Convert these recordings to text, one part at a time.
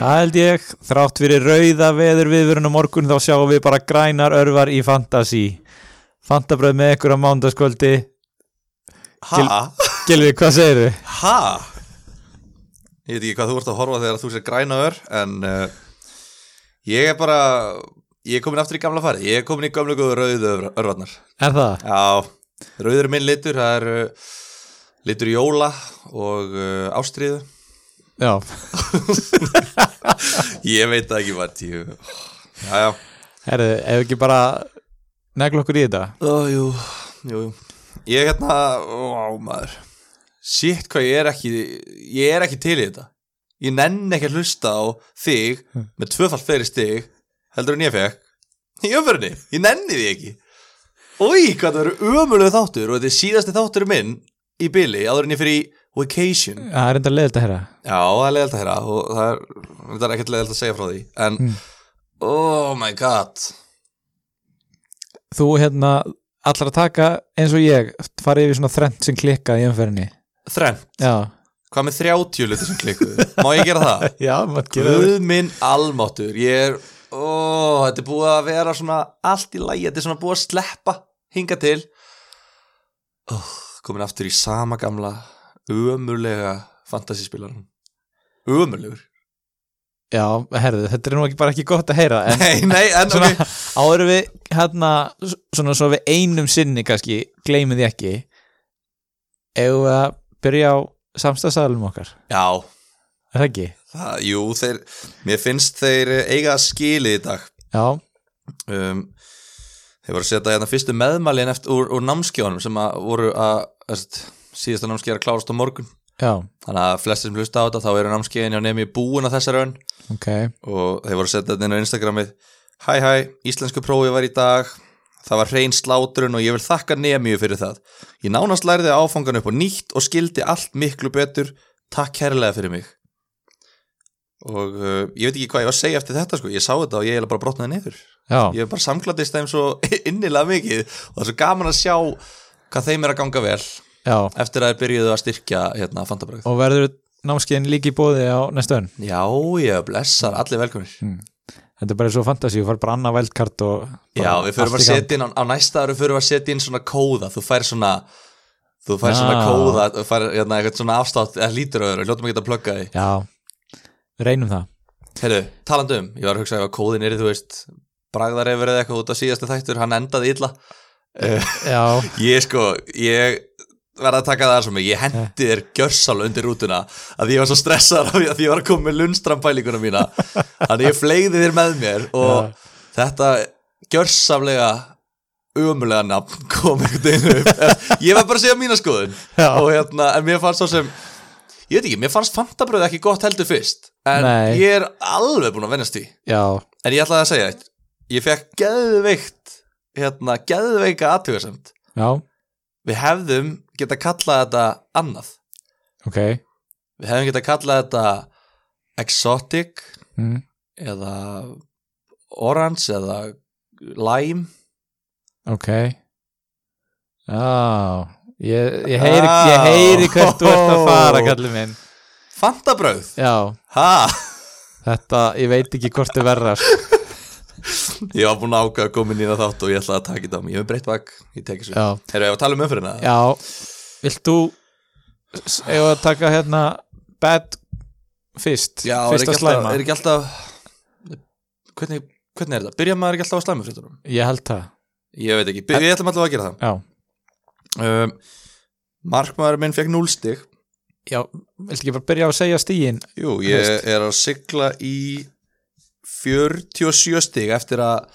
held ég, þrátt fyrir rauða veður viðvörunum morgun þá sjáum við bara grænar örvar í Fantasí Fantabröð með ykkur á mándaskvöldi Ha? Gilvi, hvað segirðu? Ha? Ég veit ekki hvað þú ert að horfa þegar þú sér grænaður en uh, ég er bara ég er komin aftur í gamla farið ég er komin í gamla góðu rauðu ör- örvarnar Er það? Já, rauður er minn litur það er uh, litur jóla og uh, ástriðu Já, ég veit það ekki hvað ég... Já, já herðu, ef ekki bara neglu okkur í þetta Ó, jú, jú, jú Ég er hérna, ó maður Sitt hvað ég er ekki Ég er ekki til í þetta Ég nenni ekki að hlusta á þig Með tvöfall fleiri stig Heldur en ég fekk Í öfverðinni, ég nenni því ekki Ói, hvað það eru ömulegu þáttur Og þetta er síðasti þáttur minn í bili Áður en ég fyrir í vacation Það er enda leið þetta herra Já, það er leiðilegt að heyra og það er, það er ekkert leiðilegt að segja frá því En, oh my god Þú hérna, allar að taka eins og ég farið yfir svona þrend sem klikkað í umferðinni Þrenn, Já, hvað með 30 litur sem klikkuðu? Má ég gera það? já, maður Guð minn almáttur Ég er, ó, þetta er búið að vera svona allt í lagi, þetta er svona búið að sleppa hinga til ó, komin aftur í sama gamla ömurlega fantasyspilarum ömurlegur Já, herðu, þetta er nú ekki bara ekki gott að heyra en Nei, nei, en svona, ok áður en við hérna, s- svona svo við einum sinni kannski, gleymum því ekki ef við að byrja á samstagsaðalum okkar Já, er það ekki? það, jú, þeir mér finnst þeir eiga að skili í dag Já, um, þeir voru að setja hérna fyrstu meðmælin eftir, úr, úr námskjónum sem að voru að, að síðasta námskið er að klárast á morgun já, þannig að flestir sem hlusta á þetta þá eru námskeiðin hjá nefni búin á þessar önn ok og þeir voru að setja þetta inn á Instagramið Hæ hæ, íslensku prófið var í dag það var hrein slátrun og ég vil þakka nefniu fyrir það ég nánast læriði áfangan upp og nýtt og skildi allt miklu betur takk kærlega fyrir mig og uh, ég veit ekki hvað ég var að segja eftir þetta sko, ég sá þetta og ég eiginlega bara brotnaði nefnir Já, ég hef bara samklatist þeim svo innilega mikið og það er svo gaman að sjá hvað þeim er að ganga vel já, eftir að þeir byrjuðu að styrkja hérna fantabröð og verður námskeiðin líki bóði á næstu önn Já, ég blessar, allir velkomir Mm. Þetta er bara svo fantasí, þú fær bara annað veldkart og Já, bara við allt förum að í gang. setja inn á, á næsta ári förum við að setja inn svona kóða þú fær svona þú fær svona Ah. kóða, þú fær hérna, eitthvað svona afstátt eða lítur öðru, ljótum ekki að plugga því Já, við reynum það Heyrðu, talandi um, ég var að hugsa ef að kóðin er þú veist, bragðarefur eða eitthvað út af síðasta þættur, hann endaði illa Já, Ég sko, ég verða að taka það sem ég Eh. hendi þér gjörsal undir rútuna að ég var svo stressaður af því að ég var að koma með lunnstrampælinguna mína þannig ég fleigði þér með mér og þetta gjörsamlega umulega nafn kom einhvern veginn upp En ég var bara að segja mína skoðun Já. og hérna, en mér fannst svo sem ég veit ekki, mér fannst fantabröð ekki gott heldur fyrst en Nei. ég er alveg búin að vennast því já, en ég ætlaði að segja eitt ég fekk geðveikt hérna, geðveika aðtugasemt já, við hefðum geta kallað þetta annað ok við hefðum geta kallað þetta exotic mm. eða orange eða lime Ok Já Ég, ég, heyri, ég heyri hvert þú ert að fara Á. kallið minn fantabröð Já, ha, þetta, ég veit ekki hvort þið verra sko. ég var búin að áka að koma inn í það þátt og ég ætlaði að taka þetta á mig ég hef breytt bak, ég tek þessu Já, erum við að tala um umfyrirna? já Vilt þú s- eigum við að taka hérna bad fyrst, já er, fyrsta ekki alltaf, slæma er ekki alltaf hvernig, hvernig er þetta? byrja maður ekki alltaf á slæmu fréttunum? Ég held það, ég veit ekki, By- við ætlum alltaf að gera já það um, markmaður minn fekk 0 stig Já, vilt ekki bara byrja á að segja stíin Jú, ég er að sigla í 47 stig eftir að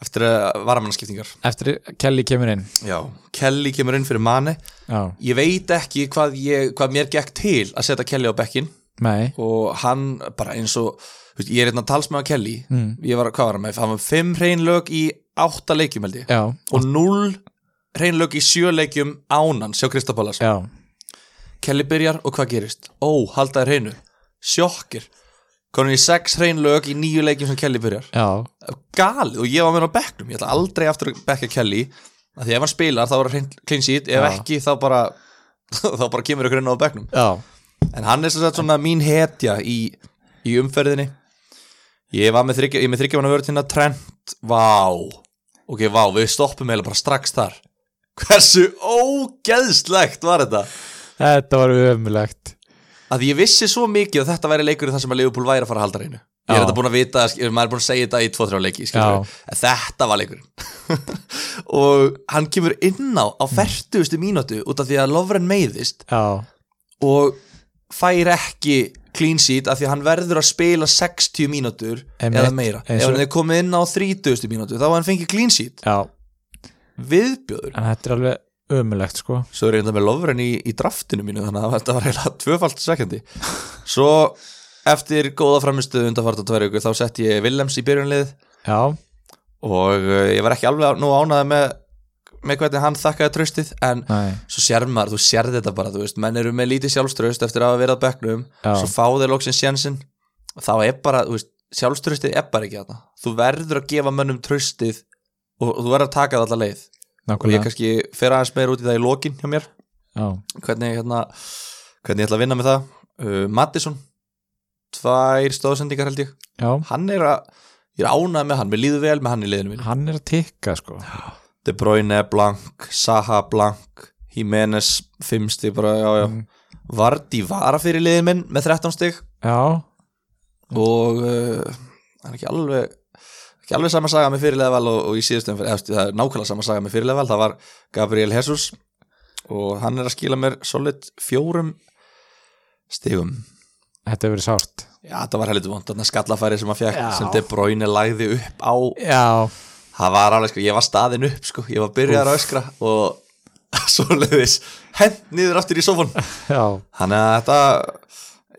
eftir að varamannskiptingar eftir Kelly kemur inn Já, Kelly kemur inn fyrir manni Já, Ég veit ekki hvað, ég, hvað mér gekk til að setja Kelly á bekkin nei, og hann bara eins og þú veist, ég er hérna talsmaður Kelly Mm. ég var, hvað var hann með, hann var 5 reynlög í 8 leikjum held ég já, og 0 reynlög í 7 leikjum ánan, sjá Kristapálas já Kelly byrjar og hvað gerist? Ó, haldaði hreinu, sjokkir komin í sex hrein lög í nýju leikjum sem Kelly byrjar Já, galið og ég var með hann á bekknum ég ætla aldrei aftur að bekka Kelly af því ef hann spilar þá er hrein clean sheet ef Já. ekki þá bara þá bara kemur ykkur inn á bekknum já, en hann er sem sagt svona mín hetja í, í umferðinni Ég var með þryggja, ég er með þryggja manna vörð hérna Trent, vá Ok, vá, við stoppum heila bara strax þar Hversu ógeðslegt var þetta? Þetta var ömulegt Að ég vissi svo mikið að þetta væri leikur þar sem að Leifupúl væri að fara að halda reynu Ég er Já. þetta búin að vita, skilur, maður er búin að segja þetta í 2-3 leiki, skilur En þetta var leikurinn Og hann kemur inn á á 40. mínútu út af því að Lovren meiðist Já, og fær ekki clean sheet af því að hann verður að spila 60 mínútur Einmitt, eða meira eins ef og- hann er komið inn á 30 mínútu þá var hann fengið clean sheet já, viðbjöður en þetta er alveg ömulegt sko svo er ég enda með Lovren í, í draftinu mínu þannig að þetta var heila tvöfalt sækjandi svo eftir góða framistu undanfarta tverju þá sett ég Willems í byrjunlið Já, og eh, ég var ekki alveg nú ánaði með, með hvernig hann þakkaði tröstið en nei, svo sér maður, þú sér þetta bara þú veist, menn eru með lítið sjálfströst eftir að hafa verið að bekknum já, svo fá þeir loksins sjansinn og þá er bara, þú veist, sjálfströstið er bara ekki þarna, þú verður að gefa mönnum tröstið og, og þú verður að taka það alla leið og ég nákvæmlega kannski fer aðeins meir út í það í lokin hjá mér, Já, hvernig hérna hvernig ég ætla að vinna með það uh, Mattisson, tvær stóðsendingar held ég, já, hann er að ég er ánað með hann, mér líður vel með hann í liðinu mínu hann er að tikka sko De Bruyne, Blank, Saha, Blank Jimenez, 5 stig bara, já, já, Mm. Vardí vara fyrir liðin minn með 13 stig Já, og uh, hann er ekki alveg ekki alveg sama saga með fyrirlega val og, og í síðustum fyrir, eftir, það er nákvæmlega sama saga með fyrirlega val það var Gabriel Jesus og hann er að skila mér solid fjórum stigum þetta hefur verið sárt já, þetta var heldur vond, þarna skallafæri sem hann fekk Já. sem De Bruyne lagði upp á Já, það var alveg, sko, ég var staðin upp sko, ég var byrjaður að öskra og svo leiðis hend niður aftur í sofan já, Þannig að þetta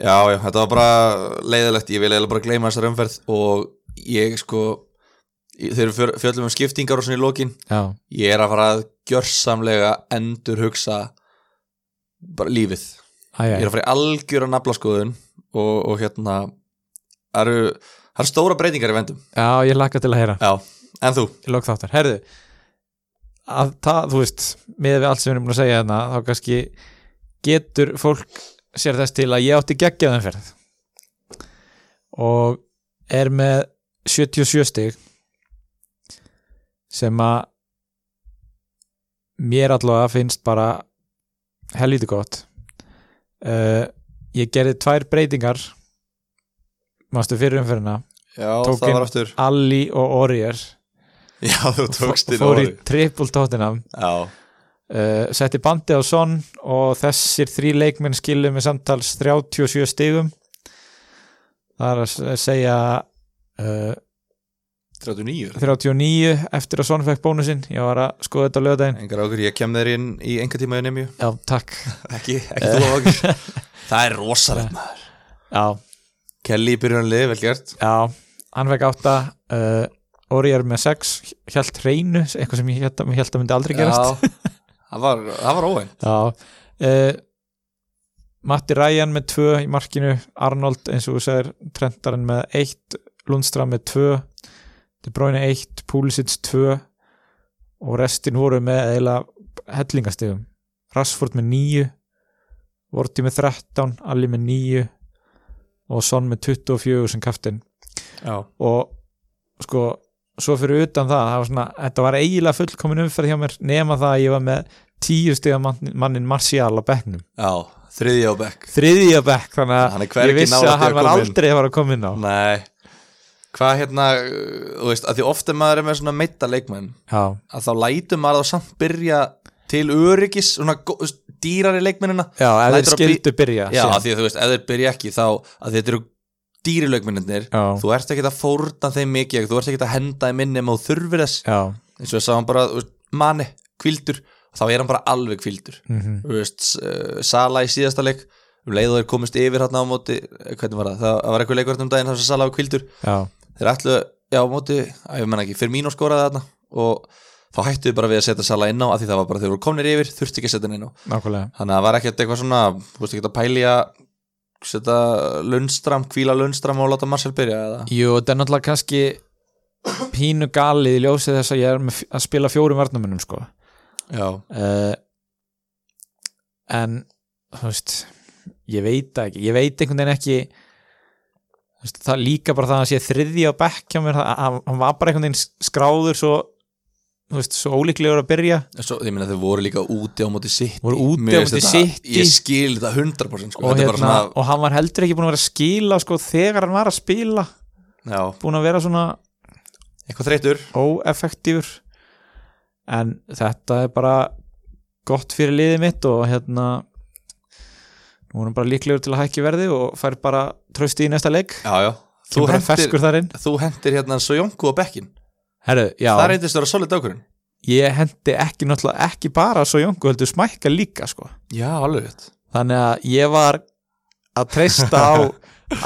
Já, já, þetta var bara leiðilegt Ég vil eiginlega bara gleyma þessar umferð og ég sko ég- þegar við fjör- fjöllum um skiptingar og svona í lokin já, ég er að fara að gjörsamlega endur hugsa bara lífið æja Ég er að fara í algjöra naflaskoðun og, og hérna það eru, það eru stóra breytingar í vendum Já, ég laka til að heyra Já, en þú? í lok þáttar, herðu að það, þú veist, með við allt sem við erum búin að segja þarna, þá kannski getur fólk sér þess til að ég átti geggjaðan ferð og er með 77 stig sem að mér allavega finnst bara helviti gott uh, ég gerði tvær breytingar mástu fyrir umferðina Já, Tók það inn- var aftur Alli og Orier Já, þú tókst Fó- inn fór í orðið. triple Tottenham Já, uh, setti bandi á Son og þessir þrý leikmenn skilu með samtals 37 stigum það er að s- segja uh, 39 39 eftir að Son fekk bónusinn ég var að skoða þetta á lögdæðin Engar ákur, ég kem þeir inn í enga tíma í nefnju já, takk ekki, ekki þú okkur það er rosalegt maður já, Kelly í byrjunlið, vel gert já, hann fekk 8 uh, Orier með 6 hjælt hreinu, eitthvað sem ég hjælt að, hélt að myndi aldrei gerast Já, það var, það var óvænt Já uh, Matti Ryan með tvö í markinu Arnold eins og þú segir Trentarinn með eitt, Lundström með tvö De Bruyne eitt, Pulisic tvö og restin voru með eiginlega hellingastegum Rashford með níu Vorti með 13, Alli með níu og Son með 24 sem kaftin já. og sko svo fyrir utan það, það var svona, þetta var eiginlega fullkomin umferð hjá mér nema það að ég var með tíu stiga mannin, mannin Martial á bekknum, já, þriðja á bekk þriðja bekk þannig Hann er að hvergi ég vissi nálægt að því hann að var koma inn. aldrei að fara að koma inn á Nei, hvað hérna uh, þú veist, að því ofta maður er með svona meita leikmenn já, að þá lætur maður þá samt byrja til öryggis, svona gó- þú veist, dýrari leikmennina já ef Lætur þeir að bí- skildu byrja já, síðan. að því að þú veist, ef þeir byrja ekki þá að þetta eru dýri leikmennir já, þú ert ekki að fórna þeim mikið þú ert ekki að henda þeim inn nema þú þurfir þess já, eins og ég sá hann bara, þú veist, manni, kvildur þá er hann bara alveg kvildur mhm, þú veist, uh, Sala í síðasta leik um leið og þeir komist yfir hérna á móti eh, hvernig var það, það það var eitthvað leikvörð um daginn þar sem Sala var kvildur, já, þeir ætlu já, á móti, að ég menna ekki, fyrir mínu skoraði þarna og þá hættu við bara við að setja Sala inn á af því það var bara, þeir voru komnir yfir, þurfti ekki að setja hann inn á nákvæmlega þannig að það var ekkert eitthvað svona, þú veist ekki að pæli að setja lönnstram, kvíla lönnstram og láta Marcel byrja eða jú, þetta er náttúrulega kannski pínu galið í ljósið þess að ég er með, f- að spila fjórum varnamunum sko já, uh, en þú veist ég veit það ekki, ég veit einhvern veginn ekki Þú veist, það er líka bara það að hann sé þriði á bekk hjá mér, það- hann hann var bara einhvern veginn skráður svo, þú veist, svo ólíklegur að byrja Svo, ég meina þeir voru líka úti á móti sitt Voru úti á móti City. Ég skil þetta 100% sko. og, Þetta er hérna, bara svona og hann var heldur ekki búin að vera að skila sko, þegar hann var að spila já, búin að vera svona Eitthvað þreytur óeffektífur en þetta er bara gott fyrir liðið mitt og hérna nú er hann bara líklegur til að hækki verði og fær bara trösti í næsta leik Já, já kemur Þú bara hendir, ferskur þar inn þú hendir hérna svo jónku á bekkin Herru, já, Það reyndist að vera solid ákvörðin ég hendi ekki náttúrulega ekki bara svo Jónku heldur smækka líka sko Já, alveg rétt þannig að ég var að treysta á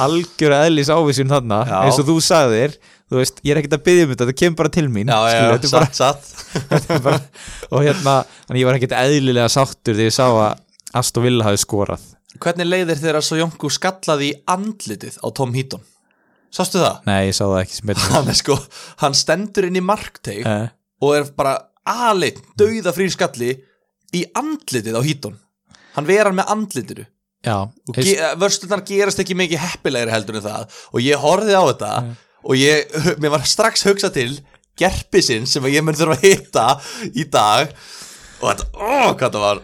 algjör eðlis ávísum þarna Já. eins og þú sagðir þú veist, ég er ekkert að byggja um þetta, þetta kemur bara til mín Já, já, skilur, já, þetta er bara satt, satt Þetta er bara, og hérna, þannig ég var ekkert eðlilega sáttur þegar ég sá að Aston Villa hafi skorað Hvernig leiðir þeirra svo jónku skallaði í andlitið á Tom Heaton? Sástu það? nei, ég sá það ekki sem betur Hann er sko, hann stendur inn í markteg Eh, og er bara alinn, dauða frýr skalli í andlitið á Heaton Hann verar með andlitinu já, og ég, ge vörslunar gerast ekki mikið heppilegri heldur en það og ég horfið á þetta og ég, mér var strax hugsa til gerpisinn sem ég mun þurfa að hitta í dag og þetta, ó, hvað þetta var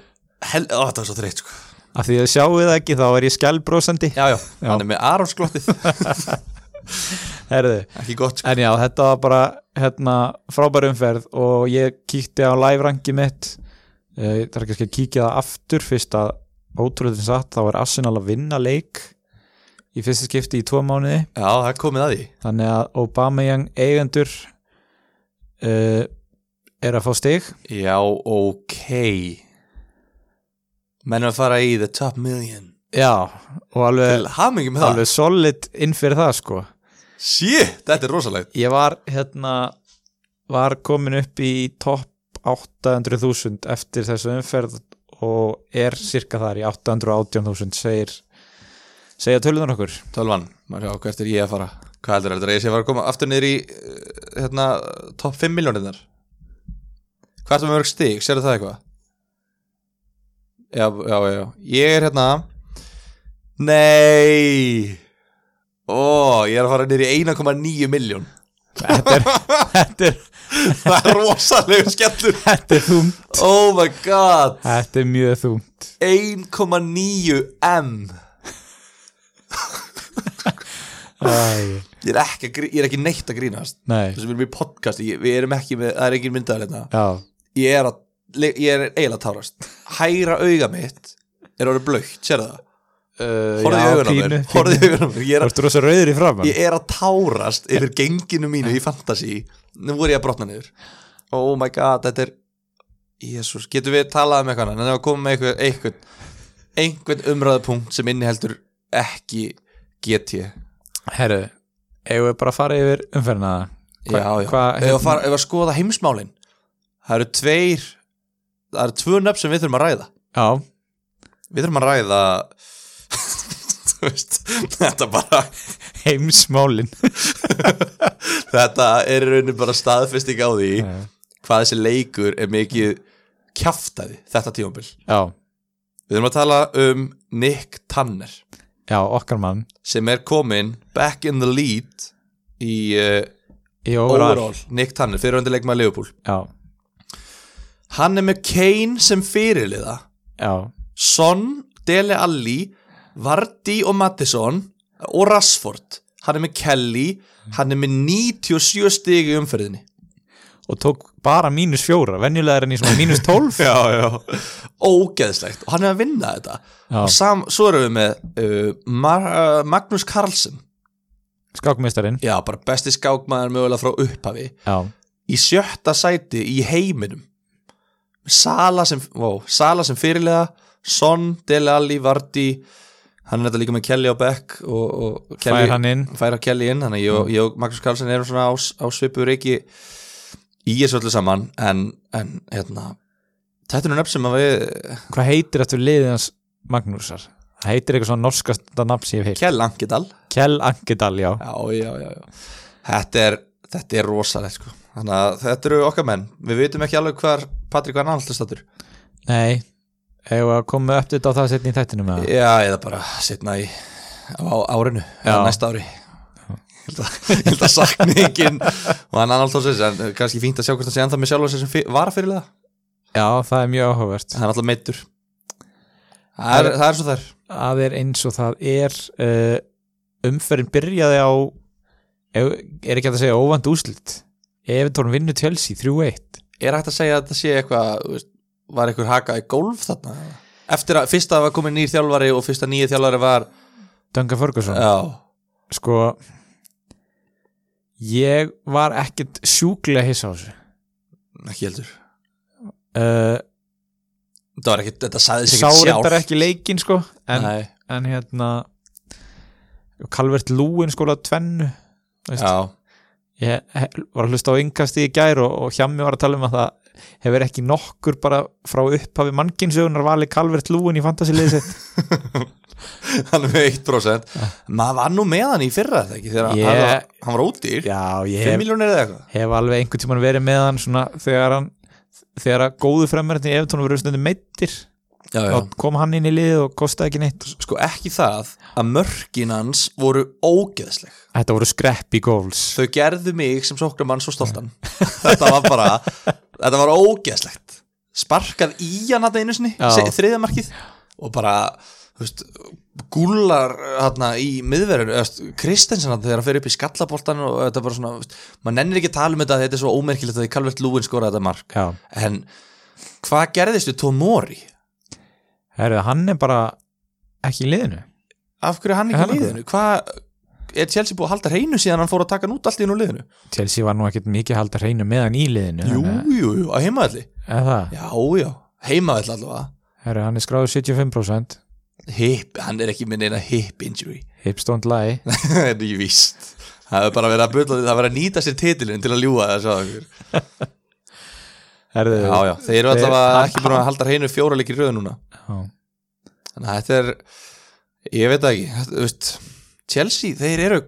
hel, ó, þetta var svo þreytt sko af því að sjáu það ekki þá er ég skjálbrósandi já, já, hann er með Aronsglottið herðu, ekki gott sko en já, þetta var bara hérna, frábær umferð og ég kíkti á live-rangi mitt Eh, ég þarf kannski að kíkja það aftur fyrst að ótrúlega satt þá er Arsenal að vinna leik í fyrsta skipti í tvo mánuði já, það er komið að því þannig að Aubameyang eigendur uh, er að fá stig já, ok mennum að fara í the top million Já, og alveg, til hamingi með það alveg solid inn fyrir það sko shit, þetta er rosalegt Ég var hérna var komin upp í topp 800.000 eftir þessu umferð og er cirka þar í 818.000 segir segja tölunar okkur tölvan, maður hjá, hvert er ég að fara hvað heldur heldur, ég sé að fara að koma aftur niður í eh, hérna, top 5 miljónirnar hvað er það með mörg stig, sérðu það eitthvað já, já, já, já ég er hérna nei ó, ég er að fara niður í 1,9 miljón Þetta er, þetta er, það er rosalega skellur þetta er þungt oh my god Þetta er mjög þungt 1,9 M Æ, ég er ekki, að grí- ég er ekki neitt að grínast Nei, þess að við erum í podcast, ég, við erum ekki með, það er engin myndaðal hérna já, ég er, að, le- ég er eiginlega að tárast hægra auga mitt er orðið blökt, sér það uh, horfðu í augun á mér, horfðu í augun á mér ég Þú er, að, ert rosa rauður í framann ég er að tárast yfir genginu mínu í fantasy nú voru ég að brotna niður oh my god, þetta er jésus, getum við talað um eitthvað en það komum með eitthvað, eitthvað einhvern umræðupunkt sem inniheldur ekki get ég Herru, eigum við bara að fara yfir umferðina það? já, Hva- hérna- já, hvað- ef að, fara, ef að skoða heimsmálin það eru tveir það eru tvö nöfn sem við þurfum að ræða Já, Við þurfum að ræða Þú veist, Þetta bara heimsmálin Þetta er í rauninu bara staðfesting á því Hvað þessi leikur er mikið Kjaftaði þetta tímabil já, Við þurfum að tala um Nick Tanner já, okkar mann Sem er komin back in the lead Í uh, í overall, overall Nick Tanner, fyrirhundi leikmaði Leopold Já, Hann er með Kane sem fyrirliða já, Son, Dele Alli Vardy og Mattisson og Rashford hann er með Kelly, hann er með 97 stig í umferðinni og tók bara mínus fjóra venjulega er henni svona mínus tólf já, já. ógeðslegt og hann er að vinna þetta Já. og sam, svo erum við með uh, Mar, uh, Magnús Carlsen skákmeistarinn já, bara besti skákmaður mögulega frá upphafi Já, í sjötta sæti í heiminum Sala sem, ó, Sala sem fyrirlega Son, Dele Alli, Vardy hann er þetta líka með Kelly á Beck og, og Kelly, fær hann Mm. inn færa Kelly inn þannig að ég, og- ég og Magnús Karlsson erum svona á, á svipur ekki í þessu öllu saman en, en hérna þetta er nú nefn sem að við Hvað heitir eftir liðið hans Magnúsar? Það heitir eitthvað svona norskasta nafn sem ég hef heilt Kjell Angedal Kjell Angedal, já já, já, já, já. Þetta, er, þetta er rosalegt sko. þannig að þetta eru okkar menn við vitum ekki alveg hvar Patrik var náttúrulega Nei, eigum við að koma upp þetta á það setni í þættinu með það já, eða bara setna í á á árinu, Já. eða næsta ári held að, ég held að sakni engin og hann annars tóð sér en kannski fínt að sjá hvort hann sé ennþá með sjálfa sér sem fyr- varafyrirlega Já, það er mjög áhugavert hann er alltaf meittur það er, það er svo þær að er eins og það er uh, umferðin byrjaði á ef- er ekki hægt að segja óvand úslit Evertón vinnur Chelsea 3-1 er hægt að segja að þetta sé eitthvað þú veist, var einhver hakað í gólf þarna eftir að fyrsta var komin nýr þjálfari og fyrsta nýja þjálfari var Dunga Ferguson já, sko ég var ekkert sjúklega hissa á þessu ekki heldur uh, þetta var ekki, þetta sagði sig sá ekki sjálf reyndar ekki leikin sko en, Nei, en hérna Calvert Lúin skóla tvennu veist. já, ég he- var að hlusta á yngast í gær og, og hjá var að tala um að það hefur ekki nokkur bara frá upphafi mannkinsögunar valið Calvert Lúin í fantasiliðið sitt hann er með 1% maður var nú með hann í fyrra þetta ekki þegar Ah. Ég- hann, var, hann var ódýr já, ég 5 hef, miljónir eða eitthvað hef alveg einhvern tímann verið með hann svona þegar hann þegar að góðu fremmerðin í Evertónu verið stundum meittir já, þá kom hann inn í liðið og kostaði ekki neitt sko ekki það að mörkin hans voru ógeðsleg þetta voru skreppi goals þau gerðu mig sem sóknar mann svo stoltan þetta var bara, þetta var ógeðslegt sparkað í hann þetta einu sinni, Já. se- þriðja markið og bara, þú veist gúlar hérna í miðverður Kristensen hérna þegar hann fer upp í skallaboltan og þetta er bara svona, þú veist, maður nennir ekki að tala um þetta þetta er svo ómerkilegt að því Calvert Lúin skoraði þetta mark já, en hvað gerðist við Tomori? herrðu, hann er bara ekki í liðinu Af hverju er hann Er hann ekki í ekki? liðinu? Hvað, er Chelsea búið að halda hreinu síðan hann fór að taka hann út allt í nú liðinu? Chelsea var nú ekkert mikið að halda hreinu með hann í liðinu Jú, þannig jú, jú, á heimaðalli að- er það, Já, já, heimaðall allavega herrðu, hann er skráður 75% Hip, hann er ekki minn eina hip injury hips don't lie Það er ekki víst Það er bara verið að byrla því, það er verið að nýta sér titilin til að ljúga þess að okkur herrðu, Já, já, þeir eru Þeir- allavega hann- ekki búin að halda hreinu fjóra leikir í röðu núna já. Þannig að þetta er, ég veit það ekki þetta- þú veist, Chelsea, þeir eru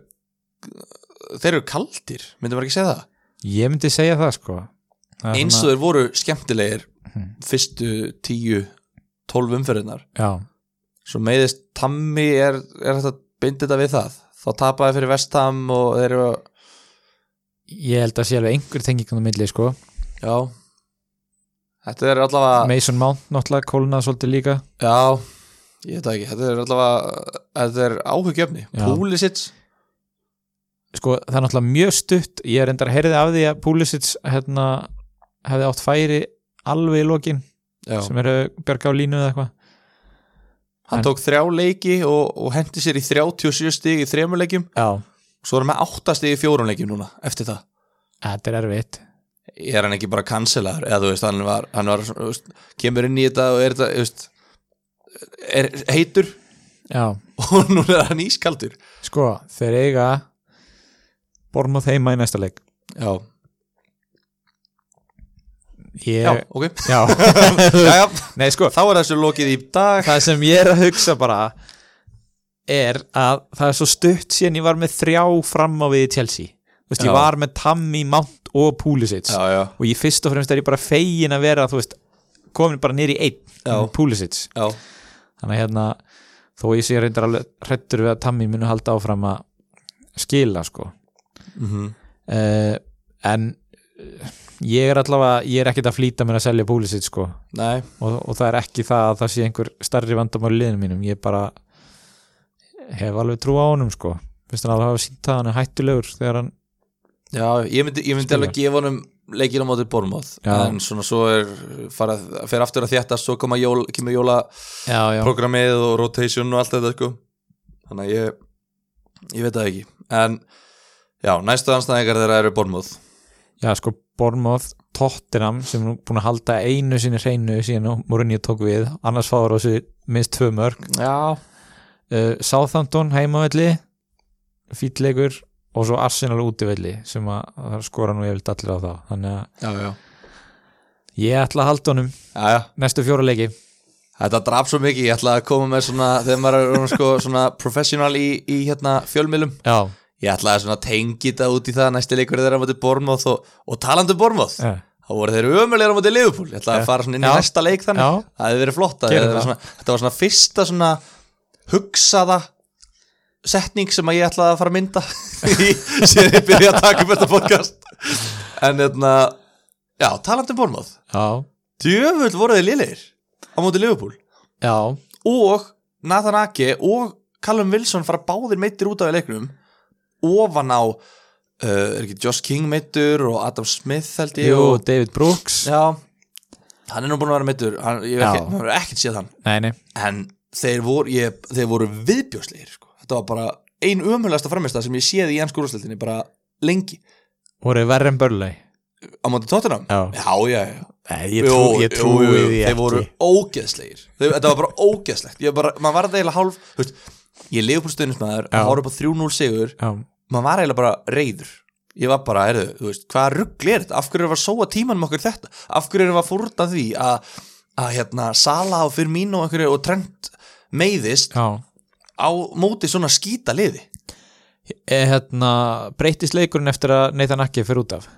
þeir eru kaldir myndum maður ekki segja það ég myndi segja það sko það er eins og svona- þeir voru skemmtilegir Mhm. fyrstu tíu, tólf umferðinar já, svo meiðist Tammy er, er þetta bindið þetta við það þá tapaði fyrir Vestham og þeir eru ég held að sé alveg einhver tengingum á milli sko já þetta er allavega Mason Mount náttúrulega kólnaði svolítið líka já, ég veit það ekki, þetta er allavega þetta er áhugjöfni, Já. Púlisic sko það er náttúrulega mjög stutt ég er endar að heyrði af því að Pulisic hérna, hefði átt færi alveg í lokin já. sem eru bjarga á línu eða eitthvað hann tók þrjá leiki og, og hendi sér í 37 stig í þremur leikjum já, svo erum við átta stig í fjórum leikjum núna eftir það þetta er erfitt er hann ekki bara kanselaður eða þú veist, hann var, hann var svona, þú veist, kemur inn í þetta og er þetta þú veist, er heitur já, og nú er hann ískaldur sko þeir eiga Bormóð heima í næsta leik já, ég, já, ok já. Jæja, nei sko þá er þessu lokið í dag það sem ég er að hugsa bara er að það er svo stutt síðan ég var með þrjá fram á við í Chelsea þú veist, ég Já. var með Tammy, Mount og Pulisic Já, já, og ég fyrst og fremst er ég bara fegin að vera þú veist, komin bara nýri í Já. einn Pulisic, já, þannig að hérna þó ég sé reyndar alveg hrettur við að Tammy muni halda áfram að skila sko mm uh, en eh, ég er allavega, ég er ekkert að flýta mér að selja Pulisic sko nei og, og það er ekki það að það sé einhver starri vandamál í liðinu mínum, ég bara hef alveg trú á honum sko finnst hann alveg hafa sínt að hann er hættulegur þegar hann, Já, ég myndi, ég myndi Spilar. alveg gefa honum leikina mótið Bormóð Já. en svona svo er farað, fer aftur að þjætta svo koma jól, kemur já, já, jólaprogrammið og rotation og allt þetta sko. þannig að ég ég veit það ekki en já, næstu anstæðingar þeirra eru Bormóð já sko Bormoth Tottenham sem er nú búin að halda einu sinni hreinu síðan Mourinho tók við annars fáður á þessu minnst tvö mörg Já, uh, Southampton heimavelli fýtleikur og svo Arsenal útivelli sem að það skora nú yfirleitt allir á þá þannig að já, já, ég ætla að halda honum já, já. næstu fjóra leiki Þetta draf svo mikið, ég ætla að koma með svona þegar maður er orðinn, sko, svona professional í, í hérna fjölmilum já, Ég ætlaði svona að tengi þetta út í það næsti leikur þeirra á móti Bormóð og, og talandi um Bormóð já, þá voru þeir ömulegur á móti Liverpool ég ætlaði Já. að fara svona inn í Já. næsta leik þannig Já. það hefði verið flott að Gerum þetta var það. svona, þetta var svona fyrsta svona hugsaða setning sem að ég ætlaði að fara að mynda í- síðan ég byrja að taka upp þetta podcast en hérna já, talandi um Bormáð já, djöfull voru þið liðir á móti Liverpool já, og Nathan Ake og Callum Wilson fara báðir meittir út af í leiknum ofan á uh, er ekki Josh King meittur og Adam Smith held ég jú, og, David Brooks já, hann er nú búin að vera meittur hann, ég hef Já. ekki, maður hefur ekkert séð hann nei, nei, en þeir voru, ég, þeir voru viðbjóslegir sko. þetta var bara ein umhverfasta framista sem ég séð í ennsku úrstildinni bara lengi voru verri en Börlei á móti Tottenham Já. já, já, já. Nei, ég, trú, ég trúi jú, jú, því þeir ekki voru ógeðslegir þeir, þetta var bara ógeðslegt ég bara, maður var það eiginlega hálf þú veist, ég lifið på stundinsmaður Já. maður horfði upp á 3-0 sigur já, maður var eiginlega bara reyður ég var bara, heyrðu, þú veist, hvaða ruggl er þetta af hverju erum við að sóa tímanum okkur í þetta af hverju erum við að fórta því að, að hérna, Sala og Firmino og, einhverju og Trent meiðist já. á móti svona skýta liði E, hérna, breytist leikurinn eftir að Nathan Aki fyrir út af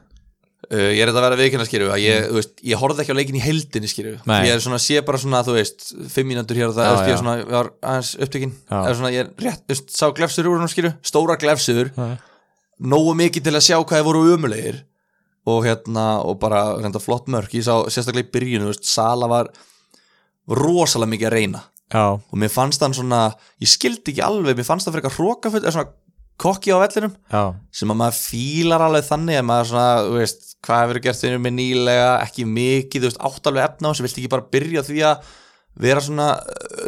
Uh, ég er þetta að vera viðkynna skýrðu að ég, þú veist, ég horfði ekki á leikin í heldinni skýrðu Mm. Nei. ég er svona, sé bara svona, þú veist, fimm mínútur hér og það, Já, þú veist, já. ég er svona, ég var aðeins upptökin Já. er svona, ég er rétt, þú veist, sá glefsur úr hún skýrðu, stóra glefsur Já. nógu mikið til að sjá hvað þið voru umulegir og hérna, og bara reynda flott mörk, ég sá sérstaklega í byrjun, þú veist, Sala var rosalega mikið að reyna já, og mér fannst hann svona, ég skildi ekki alveg mér fannst það fyrir eitthvað hrókafull, svona kokki á vellinum já, sem að maður fílar alveg þannig að maður svona, þú veist, hvað hefur gert þennum með nýlega, ekki mikið, þú veist, átt alveg efna á þessu, vilt ekki bara byrja á því að vera svona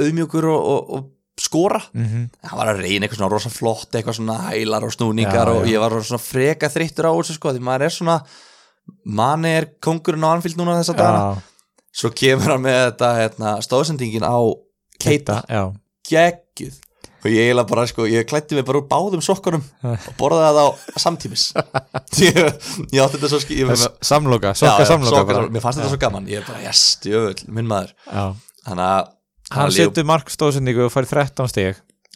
auðmjögur og, og, og skora mhm það var að reyna eitthvað svona rosa flott eitthvað svona hælar og snúningar Já, og já. ég var svona freka þreyttur á þessu sko, því maður er svona manni er kongurinn á anfíld núna þess að dana já, svo kemur hann með þetta hérna, stóðsendingin á Keita, Keita já, geggjuð og ég eiginlega bara sko, ég klætti mig bara úr báðum sokkunum og borðaði það á samtímis ég, ég átti þetta svo skil ég, S- samloka, sokka Já, já, samloka sokka- bara. mér fannst þetta svo gaman, ég bara yes, djöfull, minn maður Já. þannig að hann setur mark stóðsendingu og fær 13 stig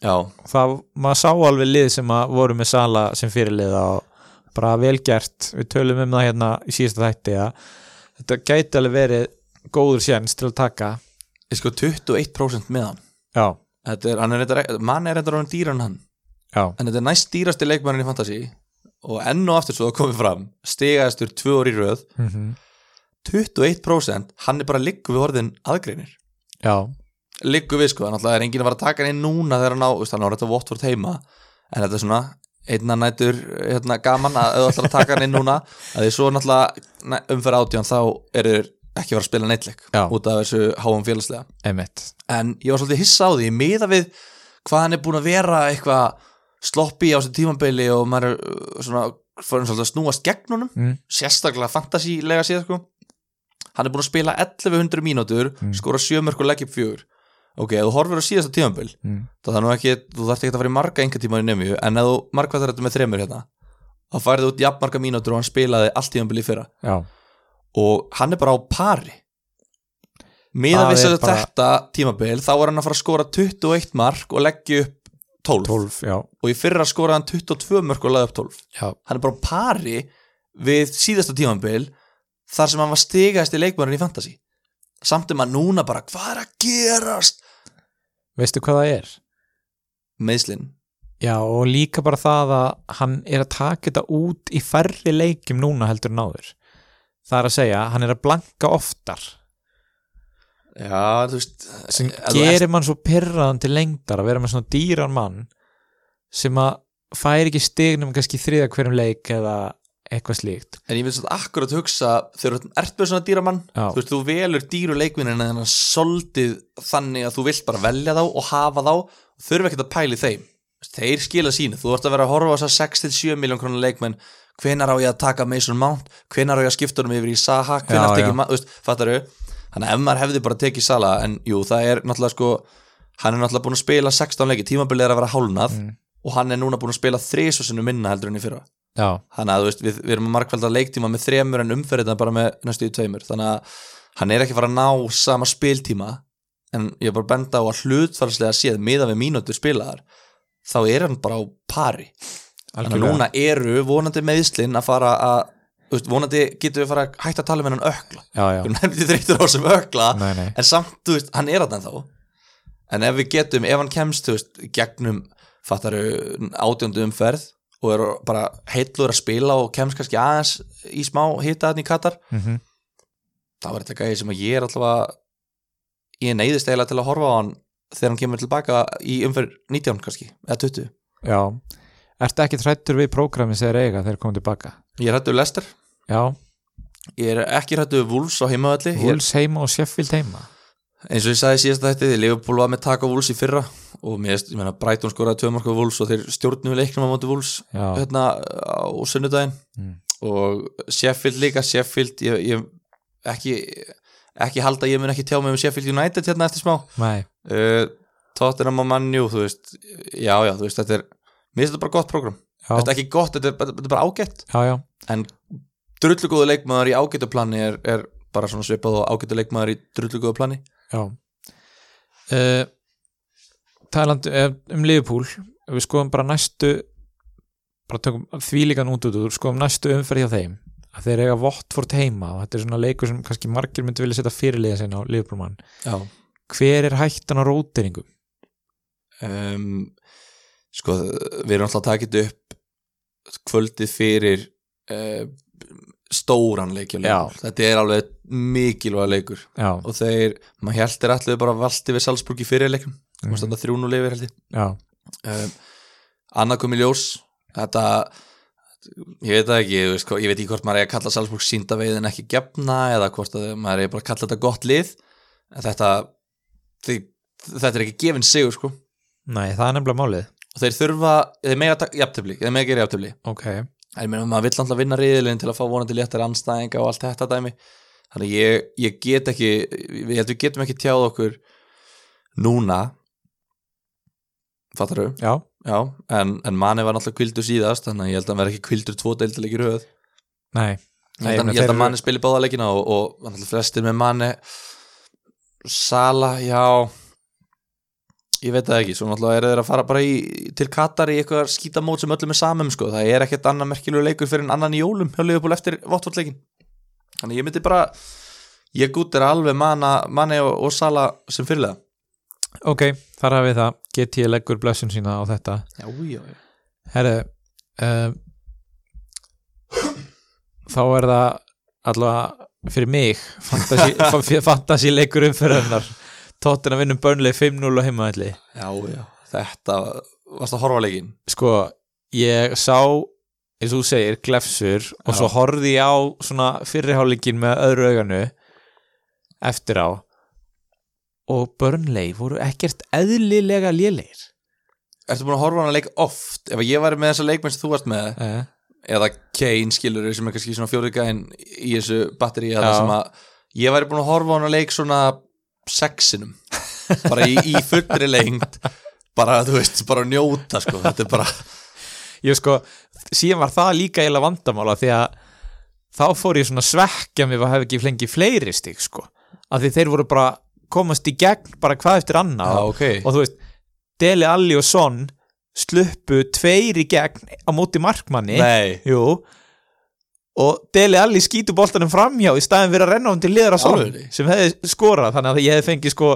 já, það, maður sá alveg lið sem að voru með Sala sem fyrirliða og bara vel gert, við tölum um það hérna í síðasta þætti að þetta gæti alveg verið góður séns til að taka ég sko 21% með hann já, þetta er, hann er reyndar, mann er reyndar orðin dýran hann já, en þetta er næst dýrasti leikmannin í Fantasí og enn og aftur svo það komið fram stigaðistur tvö orð í röð mm 21% hann er bara liggu við orðin aðgreinir já, liggur við sko, náttúrulega er enginn að fara að taka hann inn núna þegar hann á, veist, hann á þetta Watford heima en þetta er svona einna nætur hérna, gaman að ef þú ætlar að taka hann inn núna að því svo náttúrulega næ- umferð átján þá eru þeir ekki að fara að spila neitleik Já. út af þessu háum félagslega emitt en ég var svolítið hissa á því, miða við hvað hann er búin að vera eitthvað sloppi á þessu tímambili og maður er uh, svona, fyrir svolítið að snúast gegn honum mm. sérstaklega fantasílega séð sko. hann er búin að spila 1100 mínútur Mm. skora 7 mörg og leggja upp fjögur ok, ef þú horfir á síðasta tímabil Mm. það er nú ekki, þú þarft ekki að fara í marga enga tíma í nefnju, en ef þú markvættar þetta með þremur hérna, þá færði út jafnmarga mínútur og hann spilaði allt tímabil í fyrra já, og hann er bara á pari miðan Það við er sér bara- þetta tímabil þá er hann að fara að skora 21 mark og leggja upp 12, 12, já, og í fyrra skoraði hann 22 mörg og leggja upp 12 já hann er bara á pari við síðasta tímanbil þar sem hann var stigast í leikmörun í fantasy samt um að núna bara hvað er að gerast veistu hvað það er? meðslinn Já, og líka bara það að hann er að taka þetta út í færri leikjum núna heldur náður. Það er að segja, hann er að blanka oftar já þú veist sem Ef þú gerir mann svo pyrraðan til lengdar að vera með svona dýran mann sem að fær ekki stignum kannski í þriðja hverjum leik eða eitthvað slíkt. en ég vil svona akkurat hugsa þegar þú ert með svona dýramann Já, þú veist þú velur dýru leikvinnin en hann soldið þannig að þú vilt bara velja þá og hafa þá þurfa ekkert að pæli þeim Þú veist, þeir skila sínu, þú ert að vera að horfa á þess að 6-7 miljón krónar leikmenn hvenar á ég að taka Mason Mount, hvenar á ég að skipta honum yfir í Saha, hvenar Já, tekið já. Ma- þú veist, fattaru, þannig að ef maður hefði bara tekið Sala, en jú, það er náttúrulega sko hann er náttúrulega búin að spila 16 leiki tímabilið er að vera hálnað Mm. og hann er núna búin að spila þrisvössinu minna heldur enn í fyrra já, þannig að þú veist, við, við erum að markvelda leiktíma með þremur en umferðina bara með næstu í tveimur þannig að hann er ekki að fara að ná sama spiltíma en ég er bara að benda á að hlutfælslega séð miðan við mínútur spilaðar þá er hann bara á pari þannig að algjörlega. núna eru vonandi meðslinn að fara að þú veist, vonandi getum við fara að hætta að tala með hann ökla Já, já, við erum nefndið þreytur á sem ökla nei, nei. en samt, þú veist, hann er þarna þá en ef við getum, ef hann kemst, þú veist, gegnum fattar átjöndu umferð og eru bara heillur að spila og kemst kannski aðeins í smá hita þarna í Katar mm -hmm. þá er þetta gæði sem að ég er allavega ég neyðist eiginlega til að horfa á hann þegar hann kemur tilbaka í umferð 19 kannski, eða 20 Já, ertu ekki trættur við prógrami sem þeir eiga þegar þeir komum tilbaka ég er hættu Lester, Já, ég er ekki hættu Wolves á heimavalli Ég- Wolves heima og Sheffield heima eins og ég sagði síðast þetta því Liverpool var með taka Wolves í fyrra og mér veist, ég meina Brighton skoraði tvö marka Wolves og þeir stjórnum leiknum á móti Wolves Já, hérna á sunnudaginn Mm. og Sheffield líka Sheffield, ég, ég ekki, ekki halda að ég mun ekki tjá mig um Sheffield United hérna eftir smá nei, uh, Tottenham og Manju, þú veist já, já, þú veist, þetta er mér finnst þetta bara gott program, já, þetta er ekki gott þetta er, bara- þetta er bara ágætt, já, já drullugóðu leikmaður í ágættu plani er, er bara svona svipað og ágættu leikmaður í drullugóðu plani Já uh, Tæland eh, um Liverpool ef við skoðum bara næstu bara tökum þvílíkan út út úr skoðum næstu umferð hjá þeim að þeir eiga Votford heima og þetta er svona leikur sem kannski margir myndi vilja setja fyrirliða sinna á Liverpoolmann já hver er hættan á rótiringum? um, sko við erum alltaf að taka þetta upp kvöldið fyrir uh, stóran leikjum Já. þetta er alveg mikilvæg leikur Já, og þeir, maður heldur allir bara valdi við Salzburg í fyrir leikum Mhm. mm. þannig að þrjúnu lifir held ég já, um, annað kom í ljós þetta ég veit það ekki, ég, veist, hvað- ég veit ekki hvort maður er að kalla Salzburg síndaveið en ekki gefna eða hvort að maður er bara að kalla þetta gott lið en þetta þi, þetta er ekki gefin sigur sko nei, það er nefnilega málið og þeir þurfa, þeir mega taka- jafntefli þeir mega gera jafntefli, Ok, en ég meina maður vill alltaf vinna riðilinn til að fá vonandi léttar anstæðinga og allt þetta dæmi þannig að ég, ég get ekki ég held við getum ekki tjáð okkur núna fattar þau, já, já en, en manni var náttúrulega kvildur síðast þannig að ég held að hann verði ekki kvildur tvo deildilegir höð nei ég Nei, menn held að, ég held þeir að eru- manni spili báða leikina og, og náttúrulega flestir með manni Sala, já ég veit það ekki svo náttúrulega eru þeir að fara bara í, til Katar í eitthvað skítamót sem öllum er samum sko. það er ekkert annað merkilegu leikur fyrir en annan í jólum hjá Liverpool eftir vottvotleikin þannig ég myndi bara ég gútir alveg manna, manni og, og Sala sem fyrirlega Ok, þar hafið það, get ég leggur blessun sína á þetta já, já, já. Herri uh, Þá er það allavega fyrir mig fantasy- fa- fantasy leikur umferðarnar Tóttina vinnum Burnley 5-0 á heimaðalli já, já. þetta varst að horfa á leikin Sko, ég sá eins og þú segir, glefsur og Já. svo horfði ég á svona fyrrihálingin með öðru auganu eftir á og Burnley voru ekkert eðlilega lélegir ertu búin að horfa á hann að leik oft ef ég væri með þessa leikmenn sem þú varst með eh, eða Kane skilur sem er kannski svona fjórðugæðin í þessu batteri Já. sem að ég væri búin að horfa á hann að leik svona sexinum bara í, í fullri lengt bara, þú veist, bara að njóta sko. þetta er bara, Ég sko, síðan var það líka eiginlega vandamála því að þá fór ég svona að svekkja mig að hafa ekki flengi fleiri stig sko, af því þeir voru bara komast í gegn bara hvað eftir annað Já, ok. og þú veist, Deli Alli og Son sluppu tveir í gegn á móti markmanni nei Jú og Deli Alli skýtu boltanum framhjá í staðin fyrir að renna hún til liðar að Son Alveg. sem hefði skorað þannig að ég hefði fengið sko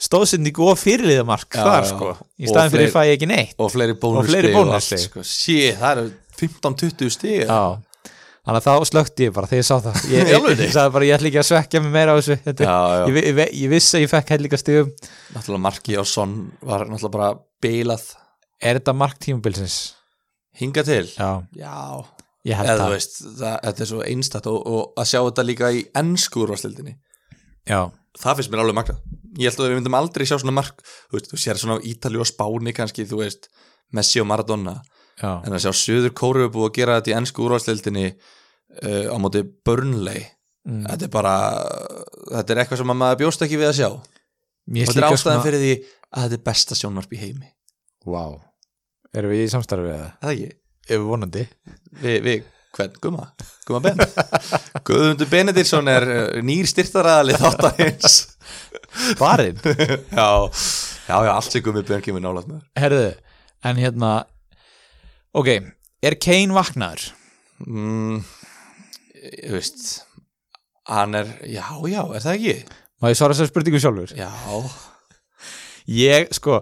stóðsendingu og fyrirliðamark Já, þar já. sko, í Og staðin fyrir fleiri- fæ ég ekki neitt og fleiri bónus fleiri bónusstig. sko. sí, það eru 15-20 stig Já, þannig að þá slökti ég bara þegar ég sá það Ég, Í ég, alvöru? ég, sagði bara ég ætla ekki að svekja mig meira á þessu Þetta, Já, já. Ég, vi- ég, ve- ég vissi að ég fekk hellinga stigum náttúrulega Marki og Son var náttúrulega bara beilað Er þetta mark tímabilsins? hinga til Já, já, ég held eða þú það veist það, þetta er svo einstætt og, og að sjá þetta líka í ennsku úrvastildinni Já, það finnst mér alveg magna ég held að við myndum aldrei sjá svona mark þú, veist, þú sér svona á Ítali og Spáni kannski þú veist, Messi og Maradona já, en að sjá Suður Kóru búið að gera þetta í ennsku úrvalstildinni uh, á móti Burnley Mm. þetta er bara þetta er eitthvað sem að maður bjóst ekki við að sjá og Mér finnst þetta er líka ástæðan fyrir því að þetta er besta sjónvarp í heimi Vá, erum við í samstarfið eða? er það ekki? Ef vonandi Við, við hvern? Guma? Guma Ben? Guðmundur Benedírsson er eh, nýr styrtaraðali þáttarins Barinn já, já, já, allt sem Gumi Ben kemur nálaðt með Herðu, en hérna Ok, er Kane vaknaður? mm, ég veist hann er, já, já, er það ekki? Má ég svara þessar spurningu sjálfur? já, Ég, sko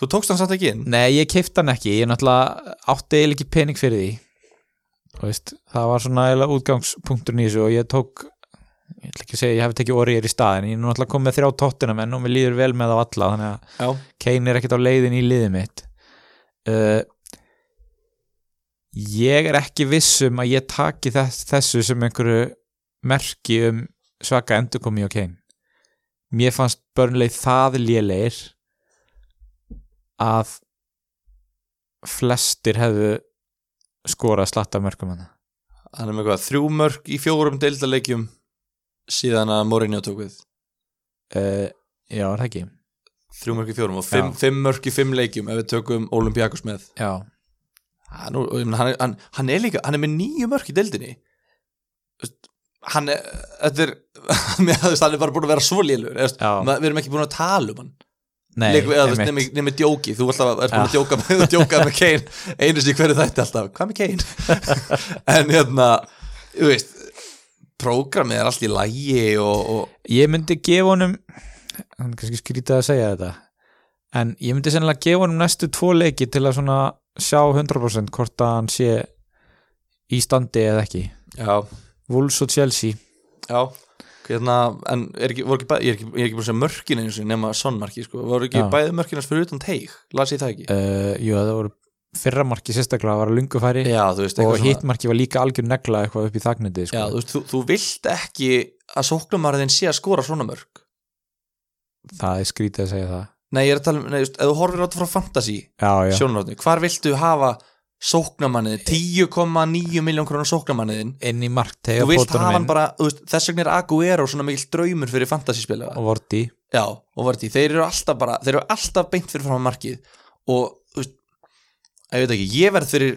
Þú tókst hann samt ekki inn Nei, ég keipta hann ekki, ég náttúrulega átti eiginlega ekki pening fyrir því Þú veist, það var svona eiginlega útgangspunkturinn í þessu og ég tók ég ætla ekki að segja, ég hef tekið orðið í staðin ég er nú náttúrulega komið með þrjá tóttina menn og mér líður vel með á alla þannig að Já, Kane er ekkert á leiðin í liðið mitt uh, ég er ekki viss um að ég taki þess, þessu sem einhverju merki um svaka endurkomi á Kane mér fannst börnleik það léleir að flestir hefðu skorað slatta mörgum hana hann er með hvað, þrjú mörg í fjórum deildaleikjum síðan að Mourinho tók við uh, já, er það ekki þrjú mörg í fjórum og fimm, Já. fimm mörg í fimm leikjum ef við tökum Olympiakos með já, hann, og, ég meina, hann, er- hann, hann er líka, hann er með nýju mörg í deildinni Þú veist, hann er, þetta er mér hafðist, hann er bara búin að vera svo lélur Já. við erum ekki búin að tala um hann nei, Leik, eða, þú veist, einmitt. nemi, nemi djóki, þú alltaf ert búin að djóka með, djóka með Kane einu sinni í hverju þætti alltaf, hvað með Kane en hérna þú veist, prógramið er allt í lægi og, og ég myndi gefa honum hann er kannski skrítið að segja þetta en ég myndi sennilega gefa honum næstu tvo leiki til að svona sjá 100% hvort að hann sé í standi eða ekki já, Wolves og Chelsea já hérna, en er ekki, voru ekki, bæ- ég er ekki, ég er ekki búin að segja mörkin einu sinni nema sonnmarki, sko, voru ekki Já. bæði mörkinast fyrir utan teig, las ég það ekki uh, jú það voru fyrra marki sérstaklega var að lungu færi já, þú Eh, veist, og eitthvað svona hittmarki var líka algjör negla eitthvað upp í þagnandi já, sko. þú, veist, þú, þú vilt ekki að sóknumarðin sé að skora svona mörg það er skrítið að segja það nei, ég er að tala um, nei, þú veist, ef þú horfir átt frá fantasy já, já. sjónarhóttni, hvar viltu hafa sóknamannið, 10,9 miljón krónar sóknamanniðin, inn í markteg þú vilt hafa hann bara þú veist, þess vegna er Aguero svona mikill draumur fyrir fantasyspila, og vorti já, og vartí þeir eru alltaf bara, þeir eru alltaf beint fyrir fram markið og, þú veist ég veit ekki, ég verð fyrir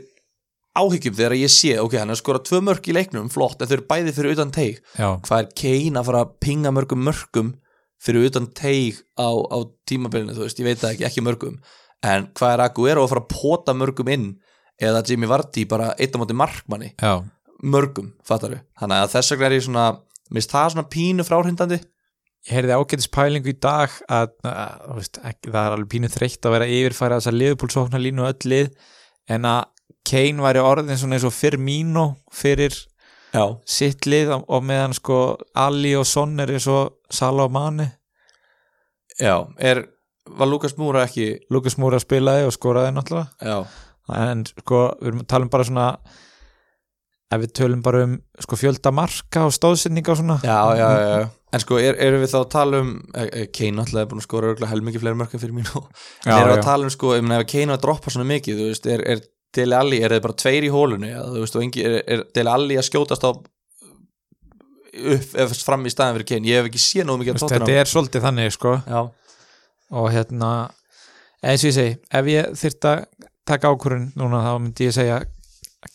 áhyggjum þegar ég sé, ok, hann er skorað tvö mörk í leiknum, flott, en þau eru bæði fyrir utan teig já, hvað er Kane að fara að pinga mörgum mörgum fyrir utan teig á, á tímabilinu, þú veist, ég veit það ekki, ekki mörgum en hvað er Aguero að fara að pota mörgum inn eða Jimmy Vardy bara eitt á móti markmanni, já, mörgum, fattar við þannig að þess vegna er ég svona minnst það svona pínu fráhrindandi ég heyrði ágætis pælingu í dag að, að þú veist, ekki, það er alveg pínu þreytt að vera yfirfæra þess að liðupúlsóknar línu öll lið en að Kane væri orðin svona eins og fyrir mínu fyrir já, sitt lið og meðan sko Ali og Son er eins og Sala og Mane já, er var Lukas Múra ekki Lukas Múra spilaði og skoraði náttúrulega já, en sko við erum að tala um bara svona ef við tölum bara um sko fjölda marka og stóðsynninga og svona já, já, já, já. en sko er, erum við þá að tala um eh, eh, Kane alltaf er búin að skora örgulega helmingi fleiri mörgum fyrir mínu En já, þeir eru að já. tala um sko, ég meina ef Kane var að droppa svona mikið, þú veist, er, er Dele Alli, er þeir bara tveir í hólunni, eða, þú veist, og engi, er, er Dele Alli að skjótast á upp, ef fram í staðin fyrir Kane, ég hef ekki séð nóg Þú mikið að veist, þetta tóttina. er svolítið þannig sko Já, og hérna eins og ég segi, ef ég þyrft að taka ákvörun núna þá myndi ég segja að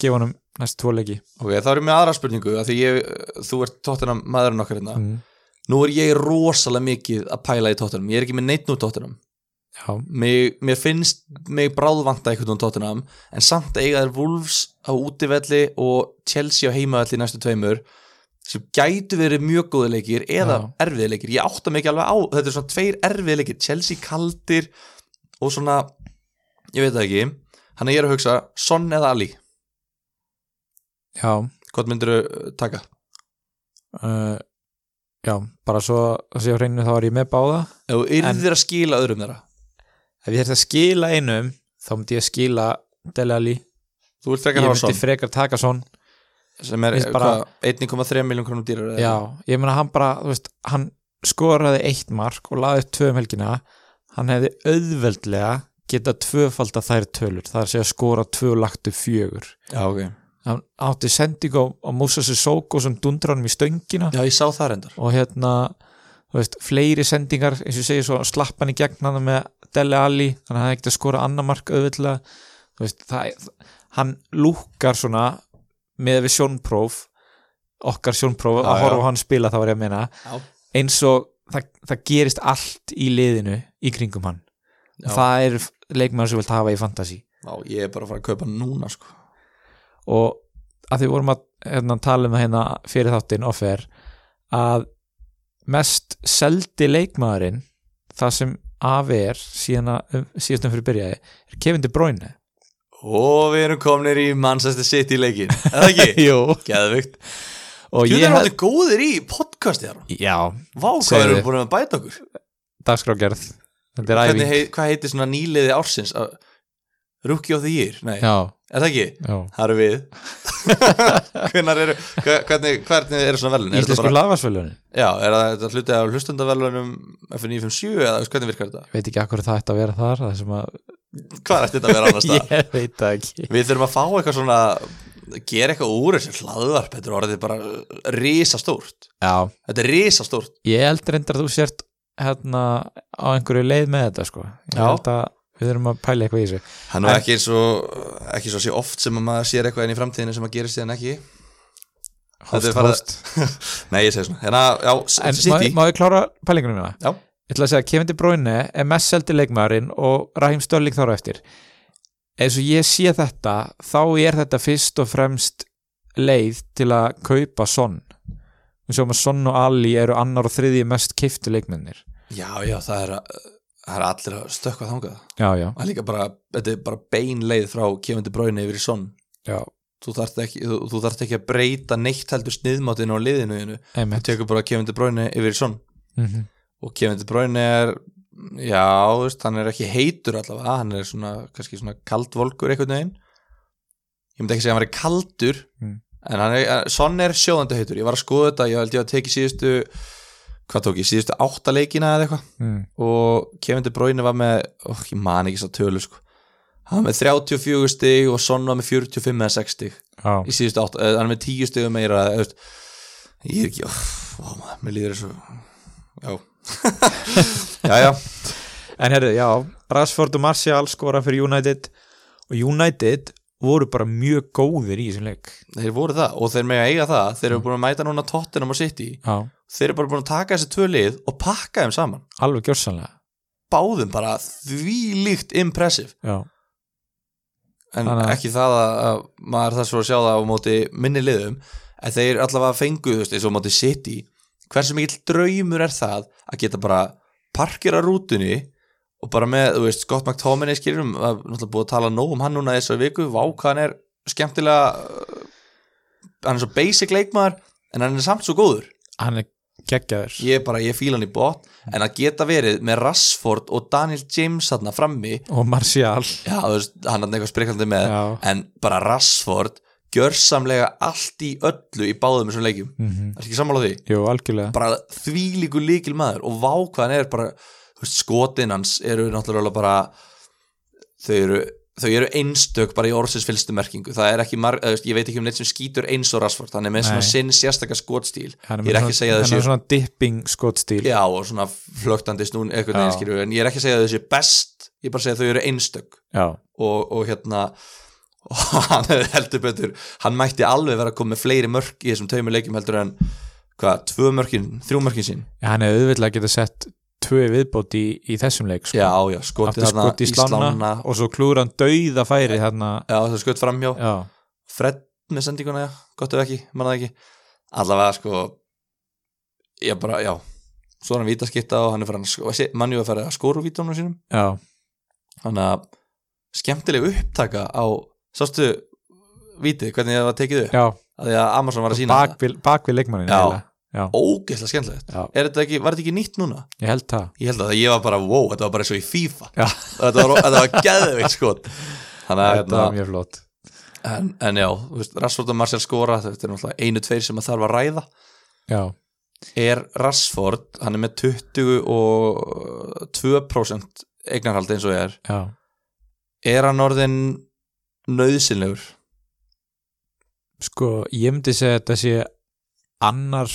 gefa honum næst tvo leiki ok, þá erum við aðra spurningu, af því ég, þú ert tóttina maðurinn okkar hérna. mm. Nú er ég rosalega mikið að pæla í tóttinum, ég er ekki með neitt nú tóttinum. já, Mér, mér finnst mig bráðvanda einhvern veginn tóttinam en samt eiga þær Wolves á útivelli og Chelsea á heimavelli í næstu tveimur sem gætu verið mjög góði leikir eða Já. erfiði leikir ég átta mig ekki alveg á, þetta er svona tveir erfiði leikir Chelsea kaldir og svona, ég veit það ekki hann er ég er að hugsa, Son eða Ali já hvort myndir þau taka? uh, já, bara svo að séu hreinu þá er ég með báða Ef þú yrðir að skila öðrum þeirra ef ég þyrft að skila einum þá myndi ég skila Dele Alli þú vilt ég frekar hafa myndi Son frekar taka svon sem er Mér finnst bara- hvað, 1,3 miljón krónum dýrar já, ég meina hann bara, þú veist hann skoraði eitt mark og laði upp tvö um helgina hann hefði auðveldlega geta tvöfald að þær tölur það er að segja skora tvö lagt upp fjögur já, ok hann átti sendingu á, á Musa Sissoko sem dundra honum í stöngina já, ég sá það reyndar og hérna þú veist, fleiri sendingar, eins og ég segi svo slapp hann í gegn hann með Dele Alli þannig að hann ekkert að skora annar mark auðvitað þú veist, það, hann lúkar svona með við sjónpróf okkar sjónpróf Já, að já. horfa á hann spila það var ég að meina já, eins og það, það gerist allt í liðinu í kringum hann Já. það er leikmæður sem vilt hafa í fantasi já ég er bara að fara að kaupa hann núna sko og að því vorum að hérna, tala um það hérna fyrir þáttinn offer að mest seldi leikmaðurinn það sem af er síðan að um, síðastum fyrir byrjaði er Kevin De Bruyne og við erum komnir í Manchester City leikin eða ekki, Jú geðvikt og Þú ég erum hef, allir góðir í podcasti þar já, Vá, hvað Segðu. erum við búin að bæta okkur dagskrágerð þetta er Hvernig æfing hei, Hvað heitir svona nýliði ársins Að- Rookie of the Year, nei, já, er það ekki? já Það eru við Hvenar eru, hva- hvernig, hvernig eru svona velun? Íslensku bara... lagarsvelunin, Já, er það þetta hluti af hlustundavelunum F957 eða þú veist, hvernig virkar þetta? ég veit ekki akkur það ætti að vera þar það sem að, Hvað er þetta að vera annars það? ég veit það ekki Við þurfum að fá eitthvað svona gera eitthvað úr þessu hlaðvarp þetta er orðið bara risastórt já, þetta er risastórt ég held reyndar að þú sért hérna á einhverju leið með þetta sko ég Já. held að við erum að pæla eitthvað í þessu hann er ekki eins og ekki eins og sé oft sem að maður sér eitthvað inn í framtíðinu sem að gerist síðan ekki Þetta hóst, er bara- hóst nei ég segi svona hérna, já, en má, City má ég klára pælingunum mína? Já. ég ætla að segja, Kevin De Bruyne er mest seldi leikmaðurinn og Raheem Stölling þar á eftir eins og ég sé þetta þá er þetta fyrst og fremst leið til að kaupa Son við sjáum að Son og Ali eru annar og þriðji mest kiftu leikmennir já, já, það er, að- það er allir að stökkva þangað já, já, það er líka bara, þetta er bara bein leið frá kefindi bráinu yfir í sonn já, þú þarft ekki, þú, þú þarft ekki að breyta neitt heldur sniðmátinu á liðinu þínu. þú einmitt tekur bara kefindi bráinu yfir í sonn mm og Kevin De Bruyne er já, þú veist, hann er ekki heitur allavega, hann er svona, kannski svona kaldvolgur einhvern veginn ég myndi ekki segja að hann er kaldur Mm. en hann er, sonn er sjóðandi heitur ég var að skoða þetta, ég held ég að teki síðustu hvað tók ég, síðustu áttaleikina eða eitthvað mm. og Kevin De Bruyne var með ó, ég man ekki svo tölu sko hann var með 34 stig og sonn var með 45 eða 6 stig já, í síðustu átt, eh, hann er með 10 stigum meira eða, þú veist, ég er ekki ó, maður, mér líður þessu já já, já, En herru, já, Rashford og Martial skora fyrir United og United voru bara mjög góðir í þessum leik þeir voru það og þeir mega eiga það, þeir eru búin að mæta núna Tottenham og City, Já, þeir eru bara búin að taka þessi tvö lið og pakka þeim saman alveg gjörsanlega báðum bara þvílíkt impressive, Já, en Þannig að- ekki það að, að maður þess voru að sjá það á móti minni liðum, en þeir allavega fengu, þú veist, eins og á móti City hversu mikill draumur er það að geta bara parkera rútunni og bara með, þú veist, Scott McTominay skiljum, við erum náttúrulega búið að tala nóg um hann núna þessu viku, vá hvað hann er skemmtilega uh, hann er svo basic leikmaður en hann er samt svo góður hann er geggjaður ég bara, ég fíla hann í bótt en að geta verið með Rashford og Daniel James þarna frammi og Martial já, þú veist, hann er eitthvað spriklandi með Já, en bara Rashford gjörsamlega allt í öllu í báðum þessum leikjum, mm er ekki sammála því jú, algjörlega bara þvílíku líkil maður og vákvæðan er bara þú veist, skotin hans eru náttúrulega bara þau eru, þau eru einstök bara í orðsins fylgstu merkingu það er ekki marg, eða, þú veist, ég veit ekki um neitt sem skýtur eins og Rashford, hann er með svona Nei. sinn sérstaka skotstíl Hann Ég með er ekki að svona- segja að hann þessi- er svona dipping skotstíl já og svona flögtandi snún eitthvað Já. neginn skýru, en ég er ekki að segja að þau séu best ég er bara að segja að þau eru einstök Já, og, og hérna og hann hefði heldur betur hann mætti alveg vera að koma með fleiri mörk í þessum taumur leikjum heldur en hvað, tvö mörkin, þrjú mörkin sín hann er auðvitað að geta sett tvö viðbót í, í þessum leik sko. já, já, skotið Aftur skot í slána og svo klúður hann dauða færi þarna já, það er skot framhjá, Já, Fred með sendinguna, já, gott ef ekki, manna ekki allavega sko ég bara, já, svo er hann vítaskitta og hann er farin að, sko, manni var að fara að skóru vítunum sínum, já, hann að skemmtileg upptaka á, sástu vítið, hvernig það var tekið upp, já. að því að Amazon var að sína Bak, við, bak við leikmannin Já. eiginlega. já, ógeðslega skemmtilegt já, er þetta ekki, var þetta ekki nýtt núna? ég held það Ég held að ég var bara, wow, þetta var bara eins og í FIFA Já. þetta var, þetta var geðveikt skot þannig að, Þetta var hérna, mjög flott en, en já þú veist, Rashford og Martial skora, þetta er náttúrulega einu tveir sem að þarf að ræða, Já, er Rashford, hann er með 22% eignarhald eins og er, já er hann orðin nöðsynlegur Sko, ég myndi segja að þetta sé annar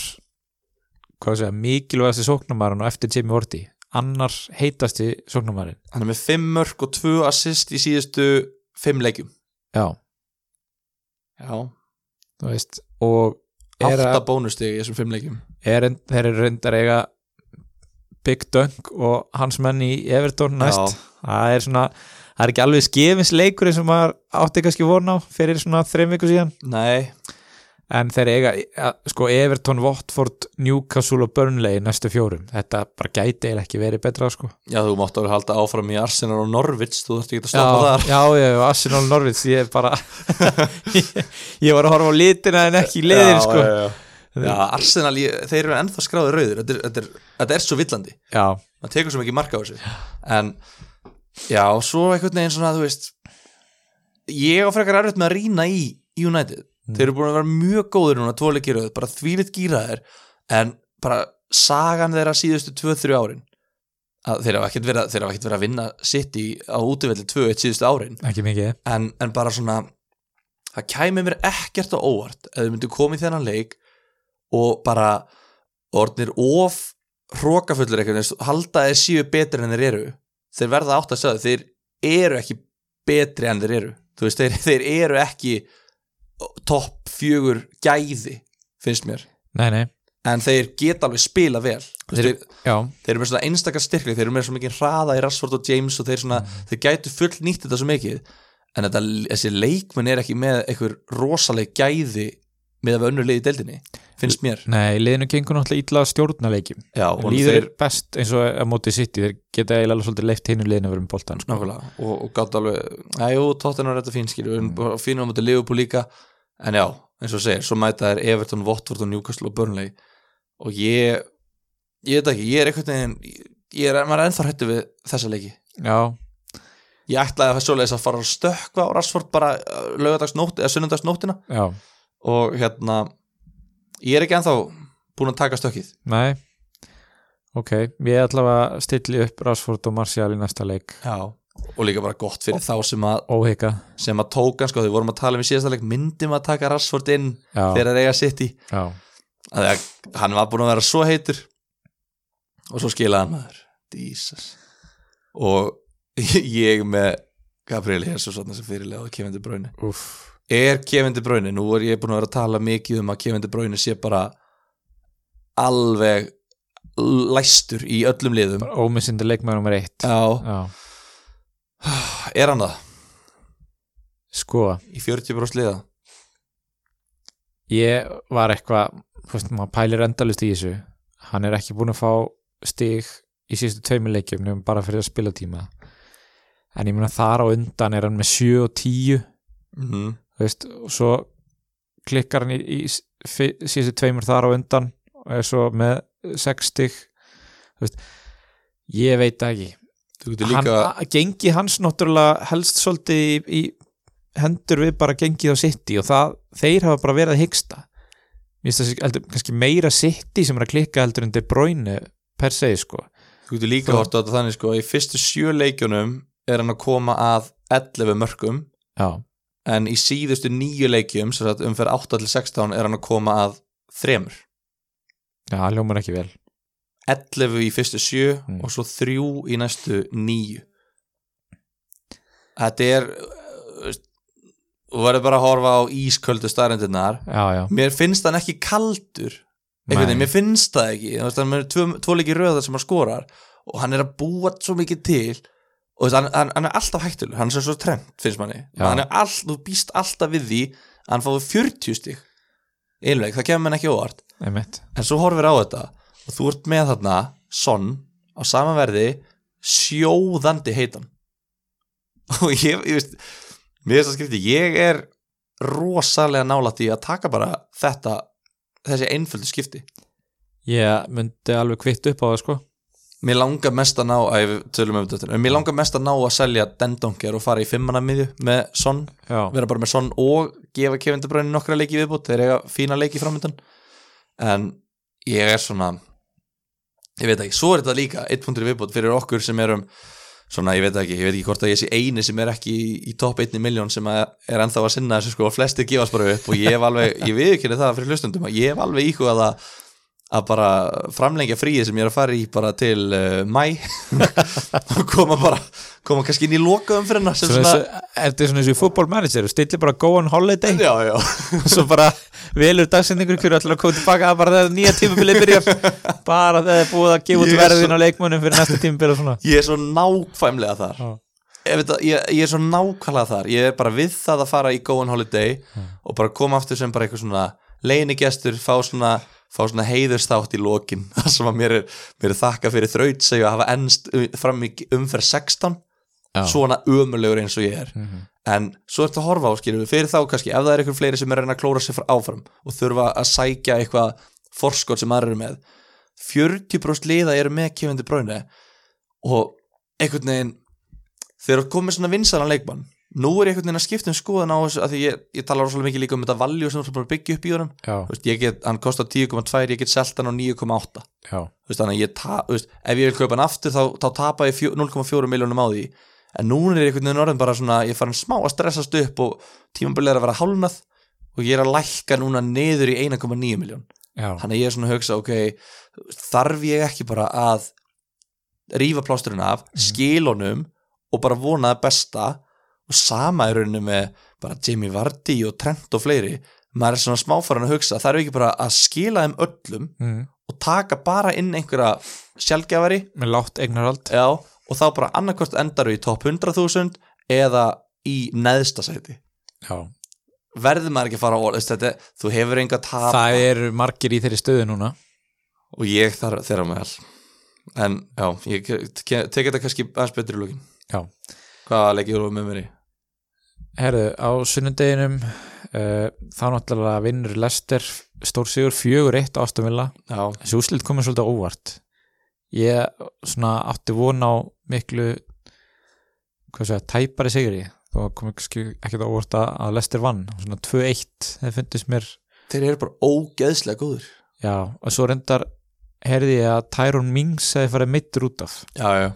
hvað segja, mikilvægasti sóknumarinn og eftir Jimmy Vorti annar heitasti sóknumarinn hann er með 5 mörg og 2 assist í síðustu 5 leikjum Já, já, þú veist og er, 8 að, bónustig í þessum 5 leikjum er en, þeir eru reyndar eiga Big Dunk og hans menn í Everton næst Já. það er svona, það er ekki alveg skefins leikur eins og maður átti kannski von á fyrir svona þreim viku síðan nei, en þeir eiga að, sko Everton, Watford, Newcastle og Burnley í næstu fjórum, þetta bara gæti eiginlega ekki verið betra sko Já, þú mátt alveg halda áfram í Arsenal og Norvits þú þarft ekki að Já, stoppa þar já, já, Arsenal Norvits ég er bara ég, ég var að horfa á litina en ekki liðin já, sko já, já. já, Arsenal, ég, þeir eru ennþá skráði rauðir þetta er, þetta, er, þetta er svo villandi já, maður tekur svo mikið marka á þessu en já, svo einhvern veginn svona, þú veist ég á frekar erfitt með að rýna í United Mm. þeir eru búin að vera mjög góður núna tvoleikiröð, bara þvílitt gýraðir en bara sagan þeirra síðustu 2-3 árin að þeir hafa ekkert verið, að- þeir hafa ekkert verið að vinna sitt í á útivelli 2-1 síðustu árin ekki mikið en, en bara svona það kæmi mér ekkert á óvart ef þau myndu komið þennan leik og bara orðnir of hrókafullur eitthvað eins og halda að þeir séu betri en þeir eru þeir verða átt að segja þeir eru ekki betri en þeir eru þú veist, þeir, þeir eru ekki topp fjögur gæði finnst mér, nei, nei, en þeir geta alveg spila vel þeir, Þeir- þeir, já, þeir eru með svona einstakar styrkli þeir eru með svo mikið hraða í Rashford og James og þeir, svona, þeir gætu full nýtt þetta svo mikið en þetta, þessi leikmenn er ekki með einhver rosaleg gæði með að við önnur liði í deildinni finnst mér nei, liðinu gengur náttúrulega illa að stjórna leikjum, Já, En og líður þeir, best eins og að móti sitt þeir geta eiginlega svolítið leift hinu liðinu að vera um boltan sko. nákvæmlega, og, og gátt alveg Mm. aðjú, tóttin var þetta fín skil við erum fínum á mútið Liverpool líka en já, eins og þú segir, svo mæta þeir Everton, Watford og Newcastle og Burnley og ég, ég veit ekki, ég er einhvern veginn ég er, maður er ennþá hættu við þessa leiki já, ég ætlaði að fæða svoleiðis að fara að stökkva á Rashford bara lögadagsnótt eða sunnundagsnóttina já, og hérna ég er ekki ennþá búin að taka stökkið nei ok, ég ætla að stilli upp Rásford og Martial í næsta leik Já. og líka bara gott fyrir þá sem að, óhika, sem að tók hann sko, þau vorum að tala um í síðasta leik myndum að taka Rashford inn já, þegar þeir eiga sitt í já að að hann var búin að vera svo heitur og svo skilaði hann maður Jesus og ég með Gabriel Hessu svona sem fyrirlega og kemur til bráinu Úff. er Kevin De Bruyne, nú er ég búin að vera að tala mikið um að Kevin De Bruyne sé bara alveg læstur í öllum liðum bara ómissindi leikmaður nummer eitt Já, já, er hann það? sko Í 40 bróst liða? ég var eitthvað þú veist, maður pælir endalust í þessu hann er ekki búin að fá stig í síðustu tveimur leikjum nefnum bara fyrir að spila tíma en ég meina þar á undan er hann með 7 og 10 Mm þú veist, og svo klikkar hann í, í s- fi- síðustu tveimur þar á undan og er svo með 6 stig þú veist, ég veit það ekki Þú getur líka hann, a- gengi hans náttúrulega helst svolítið í, í hendur við bara gengið á City og það, þeir hafa bara verið að hyggsta Mér finnst það heldur, kannski meira City sem er að klikka heldur en De Bruyne per se sko Þú getur líka Þú- hort á þetta þannig sko í fyrstu sjö leikjunum er hann að koma að 11 mörgum já, en í síðustu nýju leikjum sem sagt umferð 8 til 16 er hann að koma að 3 já, hann ljómar ekki vel 11 í fyrstu 7 Mm. og svo 3 í næstu 9 Þetta er uh, veist, þú verður bara að horfa á ísköldu staðrendirnar já, já, Mér finnst hann ekki kaldur einhvern veginn, Nei. mér finnst það ekki Þú veist, hann er með tvo, tvo leiki röðar sem hann skorar og hann er að búa svo mikið til og þú veist, hann, hann, hann er alltaf hægtulur hann er sem svo trend, finnst manni Já. hann er all, þú býst alltaf við því að hann fáið 40 stig einleik, það kemur hann ekki óvart einmitt en svo horfir á þetta og þú ert með þarna sonn á samanverði sjóðandi heitan og ég, ég veist mér finnst það skrifti, ég er rosalega nálætt í að taka bara þetta, þessi einföldu skipti ég myndi alveg kvitt upp á það sko mér langar mest að ná að við tölum um þetta, en mér langar mest að ná að selja dendonger og fara í fimmana miðju með sonn, já, vera bara með sonn og gefa Kevin De Bruyne nokkra leiki í viðbútt þeir eiga fína leiki framöndan en ég er svona ég veit ekki, svo er þetta líka eitt punktur í viðbútt fyrir okkur sem erum svona, ég veit ekki, ég veit ekki hvort að ég sé eini sem er ekki í, í topp einni miljón sem að er ennþá að sinna þessu sko og flestir gefast bara upp og ég hef alveg, ég viðkynni það fyrir hlustundum að ég hef alveg íhugað að að bara framlengja fríið sem ég er að fara í bara til uh, mæ og koma bara koma kannski inn í lokaðum fyrir hennar sem svona, svona, svona, þetta er svona þessu fútbolmanager stillir bara go on holiday já, já og svo bara velur dagsendingur hverju ætlar að koma tilbaka bara þegar nýja tímabilið byrjar bara þegar það er búið að gefa út Ég er verðin á leikmönnum fyrir næsta tímabil og svona ég er svo nákvæmlega þar Já. Ef þetta, ég, ég er svo nákvæmlega þar ég er bara við það að fara í Go on Holiday og bara koma aftur sem bara eitthvað svona leinigestur fá svona, fá svona heiðurstátt í lokin það sem að mér er, mér er þakka fyrir þraut segja að hafa ennst um- fram í umferð 16 Já. Mhm. svona ömulegur eins og ég er en svo ertu að horfa á skilur fyrir þá kannski ef það er einhver fleiri sem er að reyna að klóra sér frá áfram og þurfa að sækja eitthvað forskot sem aðra eru með 40% liða eru með kefindi bráinu og einhvern veginn þegar þú komið svona vinsanan leikmann nú er ég einhvern veginn að skipta um skoðan á þessu af því ég, ég tala rosalega mikið líka um þetta valjú sem þú ert bara að byggja upp í honum já, Þú veist, ég get, hann kostar 10,2, ég get selt hann á 9,8 já, Þú veist, þannig að ég ta, þú veist, ef ég vil kaupa hann aftur þá, þá tapa ég fjó- 0,4 miljónum á því en núna er einhvern veginn orðin bara svona ég er farin smá að stressast upp og tímabilið er að vera hálnað og ég er að lækka núna niður í 1,9 miljón já, þannig að ég er svona að hugsa, ok þarf ég ekki bara að rífa plásturinn af, Mhm. skil honum og bara vona það besta og sama er rauninu með bara Jamie Vardy og Trent og fleiri maður er svona smáfæran að hugsa, þarf ekki bara að skila þeim öllum mm. og taka bara inn einhverja sjálfgjafari með látt eignarhald já, og þá bara annarkvort endaru í topp 100.000 eða í neðsta sæti já. verður maður ekki að fara á orð þetta, þú hefur enga tap það eru margir í þeirri stöðu núna og ég þar, þeirra meðal en já, ég ke- ke- tek þetta kannski aðeins betri í lókin Já. hvað leggir þú með mér í? Herðu, á sunnudeginum uh, þá náttúrulega vinnur Lester stórsigur 4-1 ástafilla já, þessi úslit komið svolítið á óvart ég svona átti von á miklu hvað segja, tæpari sigri þó kom ekki, ekki á óvart að, að Lester vann svona 2-1, það fundist mér þeir eru bara ógeðslega góður já, og svo reyndar herði ég að Tyrone Mings hefði farið mittur út af já, já,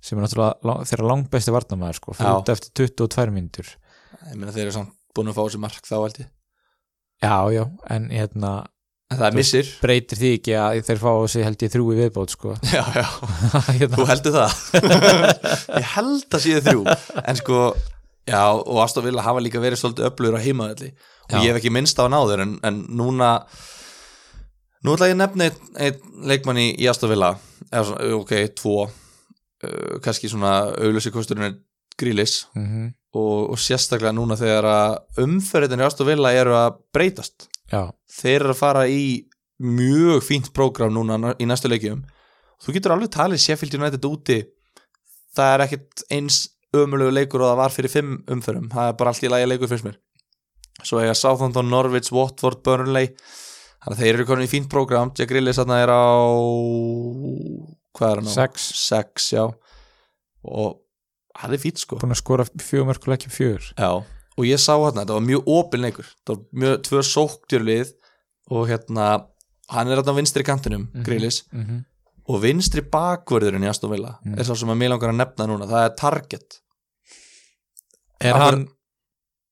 sem er náttúrulega lang- þeirra langbæsti varnamæður sko, Já. fyrir út eftir 22 mínútur ég meina þeir eru samt búin að fá þessi mark þá held ég já, já, en hérna en það er missir breytir því ekki að þeir fá þessi held ég þrjú í viðbót sko já, já, þú hérna, heldur það ég held að síða þrjú en sko, já, og Aston Villa hafa líka verið svolítið öflugur á heimaðalli og Já. ég hef ekki minnst á hann áður en, en núna nú ætla ég að nefna einn ein leikmann í, í Aston Villa eða svona, ok, tvo uh, kannski svona auglösi kosturinn er grílis mm og, og sérstaklega núna þegar að umferðin í Aston Villa eru að breytast já, þeir eru að fara í mjög fínt prógram núna ná- í næstu leikjum þú getur alveg talið Sheffield United úti það er ekkit eins ömulegu leikur og það var fyrir fimm umförum það er bara allt í lagi leikur fyrst mér svo eiga Southampton, Norwich, Watford, Burnley þannig að þeir eru komin í fínt prógram Jack Rillis þarna er á hvað er hann á? sex 6, já og hann er fínt sko búin að skora fjögur mörkulega ekki fjögur Já, og ég sá hérna, þetta var mjög opinn leikur þetta var mjög tvö sóktjörlið og hérna, hann er hérna á vinstri kantinum, mm Mhm. mm -hmm. og vinstri bakvörðurinn í Aston Villa Mm. er sá sem að mér langar að nefna núna, það er Target er Hann- hann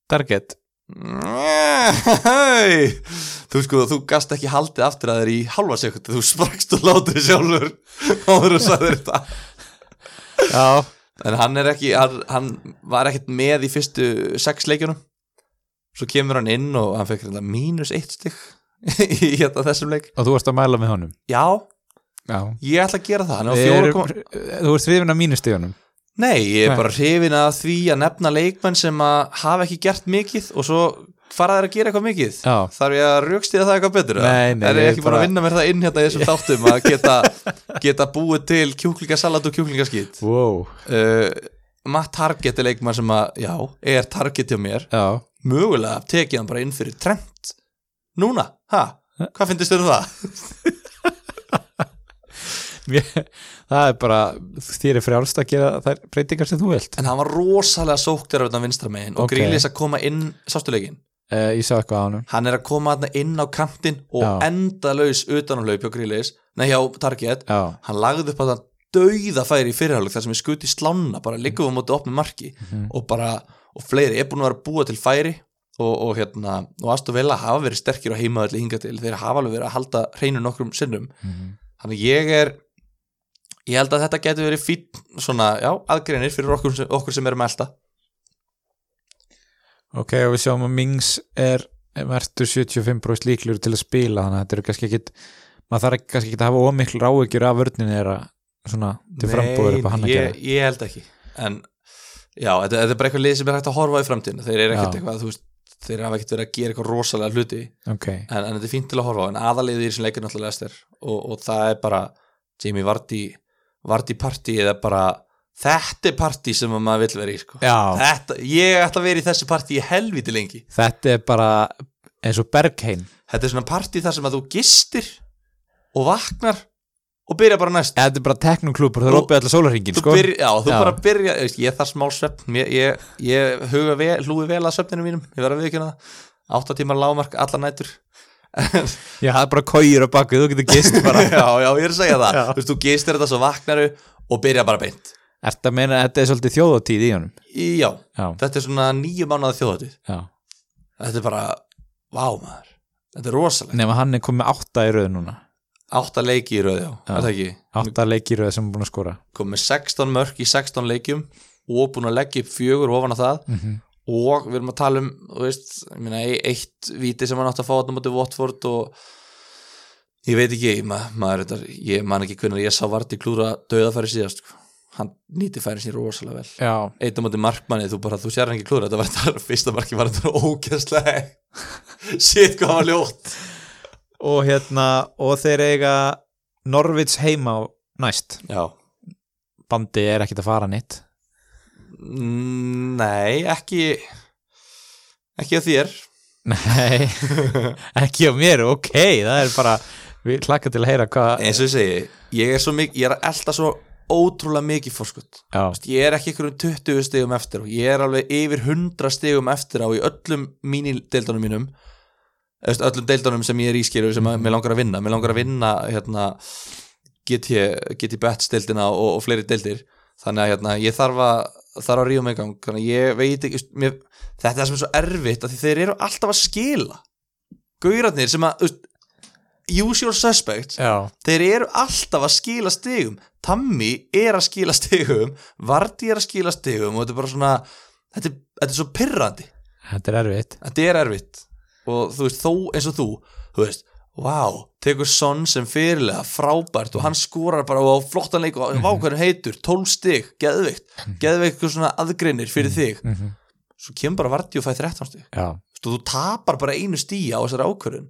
target? Nei, Þú sko, þú gast ekki haldið aftur að þér í halva sekundi, þú sprakst og látir þér sjálfur áður og sagðir þetta já, en hann er ekki, hann, hann var ekkert með í fyrstu sex leikjunum svo kemur hann inn og hann fekk hérna mínus eitt stygg í hérna þessum leik og þú varst að mæla með honum Já, já ég ætla að gera það Hann er á Er, fjóra koma... þú ert hrifin af mínustíðunum Nei, ég er Nei. bara hrifin að því að nefna leikmenn sem að hafa ekki gert mikið og svo fara þær að gera eitthvað mikið Já. Þarf ég að raukstíða það eitthvað betur? eða? Nei, nei, Er ég ég ekki bara bara- að vinna mér það inn hérna í þessum þáttum að geta, geta búið til kjúklingasalat og kjúklingaskýt wow. uh, Matt Target er leikmann sem að, já, er Target hjá mér já, Mögulega tekið hann bara inn fyrir Trent Núna, ha? Hvað finnst þér um það? Mér, það er bara þér er frjálst að gera þær breytingar sem þú vilt En hann var rosalega sóktur af þetta vinstra megin og Ok. okay. að koma inn sástuleikin uh, ég sá eitthvað á honum hann er að koma þarna inn á kantinn og Já. endalaus utan á hlaup hjá Grílis nei hjá Target, já, hann lagði upp að það dauða færi í fyrirhálug þar sem ég skuti slána bara liggum við á móti opnum marki Mhm. og bara, og fleiri, ég er búin að vera að búa til færi og, og hérna, og Aston Villa hafa verið sterkir á heimaðalli hinga til þeir hafa alveg verið að halda hreinu nokkrum sinnum Mhm. þannig að ég er ég held að þetta getur verið fín svona, já, aðgreinir fyrir okkur sem, okkur sem erum elda ok, og við sjáum að Mings er mertur 75% líklur til að spila þannig að þetta eru kannski ekkit maður þarf ekki- kannski ekki að hafa ómikl ráugjur af vörninni þeirra svona til frambúður upp að hann að ég, gera ég held ekki en já, þetta, þetta er bara eitthvað lið sem er hægt að horfa í framtíðinu þeir eru ekkert Já. eitthvað, þú veist þeir hafa ekkert verið að gera eitthvað rosalega hluti ok, en, en þetta er fínt til að horfa á en aðaliðið í þessum leikur er náttúrulega Lester og, og það er bara Jamie Vardy Vardy party eða bara þetta er party sem að maður vill vera í sko. já, þetta, ég ætla að vera í þessu party í helviti lengi þetta er bara eins og Bergheim þetta er svona party þar sem að þú gistir og vaknar og byrja bara næst þetta er bara teknoklúpur, það er Þú- opið allar sólarhingin þú sko. byrja, já, þú Já. bara byrja ég, veist, ég þarf smá svefn ég, ég, ég huga vel, hlúi vel að svefninu mínum ég verð að viðkjöna það 8 tímar lágmark alla nætur já, það er bara kóir á bakið, þú getur gist bara já, já, ég er að segja það Já. þú, veist, þú gistir þetta svo vaknaru og byrja bara beint Ertu að meina að þetta er svolítið þjóðotíð í honum? Í- já, Já, þetta er svona nýju mánuða þjóðatíð já. þetta er bara, vá maður þetta er rosalega, Nefn að hann er komið átta í röð núna átta leiki í röð já, Já. já. er það ekki Átta leiki í röð sem hann er búin að skora komið 16 mörk í 16 leikjum og búin að leggja upp fjögur ofan að það mm -hmm. og við erum að tala um þú veist, ég meina, e- eitt víti sem hann átti að fá þarna á móti Watford og ég veit ekki, ég, ma maður, þetta, ég man ekki hvernig ég sá Varti klúra döðafæri síðast sko. hann nýti færi sér rosalega vel Já, eitt á móti markmanni, þú bara, þú sér hann ekki klúra þetta var þetta fyrsta marki, var þetta ógæslega shit hvað hann var ljótt og hérna og þeir eiga Norvits heima á næst já, bandi er ekkert að fara nýtt Mm, nei, ekki ekki að þér Nei, ekki á mér, ok það er bara, við hlakka til að heyra hvað eins og ég segi, ég er svo mikið ég er að elda svo ótrúlega mikið fórskot Já, ég er ekki einhverjum 20 stegum eftir og ég er alveg yfir 100 stegum eftir á í öllum mínideildunum mínum eða, veist, öllum deildunum sem ég er ískýrur sem að mér langar að vinna, mér langar að vinna hérna, get ég get ég bett steildina og, og fleiri deildir þannig að hérna, ég þarf að þarf að ríða mig í gang, þannig að ég veit ekki veist, mér, þetta er það sem er svo erfitt af því þeir eru alltaf að skila gaurarnir sem að veist, use your suspect já, þeir eru alltaf að skila stigum Tammy er að skila stigum Vardy er að skila stigum og þetta er bara svona þetta er, þetta er svo pirrandi, þetta er erfitt þetta er erfitt og þú veist, þó eins og þú þú veist, wow, tekur Son sem fyrirlega, frábært og hann skorar bara á flottanleik og vá hvernig heitur 12 stig, geðveikt geðveikt eitthvað svona aðgreinir fyrir þig mm svo kemur bara Vardy og fæ 13 stig Já, Þú veist, og þú tapar bara einu stíja á þessari ákvörðun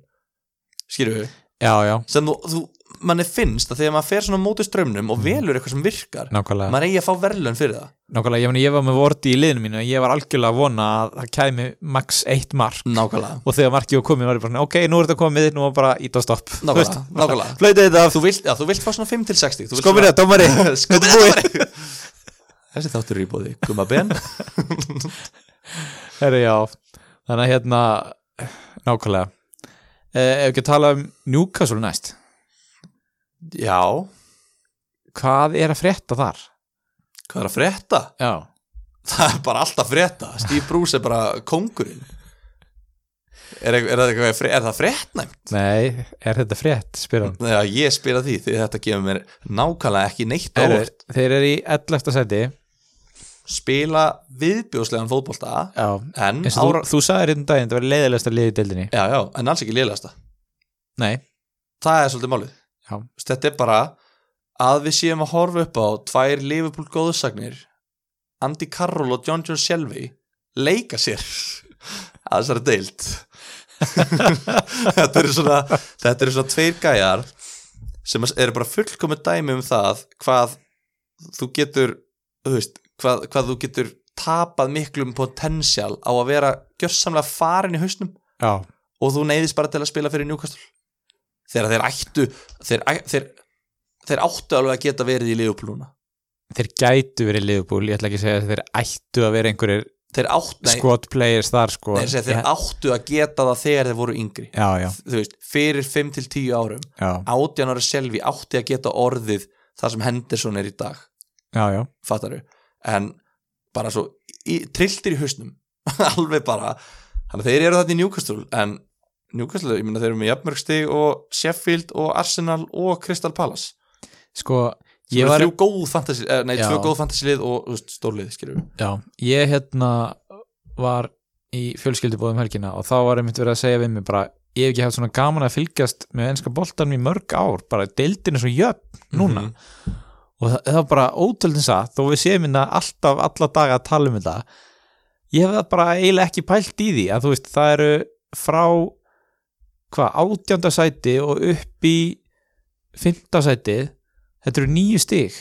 skilur við já, já, sem þú, þú manni finnst að þegar maður fer svona móti strömmnum Mm. og velur eitthvað sem virkar nákvæmlega maður eigi að fá verðlun fyrir það Nákvæmlega, ég, meni, ég var með vorti í liðinu mínu og ég var algjörlega að vona að það kæmi max eitt mark nákvæmlega, og þegar markið var komið var ég bara svona, ok, nú er þetta komið, nú var bara ít og stopp nákvæmlega, nákvæmlega. Flöyti þetta af Þú, vilt, já, þú vilt fá svona 5 til 60 Skomir þetta, dómari skoðum við þessi þáttur er í bóði Guma Ben Herri, já, þannig að hérna nákvæmlega eh, Ef ekki að tala um Newcastle næst já, Hvað er að frétta þar? hvað er að frétta? Já, það er bara alltaf frétta Steve Bruce er bara kongurinn er, er, er, það eitthvað- er það fréttnæmt? nei, er þetta frétt, spyr hann Já, ég spila því því þetta gefur mér nákvæmlega ekki neitt á Herri, óvart Þeir eru í 11. seti spila viðbjóðslegan fótbolta Já, en eins og ára, þú, þú sagðir hérna um daginn, þetta var leiðilegast að liði í deildinni já, já, en alls ekki liðlegasta Nei, það er svolítið málið Já. Þess, þetta er bara að við séum að horfa upp á tvær Liverpool góðusagnir Andy Carroll og John John Shelby leika sér að þessari deild þetta eru svona þetta eru svona tveir gæjar sem eru bara fullkomu dæmi um það hvað þú getur þú veist, hvað, hvað þú getur tapað miklum potensial á að vera gjörsamlega farin í hausnum já, og þú neyðist bara til að spila fyrir Newcastle þegar þeir ættu þeir, æ- þeir, þeir áttu alveg að geta verið í Liverpool núna þeir gætu verið liðbúl, ég ætla ekki að segja að þeir ættu að vera einhverjir þeir áttu, nei, squad players þar sko nei, segja, þeir já, áttu að geta það þegar þeir voru yngri já, þú veist, fyrir 5-10 árum já, 18 ára selvi átti að geta orðið þar sem Henderson er í dag já, já, fattar en bara svo í, trilltir í hausnum alveg bara, þannig að þeir eru þarna í Newcastle en Newcastle, ég meina þeir eru með jafnmörgstig og Sheffield og Arsenal og Crystal Palace sko Ég ég var, Þrjú góð fantasy, eh, nei, Já. tvö góð fantasy lið og þú veist, stórlið, skilur við já, ég hérna var í fjölskyldubóðum helgina og þá var einmitt verið að segja við mig bara, ég hef ekki haft svona gaman að fylgjast með enska boltanum í mörg ár bara deildin er svo jöfn núna Mhm. og það, það var bara ótöldin satt og við séum hérna alltaf alla daga að tala um þetta ég hef það bara eiginlega ekki pælt í því að þú veist, það eru frá hvað, átjánda sæti og upp í fymta sæti þetta eru nýju stig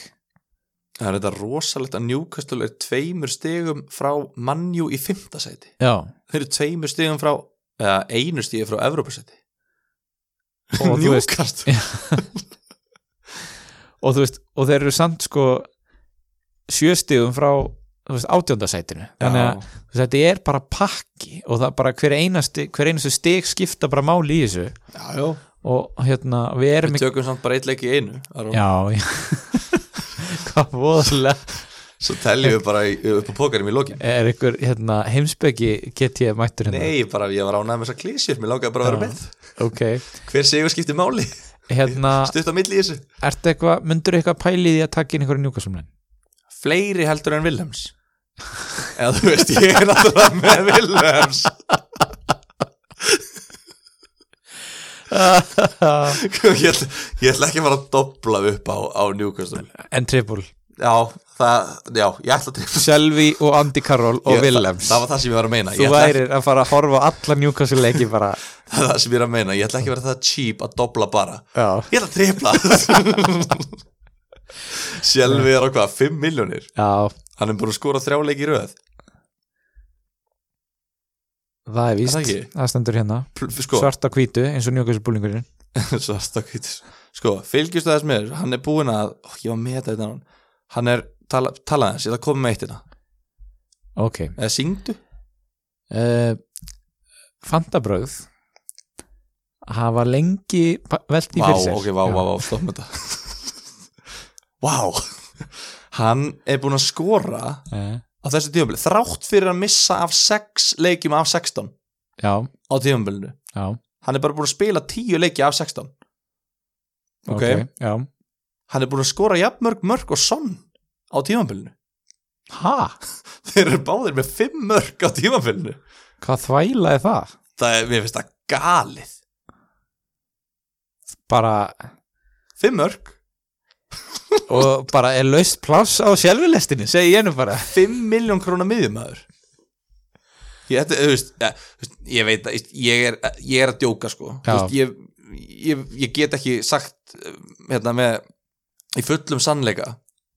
Það er þetta rosalegt að Newcastle er tveimur stigum frá mannjú í fymta sæti. já, Þeir eru tveimur stigum frá, eða einu stíði frá Evrópasæti. og þú veist Newcastle. og þú veist, og þeir eru samt sko sjöstigum frá þú veist, átjóndasætinu þannig að Já, þú veist, þetta er bara pakki og það er bara hver einasti, hver einasti stig skipta bara máli í þessu já, já. og hérna, við erum Við tökum samt bara eitt leik í einu. Aron. já, já. Sko. hvað voðalega Svo teljum við bara í, upp á pókarum í lokin. er ykkur hérna, heimsbyggi get ég mættur hérna Nei, bara ég var ánægð með þessar klísjur, mér langaði bara að vera Já. með. ok, Hver sigur skiptir máli? hérna, Stutt á milli í þessu. ertu eitthvað myndur eitthvað pæli í því að taka inn einhverju njúkasumlein Fleiri heldur en Wilhelms. Eða þú veist, ég er náttúrulega með Wilhelms. ég, ætla, ég ætla ekki að fara að dobla upp á, á Newcastle en trippul, Já, það, já, ég ætla að trefna Selvi og Andy Carroll og Willems Það var það sem ég var að meina þú Ég ætla ekki- værir að fara að horfa á alla njúkasumleiki bara, Það er það sem ég er að meina Ég ætla ekki að vera það cheap að dobla bara já, Ég ætla að trefna Sjálfi er á hvað, 5 miljónir já Hann er búin að skora þrjáleik í röð það er víst, Er það ekki? það stendur hérna Pl- Sko, svart á hvítu eins og njúkasubúlingurinn svartakvítis Sko, fylgjustu þess með þessu Hann er búin að, ó, ég var að meta þetta hann Hann er, tala, tala hans, ég ætla að koma með eitt hérna ok, Eða syngdu? uh, Fantabröð hafa lengi pa- velt því Vá, fyrir sér ok, vá, Já. vá, vá, stopp með þetta Vá Hann er búin að skora á Eh, þessu tífambili þrátt fyrir að missa af 6 leikjum af 16 á já, tífambilinu já, Hann er bara búin að spila 10 leiki af 16 ok, Ok. já. Hann er búin að skora jafnmörg mörg og sonn á tífambilinu ha, Þeir eru báðir með 5 mörg á tífambilinu hvað þvæla er það Það er, mér finnst það galið bara, 5 mörg, og bara er laust pláss á sjálfurlestinni, segi ég nú bara 5 miljón krónar miðjumæður Ég, þetta, þú veist, ja, þú veist, ég veit að ég er, ég er að djóka sko Þú Já. veist, ég, ég, ég get ekki sagt eh, hérna með í fullum sannleika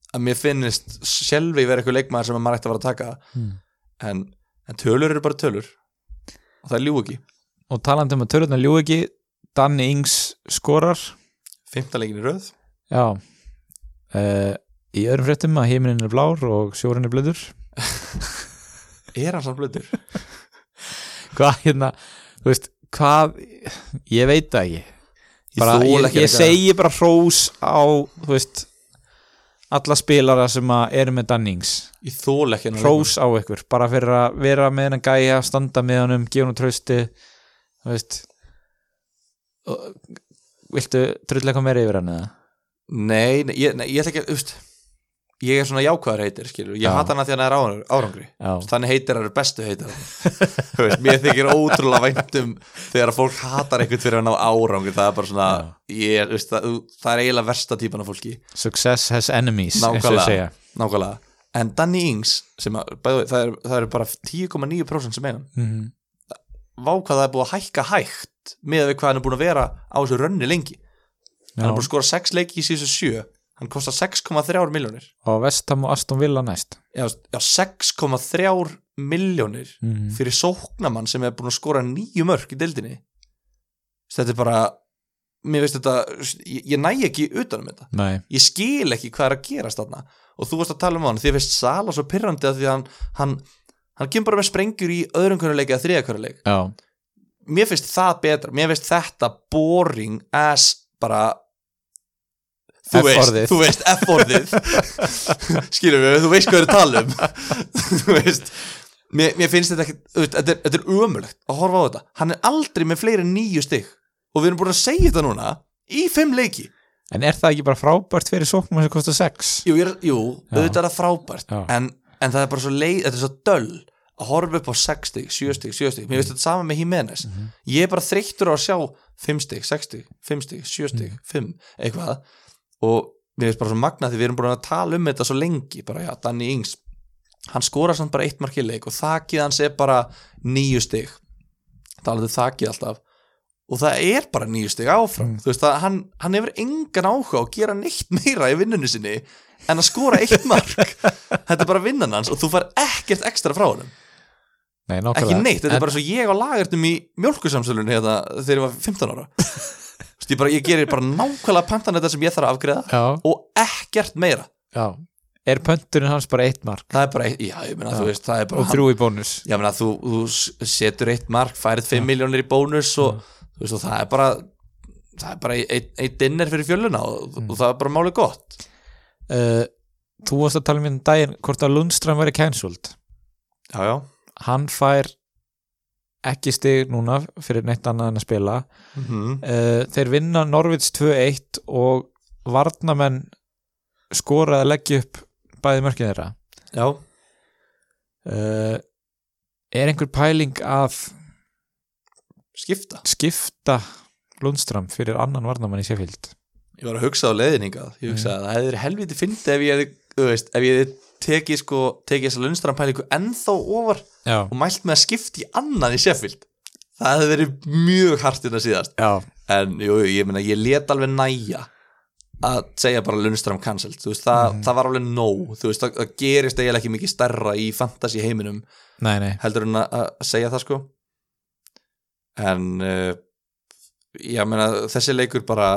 að mér finnist sjálfi vera eitthvað leikmaður sem maður ætti að vera að taka hmm. en, en tölur eru bara tölur og það er ljú ekki og talandi um að törðuna ljú ekki Danni Ings skorar fimmtalegin í röð já uh, í öðrum fréttum að heiminin er blár og sjórin er blöður er hann samt blöður? hvað hérna, þú veist hvað, ég veit það ekki bara, þoli ég, ekki ég þetta. segi bara hrós á, þú veist alla spilara sem að eru með Dannings ég þól ekki þennan leikmann. hrós á ykkur, bara fyrir að vera með hennan gæja, standa með honum, gefa honum trösti þú veist Og- viltu trullega koma meira yfir hann eða? nei, nei, ég, nei, ég ætla ekki að úst, ég er svona jákvæðar heitir skilur. ég Já. hata hann að því að hann er árang- árangri Já, þannig heitir eru bestu heitir veist, mér þykir ótrúlega væntum þegar að fólk hatar einhvern fyrir að ná árangur það er bara svona ég, veist, það, það er eiginlega versta típan af fólki success has enemies eins og ég segja nákvæmlega, nákvæmlega. en Danny Ings sem að, bæði, það, er, það eru bara 10,9% sem einan mm vá hvað það er búið að hækka hægt með við hvað hann er búin að vera á þessu rönni lengi hann er búin að skora 6 leiki í síðustu 7 hann kostar 6,3 miljónir og Vestham og Aston Villa næst já, já 6,3 miljónir mm -hmm. fyrir sóknamann sem er búin að skora nýju mörk í deildinni þetta er bara mér veist þetta, ég, ég næ ekki utanum þetta, Nei, ég skil ekki hvað er að gerast þarna og þú varst að tala um hann því að veist Sala svo pyrrandi að því að hann hann, hann kemur bara með sprengjur í öðrum hverjuleik eða þriða hverjuleik, já, mér finnst það betra mér finnst þetta boring as bara þú veist, F-orðið. þú veist F-orðið skilum við, þú veist hvað við erum að tala um þú veist mér, mér finnst þetta ekki, þetta er, þetta er ömulegt að horfa á þetta, hann er aldrei með fleiri en nýju stig og við erum búin að segja þetta núna í fimm leiki, en er það ekki bara frábært fyrir sóknum sem kostar 6? jú, ég er, jú Já. auðvitað er það frábært, Já. en, en það er bara svo leið, þetta er svo döll að horfa upp á 6 stig, 7 stig, 7 stig mér finnst þetta sama með Jimenez ég er bara þreyttur á að sjá 5 stig, 6 stig, 5 stig, 7 stig, 5 eitthvað og mér finnst bara svo magna því við erum búin að tala um þetta svo lengi bara já, Danny Ings hann skorar samt bara eitt mark í leik og þakkið hans er bara nýju stig talaðu þakkið alltaf og það er bara nýju stig áfram Mm. þú veist að hann, hann hefur engan áhuga á að gera neitt meira í vinnunni sinni en að skora eitt mark þetta er bara vinnan hans og þú far ekkert ekstra frá honum Nei, ekki nákvæmlega. neitt, þetta En- er bara svo ég á lagartum í mjölkusamsölunni hérna, þegar ég var 15 ára Þú veist, ég, bara, ég gerir bara nákvæmlega pantan þetta sem ég þarf að afgreða Já, og ekkert meira já. Er pönturinn hans bara eitt mark það er bara, eitt- já, ég meina, Já. þú veist, það er bara og þrjú í bónus? ég meina, þú, þú s- setur eitt mark færið 5 Já. miljónir í bónus og, Mm. þú veist, og það er bara það er bara eitt, eitt dinner fyrir fjöluna og, Mm. og það er bara málið gott Uh, þú varst að tala um hérna daginn hvort að Lundström væri cancelled. já, já, Hann fær ekki stig núna fyrir neitt annað en að spila. Uh, þeir vinna Norvids 2-1 og varnamenn skoraði að leggja upp bæði mörkin þeirra. já Uh, er einhver pæling að skipta, skipta Lundström fyrir annan varnamann í Sheffield? ég var að hugsa á leiðiningað ég hugsaði að það hefði verið helviti fyndi ef ég hefði, þú veist, ef ég hefði tekið sko, tekið þessa lunstran pælingu ennþá ofar Já. og mælt með að skipta í annað í Sheffield það hefði verið mjög hart innan síðast Já. en jú, jú, ég meina, ég let alveg næja að segja bara Lundström cancelled, þú veist, það, það var alveg nóg þú veist, það, það gerist eiginlega ekki mikið stærra í fantasy heiminum, Nei, nei. heldur en að, að segja það sko en uh, ég meina, þessi leikur bara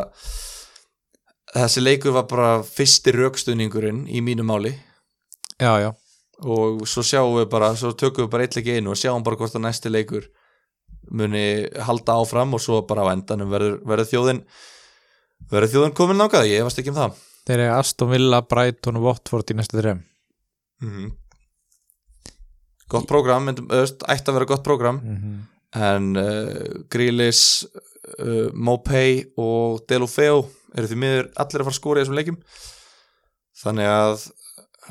þessi leikur var bara fyrsti rökstuðningurinn í mínu máli Já, já. og svo sjáum við bara, svo tökum við bara eitt leik í einu og sjáum bara hvort að næsti leikur muni halda áfram og svo bara á endanum verður, verður þjóðin verður þjóðin komin langað, ég hefast ekki um það Þeir eru Aston Villa, Brighton og Watford í næsta þreim. gott prógram, myndum, öst, ætti að vera gott prógram Mm en uh, Grealish uh, Mopay og Delufeo eru því miður allir að fara að skora í þessum leikum þannig að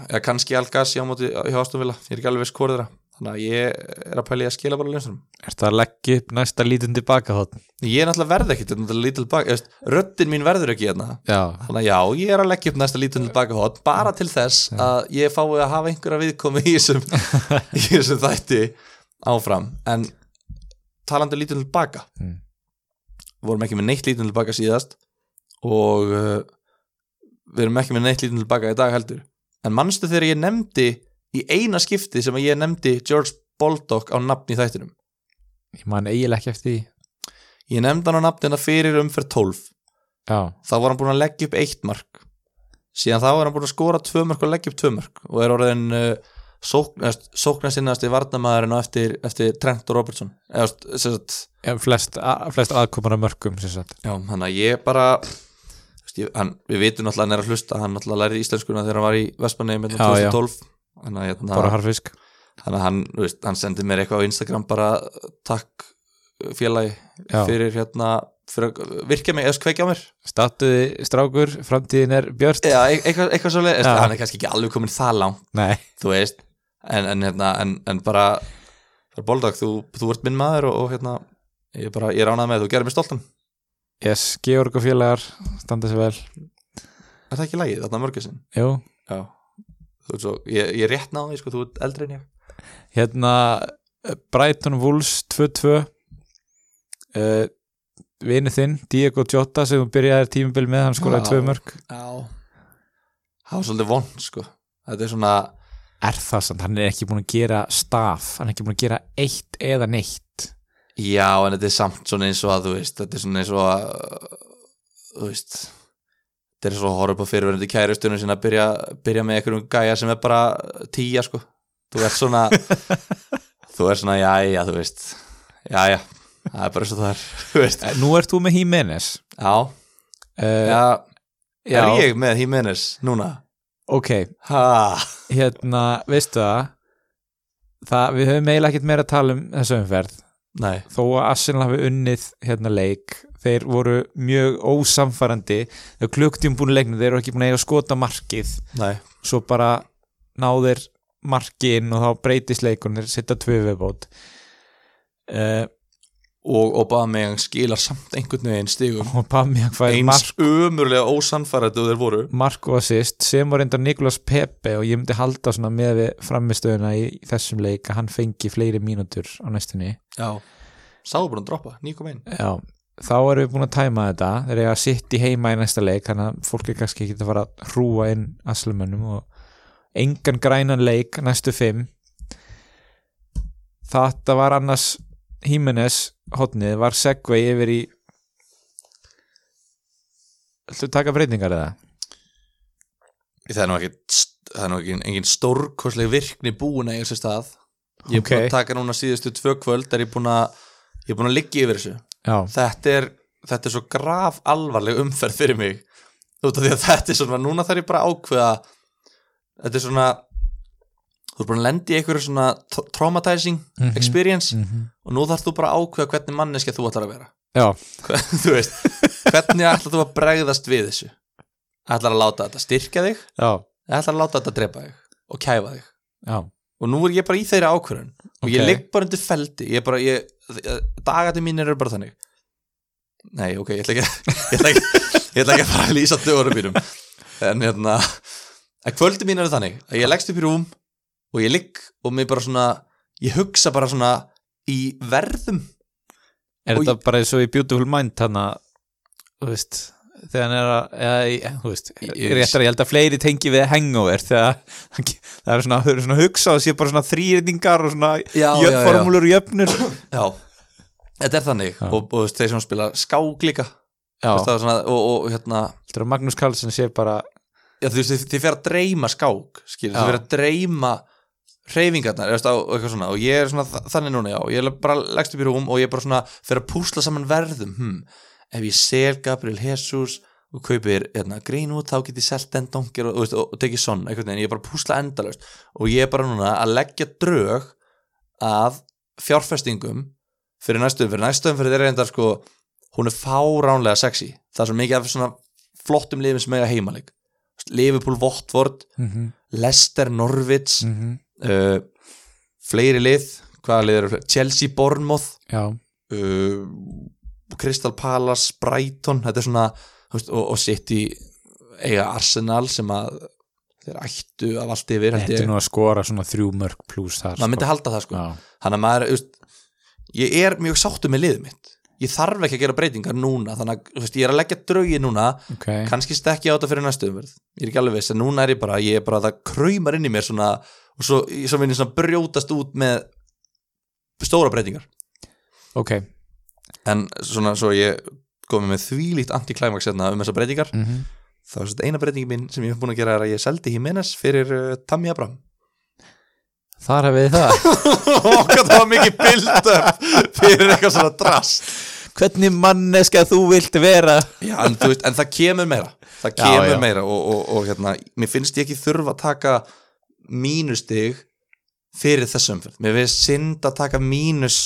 eða kannski Algas hjá, móti- hjá Ástofvila ég er ekki alveg viss hvort þeirra þannig að ég er að pæli að skila bara ljónsum Er það að leggja upp næsta lítinn tilbaka hótt? ég er náttúrulega verð ekkit, þetta er náttúrulega lítil baka röddin mín verður ekki hérna Já. þannig að já, ég er að leggja upp næsta lítil baka hot bara til þess að ég fái að hafa einhverja viðkomi í þessum, í þessum þætti áfram en talandi lítil baka Mm. vorum ekki með neitt lítil baka síðast og uh, við erum ekki með neitt lítil baka í dag heldur en manstu þegar ég nefndi í eina skipti sem að ég nefndi George Baldock á nafn í þættinum Ég man eiginlega ekki eftir því. ég nefndi hann á nafnina fyrir umferð 12 Já. þá var hann búin að leggja upp eitt mark síðan þá er hann búin að skora tvö mörk og leggja upp tvö mörk og er orðin uh, sóknarsinnast í varnamaðurinn á eftir, eftir Trent og Robertson eða þú veist, sem sagt En flest, a, flest aðkomar að mörgum, sem sagt. já, hann að ég bara þú veist, ég, hann, við vitum náttúrulega að hann er að hlusta hann náttúrulega lærði íslenskuna þegar hann var í hérna Vestmanneim Já, já. 2012 hann að, hérna, Bara harfisk. hann, að hann, þú veist, hann sendi mér eitthvað á Instagram bara takk félagi Já. fyrir hérna fyrir að virkja mig eða kveikja á mér Statuði strákur, framtíðin er björt. Já, e- eitthvað, eitthvað svo leið Já. hann er kannski ekki alveg komin það langt Nei. þú veist en, en, hérna, en, en bara, bara Boldag, þú, þú ert minn maður og, og hérna, ég, bara, ég ránaði með þú gerir mig stoltan, Yes, Georg og félagar standa sér vel. er það ekki lægið þarna mörgusinn Jú. já, þú veist svo, ég, ég rétt náði sko, þú ert eldri en ég Hérna, eh, Brighton Wolves 2-2. Uh, Vinu þinn, Diego Jota, sem þú byrjaði tímabil með, hann skoraði Já. tvö mörg. já, það var svolítið vond sko, þetta er svona Er það samt, hann er ekki búin að gera staf, hann er ekki búin að gera eitt eða neitt. já, en þetta er samt svona eins og að þú veist, þetta er svona eins og að uh, þú veist þetta er svo að horfa upp á fyrirverandi kærustunum sinna að byrja, byrja með einhverjum gæja sem er bara tíja sko þú ert svona þú ert svona, já, já, þú veist já, já, það er bara svo það er þú veist, Eh, Nú ert þú með Jimenez. já, Uh, já er ég með Jimenez núna ok, ha, hérna, veistu það það, við höfum eiginlega ekkert meira að tala um þessu umferð, nei, þó að Arsenal hafi unnið hérna leik, þeir voru mjög ósamfærandi þau klukktum búin leiknum, þeir eru ekki búin að eiga að skota markið, nei, svo bara náðir marki inn og þá breytist leikun, þeir setja tvö viðbót uh, og Aubameyang skilar samt einhvern veginn stigum og Pamjang fær mark, eins ömurlega ósannfærandi og þeir voru mark og assist sem var reyndar Niklas Pepe og ég myndi halda svona með við framistöðuna í þessum leik að hann fengi fleiri mínútur á næstunni já, sáðu búin að droppa, 9.1 Já, þá erum við búin að tæma þetta þeir eru að sitt í heima í næsta leik þannig að fólk er kannski ekki að fara að hrúa inn aslumönnum og engan grænan leik næstu fimm þetta var annars Hímenes hotnið var segvei yfir í Þú taka breytingar eða? það er nú ekki, það er nú ekki engin stórkosleg virkni búin að eiga sér stað ég er búin Ókei. að taka núna síðustu tvö kvöld er ég búin að, ég er búin að liggja yfir þessu Já, þetta er, þetta er svo graf alvarleg umferð fyrir mig út af því að þetta er svona, núna þarf ég bara að ákveða þetta er svona þú er búin að lendi í einhverju svona tr- traumatizing Mhm. experience mm og nú þarfst þú bara að ákveða hvernig manneski þú ætlar að vera já, Hver- þú veist, hvernig ætlar þú að bregðast við þessu ætlar að láta þetta styrka þig já, eða ætlar að láta þetta drepa þig og kæfa þig já. og nú er ég bara í þeirra ákvörðun og ég Ok. ligg bara undir feldi ég er bara, ég, dagati mínir eru bara þannig nei, ok, ég ætla ekki ég ætla ekki, ég ætla ekki að fara að lýsa dögurum mínum en hérna að kvöldi mín eru þannig að ég leggst upp í rúm og ég ligg og mér bara svona ég hugsa bara svona í verðum Er Og þetta bara eins og í Beautiful Mind hann að, þú veist, þegar hann er að, eða, í- þú veist, Ég- réttar að ég held að fleiri tengi við hangover þegar hann ge- það er svona, þau eru svona að hugsa og sé bara svona þrýrningar og svona Já, já, já. jöfn, formúlur og jöfnur. já, þetta er þannig Já. og, og þú veist, þeir sem spila skák líka Já, Þú veist, það er svona, og, og hérna þetta er að Magnús Karlsson sé bara, Já, þú veist, þið, þið fer að dreyma skák skilur, Já. þið fer að dreyma hreyfingarnar eða, þú veist, á- og eitthvað svona og ég er svona þa- þannig núna, já, ég er bara leggst upp í rúm og ég er bara svona fer að púsla saman verðum hm. ef ég sel Gabriel Jesus og kaupir hérna, grín út þá get ég selt den donkir og, og, og, og tekið sonn, einhvern veginn, ég er bara að púsla endalaust og ég er bara núna að leggja drög að fjárfestingum fyrir næstum fyrir næstum fyrir þeirra reyndar sko hún er fáránlega sexy það er svo mikið af svona flottum liðum sem eiga heimaleg Liverpool, Votvort, mm -hmm, Leicester, Norwich mhm, uh, fleiri lið hvaða lið eru fleiri? Chelsea, Bournemouth já, uh, Crystal Palace, Brighton þetta er svona þú veist, og, og City eiga Arsenal sem að þeir ættu af allt yfir held þetta er ég nú að skora svona þrjú mörg pluss þar. maður myndi halda það sko Já, þannig að maður, þú veist, ég er mjög sáttu með liðið mitt ég þarf ekki að gera breytingar núna þannig að þú veist, ég er að leggja draugi núna ok, kannski stekki á þetta fyrir næstu umverð ég er ekki alveg viss, en núna er ég bara, ég er bara það kraumar inn í mér svona og svo, svo minn ég svona brjótast út með stóra breytingar ok, en svona svo ég komið með þvílíkt antiklæmaks hérna um þessar breytingar mm þá er þetta eina breytingin mín sem ég hef búin að gera er að ég seldi Jimenez fyrir uh, Tammy Abram þar hafið þið það. og hvað það var mikið build up fyrir eitthvað svona drast Hvernig manneska þú vilt vera? Já, en, þú veist, en það kemur meira það Já, kemur já. meira og, og, og hérna, mér finnst ég ekki þurfa að taka mínustig fyrir þessum fyrir, mér finnst synd að taka mínus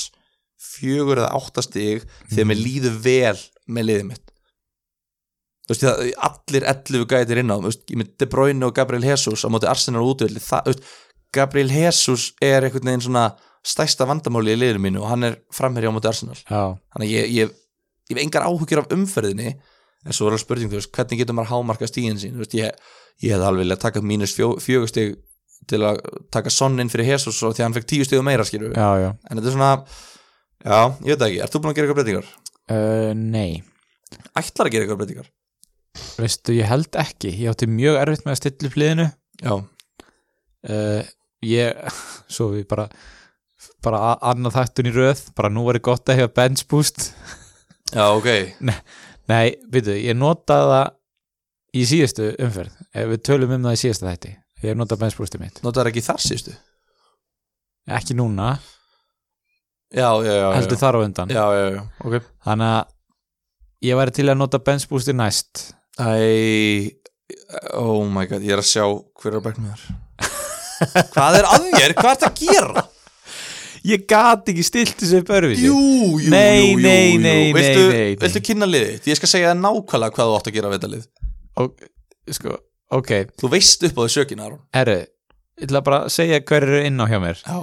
fjögur eða áttastig þegar Mhm. mér líður vel með liðið mitt þú veist, það, allir 11 gætir inn á, þú veist, ég með De Bruyne og Gabriel Jesus á móti Arsenal útvöldi, það, þú veist Gabriel Jesus er einhvern veginn svona stæsta vandamáli í liðinu mínu og hann er framherja á móti Arsenal Já, þannig að ég, ég, ég hef engar áhugir af umferðinni en svo er alveg spurning, þú veist, hvernig getur maður hámarka stíðin sín, þú veist, ég, ég hefði alveg viljað taka mínus fjó, fjögustig til að taka sonnin fyrir Jesus og því að hann fekk tíu stig og meira, skilur já, já. en þetta er svona, já, ég veit það ekki ert þú búin að gera eitthvað breytingar? Uh, nei. Ætlar að gera eitthvað breytingar? Veistu, ég held ekki, ég átti mjög erfitt með að stilla upp liðinu Já, uh, ég, svo við bara bara a- annað þættun í röð bara nú var ég gott að hefa bench boost já, ok nei, veitu, ég notaði það í síðustu umferð ef við tölum um það í síðasta þætti ég hef notað bench boostið mitt, notar ekki þar sístu? ekki núna Já, já, já, já. heldur þar á undan, já, já, já, ok þannig að ég væri til að nota bench boostið næst Æ, oh my god, ég er að sjá hver er að bækna mér Hvað er að þér? Hvað ert að gera? ég gat ekki stilt þessu upp öruvísi Jú, jú, Nei, jú, jú, nei, nei, jú. nei, viltu, nei, nei. viltu kynna liðið? þitt? Ég skal segja þér nákvæmlega hvað þú átt að gera við þetta lið og, sko, ok, Þú veist upp á því sökin, Aron herru ég ætla bara að segja hver eru inn á hjá mér Já,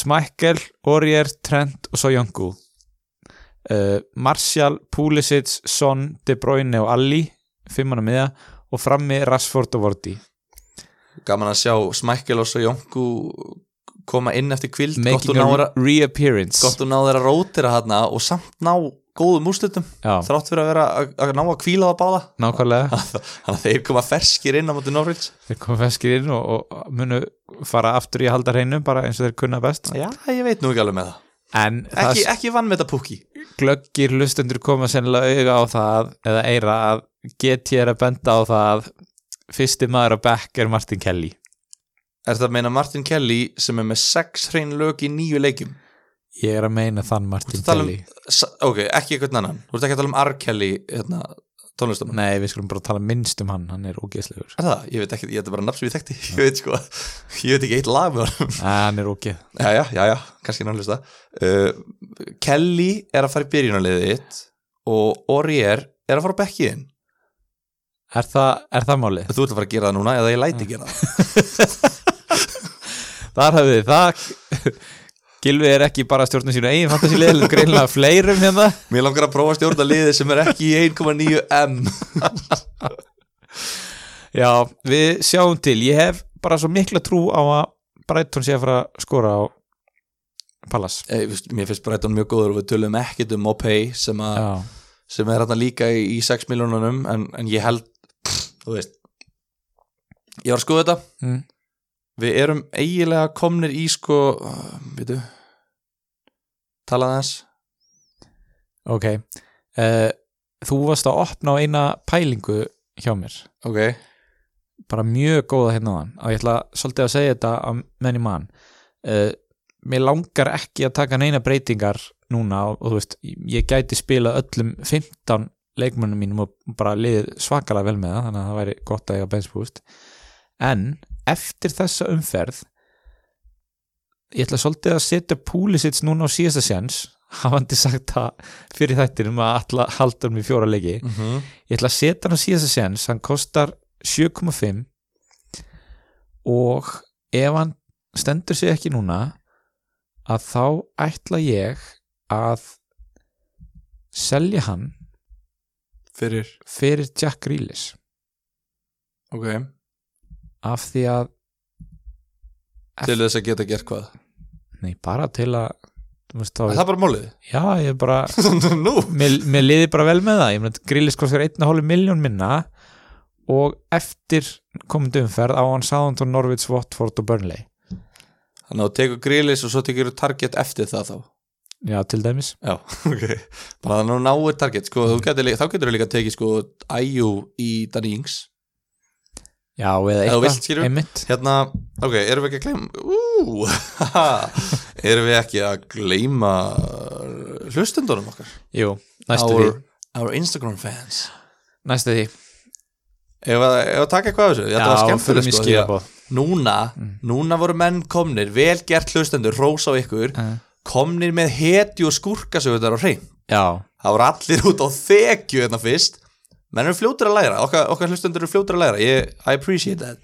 Smækkel, Orger, Trent og svo Jóngu uh, Martial, Pulisic, Son, De Bruyne og Alli fimmanna miða og frammi Rashford og Vorti gaman að sjá Smækkelos og Jónku koma inn eftir kvild gott making og náður a reappearance gott og náður að rótira þarna og samt ná góðum úrslitum Já, þrátt fyrir að vera að, að ná að kvíla það báða nákvæmlega Ah. þannig að þeir koma ferskir inn á móti Norwich þeir koma feskir inn og, og munu fara aftur í að halda hreinu bara eins og þeir kunna best já, ég veit nú ekki alveg með það en ekki, það ekki vann með þetta púki glöggir hlustendur koma sennilega auga á það eða eira að get ég er að benda á það að fyrsti maður að bekk er Martin Kelly er þetta að meina Martin Kelly sem er með 6 hrein lög í nýju leikjum ég er að meina þann Martin Þú tala um- Kelly S ok, ekki eitthvað annan þú ert ekki að tala um R. Kelly hérna, tónlistamann nei við skulum bara tala minnst um hann hann er ógeðslegur er það, ég veit ekki, ég þetta er bara nafn sem ég þekkti ég veit sko, ég veit ekki eitt lag með honum Nei, hann er ógeð já, já, já, já, kannski náttúrulega uh, Kelly er að fara í byrjunarliðið þitt og Orier er að fara á bekkið þinn er, það- er það málið? þú ert að fara að gera það núna eða ég læti gera það þar hafið þið það Gilvi er ekki bara að stjórna sínu eigin fantasílið heldur greinlega fleirum hérna mér langar að prófa að stjórna liðið sem er ekki í 1,9M Já, við sjáum til Ég hef bara svo mikla trú á að Brighton sé að fara að skora á Pallas Eh, þú veist, mér finnst Brighton mjög góður og við tölum ekkit um Mopay sem, að, Já, sem er hérna líka í, í 6 miljónunum en, en ég held þú veist ég var að skoða þetta mm. við erum eiginlega komnir í sko veitu talaði hans ok uh, Þú varst að opna á eina pælingu hjá mér ok, bara mjög góða hérna á hann og ég ætla svolítið að segja þetta að menn í mann uh, Mér langar ekki að taka neina breytingar núna og, og þú veist, ég gæti spila öllum 15 leikmönnum mínum og bara liðið svakalega vel með það þannig að það væri gott að eiga bensbúst en eftir þessa umferð ég ætla svolítið að setja púlisits núna á síðasta sjens hafandi sagt það fyrir þættinum að alla haldur mér fjóra leiki mm ég ætla að setja hann á síðasta séns hann kostar 7,5 og ef hann stendur sig ekki núna að þá ætla ég að selja hann fyrir fyrir Jack Grealish ok, af því að til þess að geta gert hvað nei, bara til að þú veist, er þá, það bara málið? já, ég bara nú, mér, mér liði bara vel með það ég meina, Grillis kostar 1,5 miljón minna og eftir komandi umferð á hann Southampton, Norwich, Watford og Burnley þannig að þú tekur grillis og svo tekur þú target eftir það þá já, til dæmis já, ok, bara þannig að þú náir target sko, þú getur, lí- þá getur þú líka tekið sko IU í Danny Ings Já, eða Ef þú eitthvað, vilt, skilur. einmitt hérna, ok, erum við ekki að gleyma ú, haha, erum við ekki að gleyma uh, hlustendunum okkar Jú, næstu því, our, our Instagram fans næstu því. Ef að, ef að taka eitthvað af þessu, þetta var skemmtileg förum í Mm. sko því að skilaboð. Núna, núna voru menn komnir, vel gert hlustendur, rós á ykkur Eh, Komnir með heti og skúrkasögundar á hrein Já, Það voru allir út á þekju hérna fyrst Menn eru fljótur að læra, okkar, okkar hlustendur eru fljótur að læra Ég, I appreciate that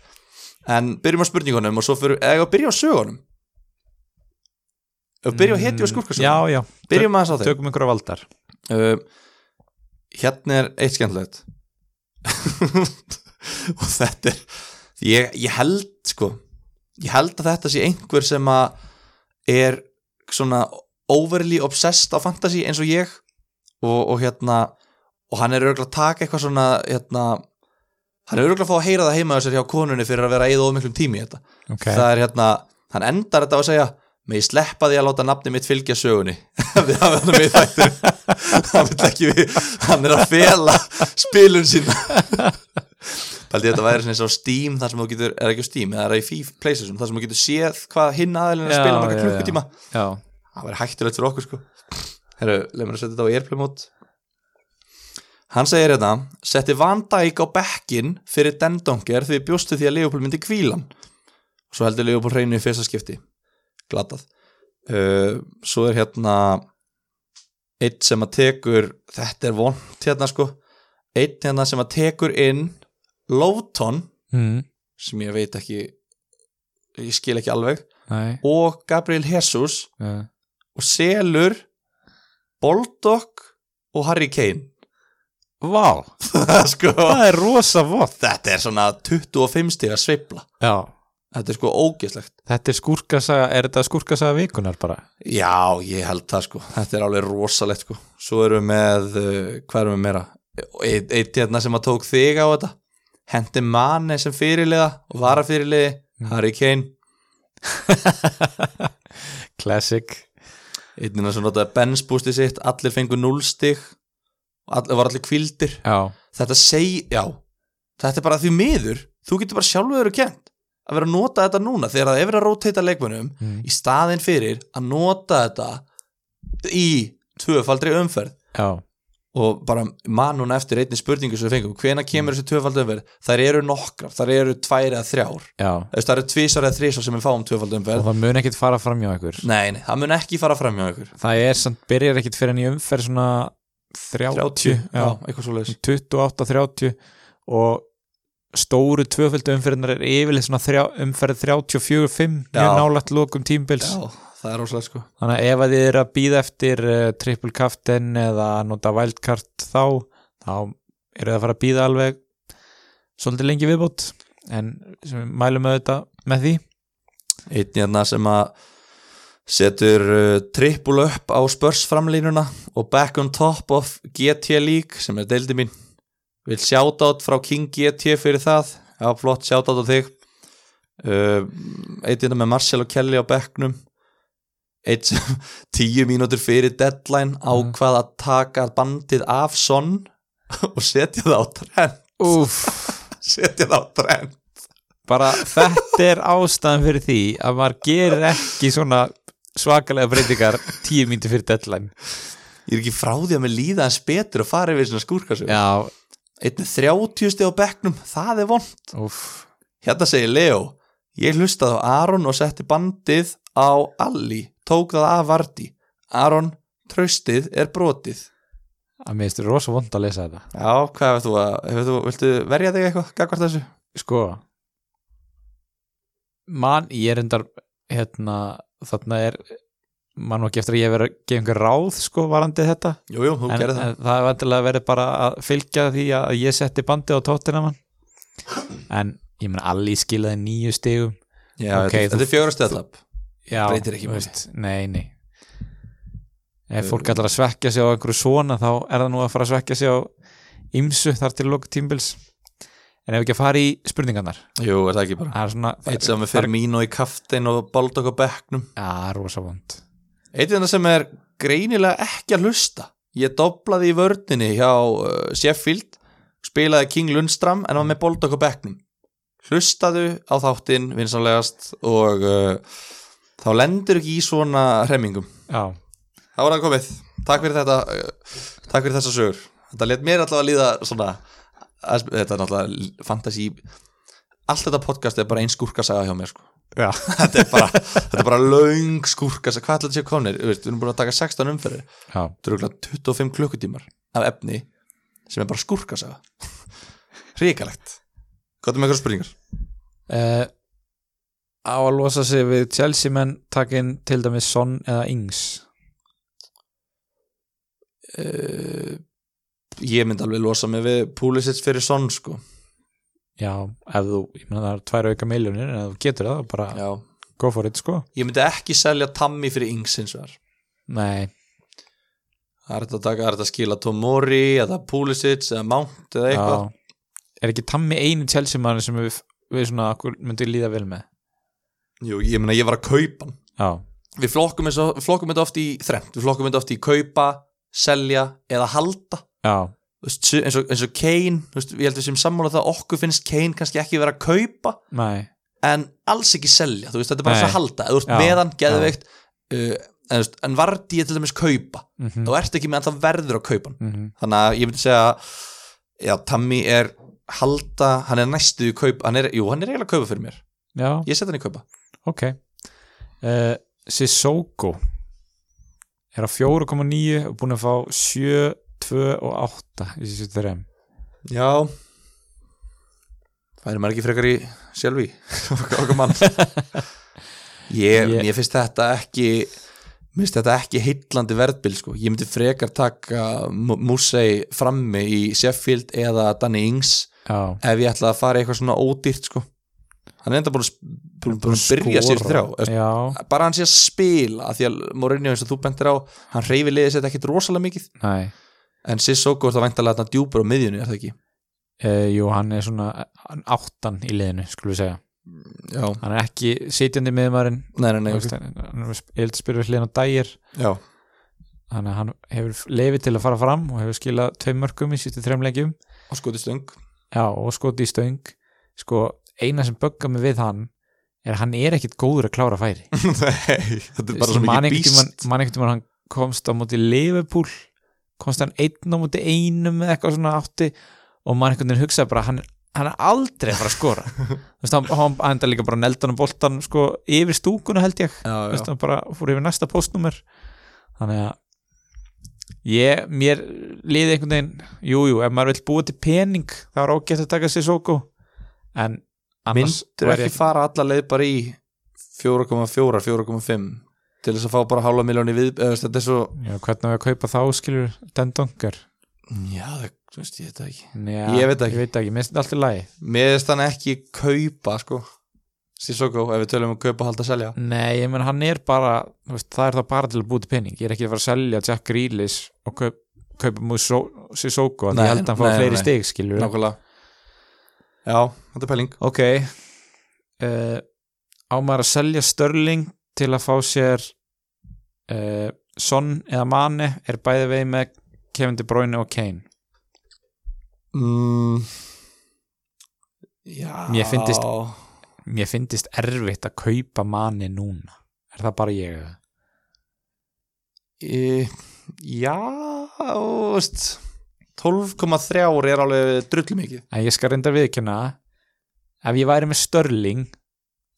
En byrjum á spurningunum og svo fyrir, eða eigum við að byrja á sögunum Ef við byrjum á heti og já, skúrkasögundar já Byrjum aðeins á þeim Tökum ykkur á valdar uh, hérna er eitt skemmtilegt og þetta er ég, ég held sko ég held að þetta sé einhver sem að er svona overly obsessed á fantasy eins og ég og, og hérna og hann er örgulega að taka eitthvað svona hérna, hann er örgulega að fá að heyra það heima þessar hjá konunni fyrir að vera að eyða of miklum tími í þetta okay. það er hérna, hann endar þetta á að segja með ég sleppa því að láta nafni mitt fylgja sögunni við hafum hann með þættur hann vil ekki við, hann er að fela spilun sín Paldi þetta væri svona eins og Steam þar sem þú getur, er ekki á Steam, eða er það í FIFA Playstation, þar sem þú getur séð hvað hinn aðeilin er að Já, spila marga já, klukkutíma Já, það væri hættulegt fyrir okkur sko Herru, leið mér að setja þetta á airplay mode Hann segir hérna Setti Van Dijk á bekkin fyrir Dendonger því bjóstu því að Leopold myndi kvílan Svo heldur Leopold hreinu í fyrsta skipti Glatað uh, Svo er hérna Eitt sem að tekur Þetta er vond hérna sko Eitt hérna sem að tekur inn Lóton mm, sem ég veit ekki ég skil ekki alveg nei og Gabriel Jesus uh, og selur Boldog og Harry Kane Vá, sko, það er rosa vott þetta er svona 25 stiga sveifla Já, þetta er sko ógeslegt þetta er skúrkasaga Er þetta skúrkasaga vikunar bara? já, ég held það sko, þetta er alveg rosalegt sko, svo erum við með uh, hvað erum við meira eitt, eitt hérna sem að tók þig á þetta hendi manni sem fyrirliða og varafyrirliði, Mm. Harry Kane Classic einnina hérna sem notaði bensbústi sitt allir fengu 0 stig og allir var allir kvildir Já, þetta segi, já þetta er bara því miður, þú getur bara sjálfur og kent að vera að nota þetta núna þegar það er verið að roteita leikmönnum mm. í staðin fyrir að nota þetta í tvöfaldri umferð já, og bara man núna eftir einni spurningu sem við fengum, hvena kemur þessi tvöfaldri umferð þær eru nokkrar, þær eru tvær eða þrjár já Þú veist, það eru tvísar eða þrísar sem við fáum tvöfaldri Og umferð það mun ekkit fara fram hjá ykkur nei, nei, það mun ekki fara fram hjá ykkur Það er samt, byrjar ekkit fyrir en í umferð svona 30, 30, já, já, eitthvað svo 28-30 og stóru tvöföldu umferðinar er yfirleitt svona þrjá, umferð 34-5 Já. mjög nálægt lokum tímbils Já, það er óslega sko þannig að ef að þið eru að býða eftir uh, triple captain eða nota wildcard þá þá eru það að fara að býða alveg svolítið lengi viðbót en sem við mælum auðvitað með því Einn hérna sem að setur uh, trippul upp á spörsframlínuna og back on top of GT League sem er deildi mín vil shoutout frá King GT fyrir það já, flott shoutout á þig uh, Einn hérna með Marcel og Kelly á bekknum Einn sem tíu mínútur fyrir deadline ákvað að taka bandið af Son og setja það á trend Úf, setja það á trend bara þetta er ástæðan fyrir því að maður gerir ekki svona svakalega breytingar tíu mínútur fyrir deadline Ég er ekki frá því að mér líða hans betur að fara yfir svona skúrkasög Já, Einn með 30 stið á bekknum, það er vond úf Hérna segir Leo Ég hlustaði á Aron og setti bandið á Alli Tók það af Vardi Aron, traustið er brotið að mér finnst rosa vond að lesa þetta Já, hvað hefur þú að hefur þú, Viltu verja þig eitthvað, gagvart þessu? sko man, ég er endar hérna, þarna er mann og ekki eftir að ég verið að gefa einhver ráð sko varandi þetta Jú, jú, þú en, gerir það en það er vantilega verið bara að fylgja því að ég setti bandið á tóttina mann en ég meina allir skilaði nýju stigum Já, ok, þetta, þú- þetta er fjögurastöðlap já, Breytir ekki þú máli. veist, nei, nei ef fólk ætlar að svekja sig á einhverju svona þá er það nú að fara að svekja sig á ymsu þar til loka tímbils en ef ekki að fara í spurningarnar Jú, er það ekki bara það er svona það Eitt er- sem er fyrir mín og í kaftin og baldok á bekknum Já, rosa vond Eitt af það sem er greinilega ekki að hlusta Ég doblaði í vördninni hjá uh, Sheffield spilaði King Lundstram en var með Boldog á bekknum Hlustaðu á þáttinn vinsanlegast og uh, þá lendur ekki í svona hremmingum Já, Þá er það komið, takk fyrir þetta uh, takk fyrir þessa sögur Þetta let mér allavega líða svona að- þetta er náttúrulega fantasy allt þetta podcast er bara ein skúrkasaga hjá mér sko já. þetta er bara, þetta er bara löng skúrkasaga hvað ætlaði séu komnir, Þú veist, við erum búin að taka 16 umferðir já. þetta eru örugglega 25 klukkutímar af efni sem er bara skúrkasaga ríkalegt hvað er með eitthvað spurningar? Eh, á að losa sig við Chelsea menn takin til dæmis Son eða Ings Uh, ég myndi alveg losa mig við Pulisic fyrir Son sko Já, ef þú, ég meina það er tvær auka miljónir en ef þú getur það, þá bara Já. go for it sko ég myndi ekki selja Tammy fyrir Ings hins vegar Nei, það er þetta að taka, það er þetta að skila Tomori eða Pulisic eða Mount eða eitthvað já Er ekki tammi einu Chelsea mann sem við, við svona okkur myndum líða vel með Jú, ég myndi að ég var að kaupa hann Já, við flokkum, eins og, flokkum þetta oft í þrennt, við flokkum þetta oft í kaupa selja eða halda já, Þú veist, eins, og, eins og Kane, þú veist, ég held við sem sammála um það okkur finnst Kane kannski ekki vera að kaupa nei en alls ekki selja, þú veist, þetta er bara Nei. eins og halda eða þú ert Já, meðan, geðveikt uh, en, þú veist, en vardi ég til dæmis kaupa mm þá ert ekki með að það verður að kaupa hann. -hmm. þannig að ég myndi segja já, Tammy er halda hann er næstu í kaupa, hann er, jú, hann er eiginlega að kaupa fyrir mér, Já, ég set hann í kaupa ok uh, Sissoko er á 4,9 og búin að fá 7, 2 og 8 í þessu þreim já færi maður ekki frekar í sjálfi okkar mann ég, Ég- mér finnst þetta ekki minnst þetta ekki heitlandi verðbil sko. ég myndi frekar taka Musei frammi í Sheffield eða Danny Ings já, ef ég ætla að fara í eitthvað svona ódýrt sko. hann er enda búin að, sp- búin búin að byrja sér þrjá Eða, já, bara hann sé að spila af því að Mourinho eins og þú bentir á hann reyfi liðið sér ekkit rosalega mikið næ en Sissoko er það væntalega þarna djúpur á miðjunni er það ekki? Uh, jú, hann er svona hann áttan í liðinu, skulum við segja Já, hann er ekki sitjandi miðmarinn nei, nei, nei, hann er eilt spyrir hliðin á dægir já, þannig að hann hefur lefið til að fara fram og hefur skilað tveim mörgum í sýttu þrem leikjum og skoti stöng já, og skoti í stöng sko, eina sem böggar mig við hann er að hann er ekkit góður að klára færi Nei, þetta er bara Man svo mikið einhvern býst tímann- man einhvern tímann hann komst á móti Liverpool komst hann einn á móti einum eða eitthvað svona átti og mann einhvern veginn hugsaði bara hann, hann er aldrei að fara að skora þú veist, hann, hann enda líka bara neldan og boltan sko yfir stúkuna held ég Já, þú já, veist, hann bara fór yfir næsta postnúmer þannig að ég, mér liði einhvern veginn jújú, jú, ef maður vill búa til pening þá er ágætt að taka sér sóku en annars myndur væri ekki fara alla leið bara í 4,4, 4,5 til þess að fá bara hálfa miljón í við eða, þú veist, þetta er svo, Já, hvernig á ég að kaupa þá skilur dendongar já, það- þú veist, ég veit það ekki Já, Ég veit það ekki. ég veit ekki, minnst þetta allt í lagi mér veist hann ekki kaupa, sko Sissoko, ef við tölum um kaupa, halda, selja Nei, ég menn hann er bara þú veist, það er það bara til að búti pening ég er ekki að fara að selja Jack Grealish og kaup, kaupa múið Sissoko því Nei, ég held að hann fá nei, fleiri nei. stig skilur nákvæmlega já, þetta er pæling Ok uh, á maður að selja Störling til að fá sér uh, Son eða Mane er bæði vegi með Kevin De Bruyne og Kane mm. já Mér fyndist- Mér finnist erfitt að kaupa Mane núna Er það bara ég? eða? e, já, þú veist 12,3 er alveg drullu mikið En ég skal reynda viðkjöna ef ég væri með Störling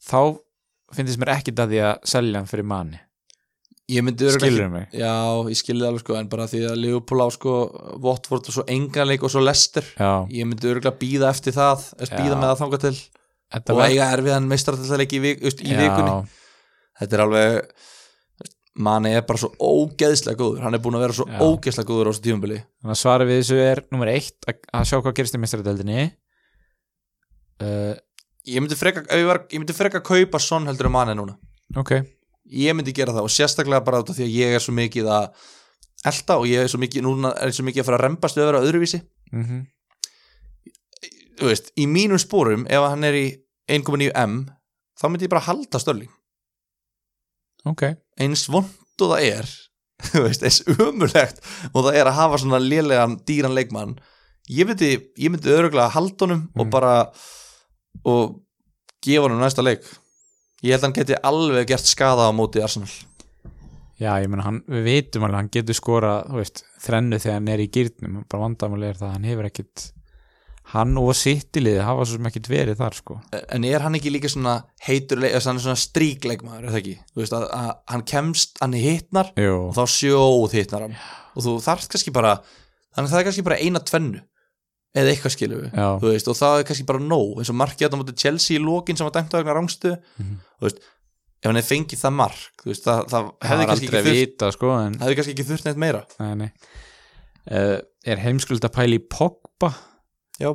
þá finnst mér ekkit að því að selja hann fyrir manni ég myndi örugglega skilur mig ekki, já, ég skilur það alveg sko en bara því að Liverpool á sko Watford og svo enganleik og svo Leicester já, ég myndi örgulega býða eftir það býða Já. með það þangað til þetta og var eiga erfiðan meistarallaleik í, vik, just, í vikunni já, þetta er alveg manni er bara svo ógeðslega góður hann er búin að vera svo Já. ógeðslega góður á þessu tífumbili þannig að svara við þessu er nummer eitt að, að sjá hvað gerist í mestaradeldinni uh, ég myndi freka, ef ég var, ég myndi freka kaupa sonn heldur um manni núna ok, ég myndi gera það og sérstaklega bara út af því að ég er svo mikið að elta og ég er svo mikið, núna er ég svo mikið að fara að rembast við að vera öðruvísi, mm þú veist, í mínum spórum ef hann er í 1.9M þá myndi ég bara halda störling ok eins vond og það er þú veist, eins umulegt og það er að hafa svona lélegan dýran leikmann ég myndi, ég myndi öruglega halda honum og Mm. bara og gefa honum næsta leik ég held að hann geti alveg gert skada á móti Arsenal já, ég meina, hann, við vitum alveg hann getur skora, þú veist, þrennu þegar hann er í gýrnum, bara vandamáli er það að hann hefur ekkit hann og sittilið hafa svo sem ekkit verið þar sko en er hann ekki líka svona heitur leik, hann er svona stríkleikmaður er það ekki, þú veist að, að hann kemst hann hitnar Jú. og þá sjóð hitnar hann og þú þarft kannski bara þannig að það er kannski bara eina tvennu eða eitthvað skilur við, Já. þú veist og það er kannski bara nóg, eins og markið þetta mútið Chelsea í lokin sem var dæmt á vegna rángstu Mhm. þú veist, ef hann hefði fengið það mark þú veist, það, það það hefði er kannski aldrei ekki að þurft vita sko en hefði kannski ekki þurft neitt meira Nei, nei. Uh, er heimskuld að pæla í Pogba? já,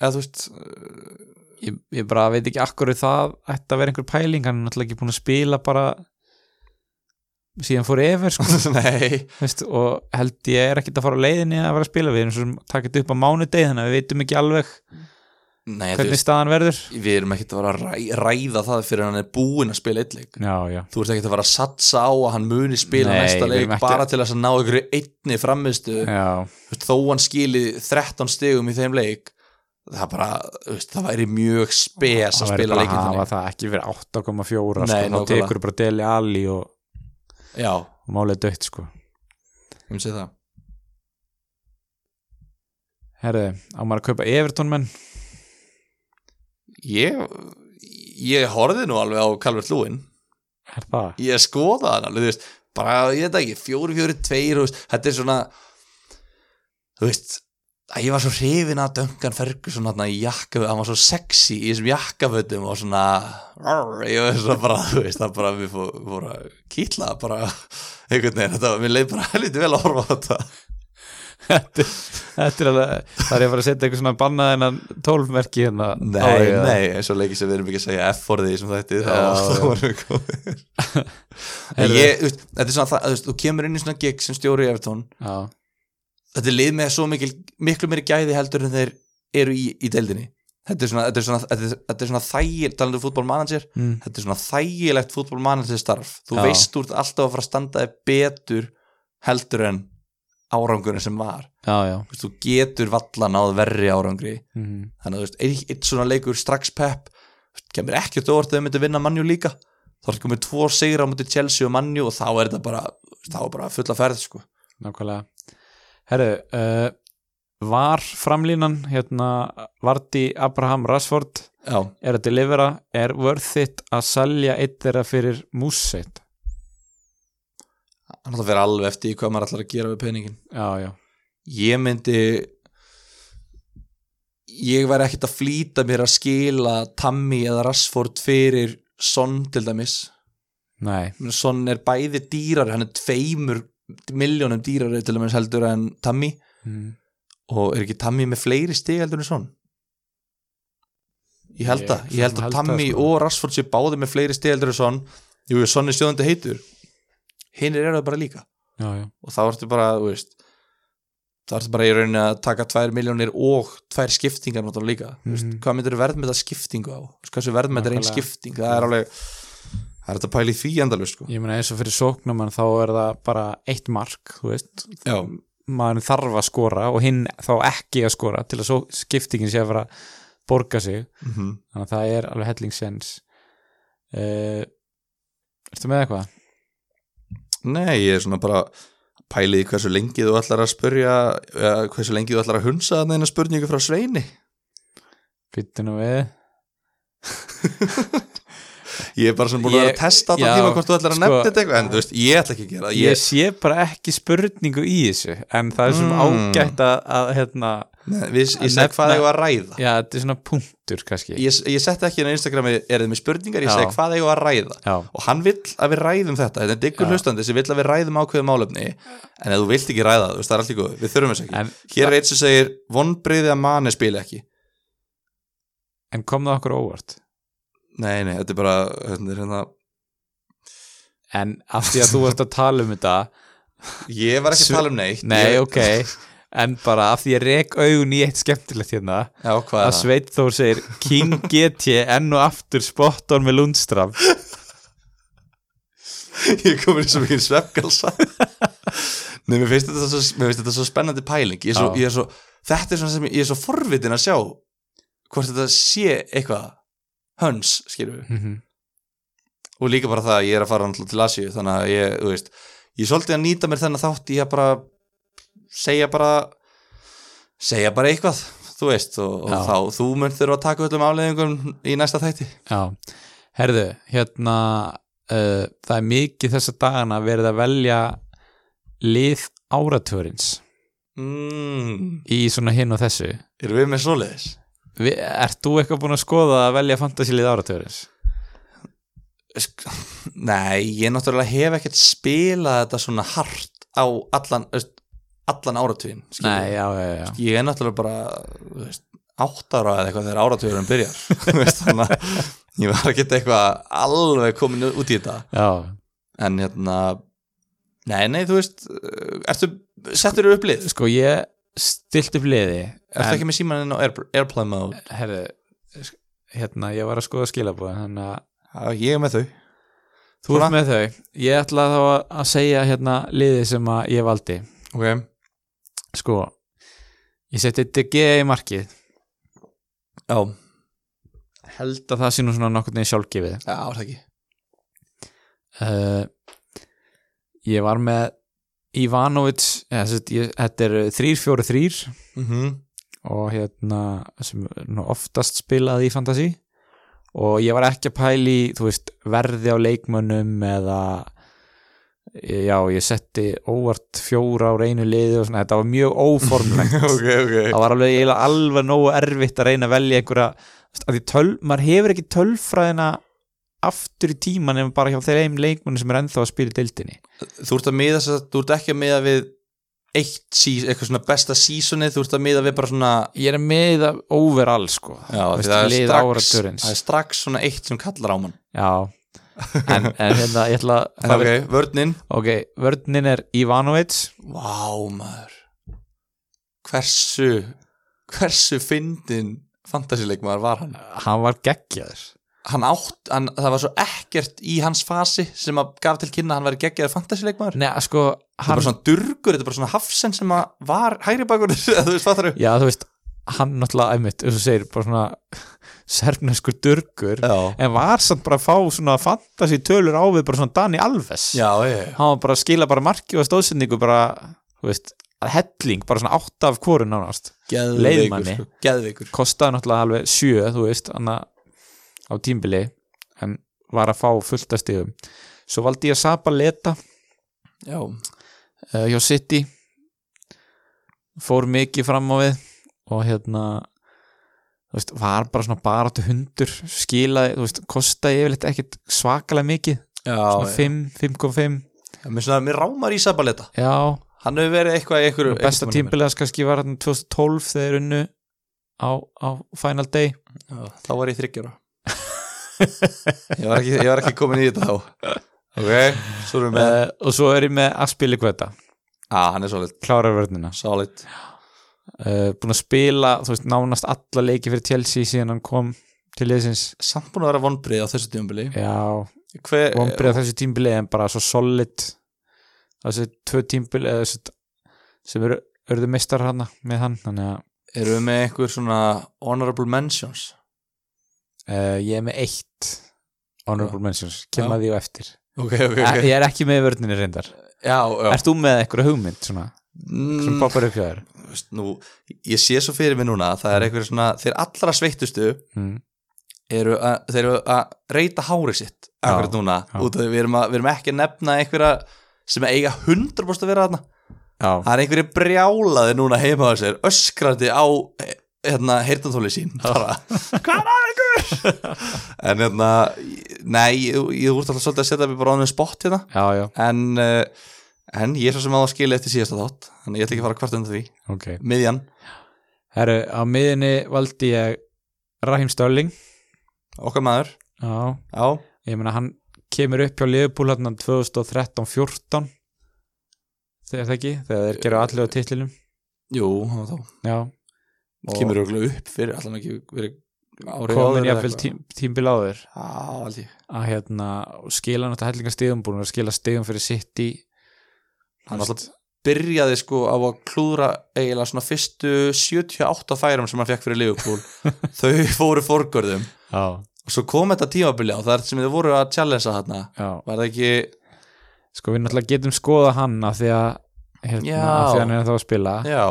eða þú veist Ég, ég bara veit ekki akkur það ætti að vera einhver pæling, hann er náttúrulega ekki búin að spila bara síðan fór yfir sko, nei, veist, og held ég er ekkert að fara á leiðinni að vera að spila við erum svo sem taka þetta upp á mánudegi þannig að við veitum ekki alveg nei þú hvernig veist, staðan verður við erum ekkert að vera að ræ- ræða það fyrir hann er búin að spila eitt leik Já, já, þú ert ekkert að fara að satsa á að hann muni spila Nei, næsta við leik erum ekki- bara til þess að ná einhverju einni framistu já, þó hann skili 13 stigum í þeim leik það bara, þú veist, það væri mjög spes að það verður spila bara að leikinn hafa þannig. það ekki fyrir 8,4 sko, Nei, þá nákvæmlega. tekur bara deli alli og, já, og málið dött sko um sig það Herðu, á maður að kaupa Everton menn ég, ég horfði nú alveg á Calvert Lúin er það? ég skoða hann alveg, þú veist bara, ég veit ekki, fjóri, fjóri, tveir þú veist, þetta er svona þú veist, að ég var svo hrifin að Duncan Ferguson hann í jakka, hann var svo sexy í þessum jakkafötum og svona rrr, ég var svo bara, þú veist, það bara við fór, fór að kýtla bara einhvern veginn, þetta var, mér leið bara lítið vel að horfa á þetta Þetta þetta er alveg Það er ég bara að setja eitthvað svona bannað hennan tólfmerki hérna Nei, á því að- nei, eins og leikið sem við erum ekki að segja F-forðið í sem þetta þá, Já, þá já. varum við komið En Heyrðu. ég, þú veist, þetta er svona það, þú veist, þú kemur inn í svona gig sem stjóri í Evertón Já, þetta er lið með svo mikil, miklu meiri gæði heldur en þeir eru í, í deildinni þetta er svona, þetta er svona, þetta er, þetta er svona þægil, talandi fútbolmanager mm. þetta er svona þægilegt fútbolmanager starf Já. þú veist úr alltaf að fara að standa þig betur heldur en árangurinn sem var já, já Þú veist, þú getur valla náð verri árangri mm. þannig að þú veist, eitt, eitt svona leikur strax pep, þú veist, kemur ekkert óvart að þau myndu vinna mannjú líka þá er komið tvo sigra á múti Chelsea og mannjú og þá er þetta bara, þá er bara fulla ferð sko. Nákvæmlega Herru, uh, var framlínan hérna Vardi Abraham Rashford já, er að delivera, er worth it að selja eitt þeirra fyrir músseit hann það fer alveg eftir í hvað maður ætlar að gera við peningin Já, já, ég myndi ég væri ekkert að flýta mér að skila Tammy eða Rashford fyrir Son til dæmis nei Ég meina, Son er bæði dýrar, hann er tveimur miljónum dýrar til dæmis heldur en Tammy mm. og er ekki Tammy með fleiri stig heldur en Son ég held Ég- það, ég held held að það, Tammy sko. og Rashford sé báði með fleiri stig heldur en Son jú, Son er sjöðandi heitur hinn er það bara líka Já, já, og þá ertu bara, þú veist þá ertu bara í rauninni að taka tvær miljónir og tvær skiptingar náttúrulega líka mm veist, Mhm. hvað myndir verðmeta skiptingu á Þú veist, hversu verðmeta er einn Nákvæmlega. skipting það er alveg, það er þetta pæli því endalveg sko. ég meina eins og fyrir sóknumann þá er það bara eitt mark, þú veist já, maður þarf að skora og hinn þá ekki að skora til að svo skiptingin sé að fara að borga sig mm þannig að það er alveg hellingsens uh, Ertu með eitthvað? nei, ég er svona bara pælið í hversu lengi þú ætlar að spurja uh, hversu lengi þú ætlar að hunsa þannig að spurningu frá Sveini Byttu nú við ég er bara svona búin að vera að Ég- testa já, allan tíma hvort þú ætlar að sko- nefna þetta eitthvað en þú veist, ég ætla ekki að gera það ég ég, sé bara ekki spurningu í þessu en það er svona Mm. ágætt að, að hérna, Nei, við, ég Að segi hvað nefna- ég var að ræða já, þetta er svona punktur kannski ég, ég setti ekki inn á Instagrami er þið með spurningar, ég Já. segi hvað eigum við að ræða já, og hann vill að við ræðum þetta þetta er diggur Já. hlustandi sem vill að við ræðum ákveðu málefni en ef þú vilt ekki ræða það, þú veist, það er allt í góð við þurfum þess ekki, en, hér er eitt sem segir vonbreyði að manni spila ekki en kom það okkur á óvart nei, nei, þetta er bara þetta er hérna, en af því að þú varst að tala um þetta ég var ekki Sve- að tala um neitt nei, ég, ok, en bara af því ég rek augun í eitt skemmtilegt hérna já, hvað að er það? Sveit Þór segir King GT enn og aftur spot on með Lundström ég kom inn í svo mikið svefgalsa nei, mér finnst þetta svo, mér finnst þetta svo spennandi pæling ég er svo, Já. ég er svo, þetta er svona sem ég, ég er svo forvitin að sjá hvort þetta sé eitthvað höns, skilur við Mhm. og líka bara það að ég er að fara náttúrulega til Asíu þannig að ég, þú veist, ég er svolítið að nýta mér þennan þátt í að bara segja bara segja bara eitthvað, þú veist og, Já. og þá, þú mun þurfa að taka öllum afleðingum í næsta þætti Já, herðu, hérna uh, það er mikið þessa dagana verið að velja lið áratörins mm, í svona hinn og þessu erum við með svoleiðis? Vi, Ert þú eitthvað búin að skoða að velja fantasílið áratörins? Sk- Nei, ég náttúrulega hef ekkert spilað þetta svona hart á allan, þú veist, allan áratugin skilur Nei, við. já, já, já ég er náttúrulega bara þú veist, átt ára eða eitthvað þegar áratugurinn byrjar þú veist, þannig að ég var ekki eitthvað alveg komin út í þetta Já, en hérna nei, nei, þú veist eh, ertu, settur þú upp lið sko ég stilt upp liði ertu ekki með símaninn á Air, airplane mode herðu, sk- hérna, ég var að skoða skilabóðin þannig að Já, ég er með þau þú ert Svona. með þau Ég ætla þá að að segja hérna liði sem að ég valdi ok, Sko, ég seti DG í markið já, held að það sé nú svona nokkurn veginn sjálfgefið já, er það ekki uh, ég var með Ivanovic eða, sem sagt, ég, þetta er 3-4-3 mhm og hérna sem er nú oftast spilað í Fantasí og ég var ekki að pæli þú veist, verði á leikmönnum eða já, ég setti óvart fjóra á reynu liði og svona, þetta var mjög óformlegt ok, ok það var alveg, eiginlega alveg nógu erfitt að reyna að velja einhverja að því töl, maður hefur ekki tölfræðina aftur í tíman en bara hjá þeim leikmunni sem er ennþá að spila í deildinni þú ert að miða, sem sagt- þú ert ekki að miða við eitt, sís, eitthvað svona besta sísoni þú ert að miða við bara svona ég er með að overall sko já, Þú því veist, það, lið er strax, áraturins. það er strax svona eitt sem kallar á mann já en, en hérna ég ætla að en ok, vörninn ok, vörninn er Ivanovic Vá maður Hversu Hversu fyndin fantasileikmaður var hann hann var geggjaður Hann átt, hann, það var svo ekkert í hans fasi sem að gaf til kynna að hann væri geggjaður fantasileikmaður neða sko Þetta er hann, bara svona durgur, þetta er bara svona hafsen sem að var hægri bakur, þú veist hvað það eru já þú veist hann náttúrulega einmitt, eins og þú segir bara svona sernöskur durkur Já, en var samt bara að fá svona fantasi tölur á við bara svona Dani Alves já, já, hann var bara að skila bara marki og stóðsendingu bara, þú veist, að helling bara svona átt af hvoru nánast geðveikur Leiðmanni. sko, Geðveikur kostaði náttúrulega alveg sjö, þú veist anna, á tímbili en var að fá fullt af stigum svo valdi ég að sapa leta Já, uh, hjá City fór mikið fram á við og hérna þú veist, var bara svona baráttu hundur skilaði, þú veist, kostaði yfirleitt ekkit svakalega mikið, já, svona já. 5, 5,5 Já, Mér, svona, mér rámar í Sabaleta já, Hann hefur verið eitthvað í einhverju og besta einhverjum tímabili. tímbilegast kannski var þarna 2012 þegar þeir unnu á, á Final Day Já, Þá var ég þryggjara ég, var ekki, ég var ekki komin í þetta þá Ok, svo erum við með uh, og svo er ég með Aspili Kveta Já, hann er solid, klára vörnina solid uh, búin að spila, þú veist, nánast alla leiki fyrir Chelsea síðan hann kom til liðsins Samt búin að vera vonbrið á þessu tíumbili já, Hver, vonbrið að þessu tímbili en bara svo solid þessi tvö tímbili eða þessi, sem eru urðu mistar hana með hann þannig að Erum við með einhver svona honorable mentions? uh, ég er með eitt honorable mentions, kem Já. að því á eftir Ok, ok, okay. ég er ekki með vörninni reyndar Já, já Ert þú með einhverja hugmynd svona, sem mm, poppar upp hjá þér? þú veist, Nú, ég sé svo fyrir mig núna að Það er einhver svona, þeir allra sveittustu Mm. eru að, þeir eru að reyta hárið sitt akkurat núna, já. út af því við erum, að, við erum ekki að nefna einhverja sem eiga 100% að vera þarna Já, Það er einhverju brjálaði núna heima á sér öskrandi á eh, hérna, heyrtantóli sín bara, hvað er ykkur? en hérna nei, ég, ég úrst alltaf svolítið að setja mig bara ánum spott hérna já, já, en, eh, en ég er svo sem að það skilja eftir síðasta þátt þannig ég ætla ekki að fara hvart undan því ok miðjan, Herru, á miðinni valdi ég Rahim Stölling okkar maður Já, já, ég meina hann kemur upp hjá Liverpool hann 2013-14 þegar það ekki, þegar þeir gera allir á titlinum jú, þá, þá Já, kemur auðvitað upp fyrir allan ekki verið árið áður komin eða jáfnvel eitthvað. tím, tímbil áður já, aldrei að hérna, og skila náttúrulega hellinga stigum búin að skila stigum fyrir sitt í Hann alltaf- byrjaði sko á að klúðra eiginlega svona fyrstu 78 færum sem hann fekk fyrir Liverpool þau fóru forgörðum Já, og svo kom þetta tímabili á þar sem þau voru að challengea þarna já var það ekki, Sko við náttúrulega getum skoða hann af því að hérna, Já. af því að hann er þá að spila já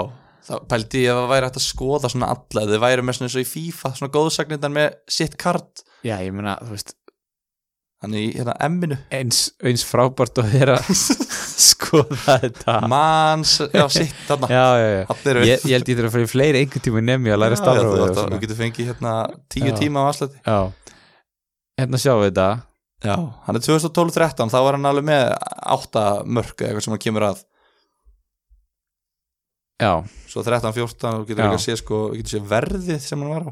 þá pældi ég að það væri hægt að skoða svona alla þau væri með svona eins og í FIFA, svona góðsagnindan með sitt kart, Já, ég meina, þú veist, hann í hérna emminu eins, eins frábært að vera að skoða þetta manns, já sitt þarna já, já, já. Þarna eru við. Ég, ég held ég þurfa að fara í fleiri einhvern tíma nemi að læra Já, já, þú stafrófið átt og að- þú svona. getur fengið hérna tíu Já. tíma á aðslæti já, hérna sjáum við þetta já, hann er 2012-13 þá var hann alveg með átta mörk eða eitthvað sem hann kemur að já, svo 13-14 og getur Já. ekki að sé sko, við getum sé verðið sem hann var á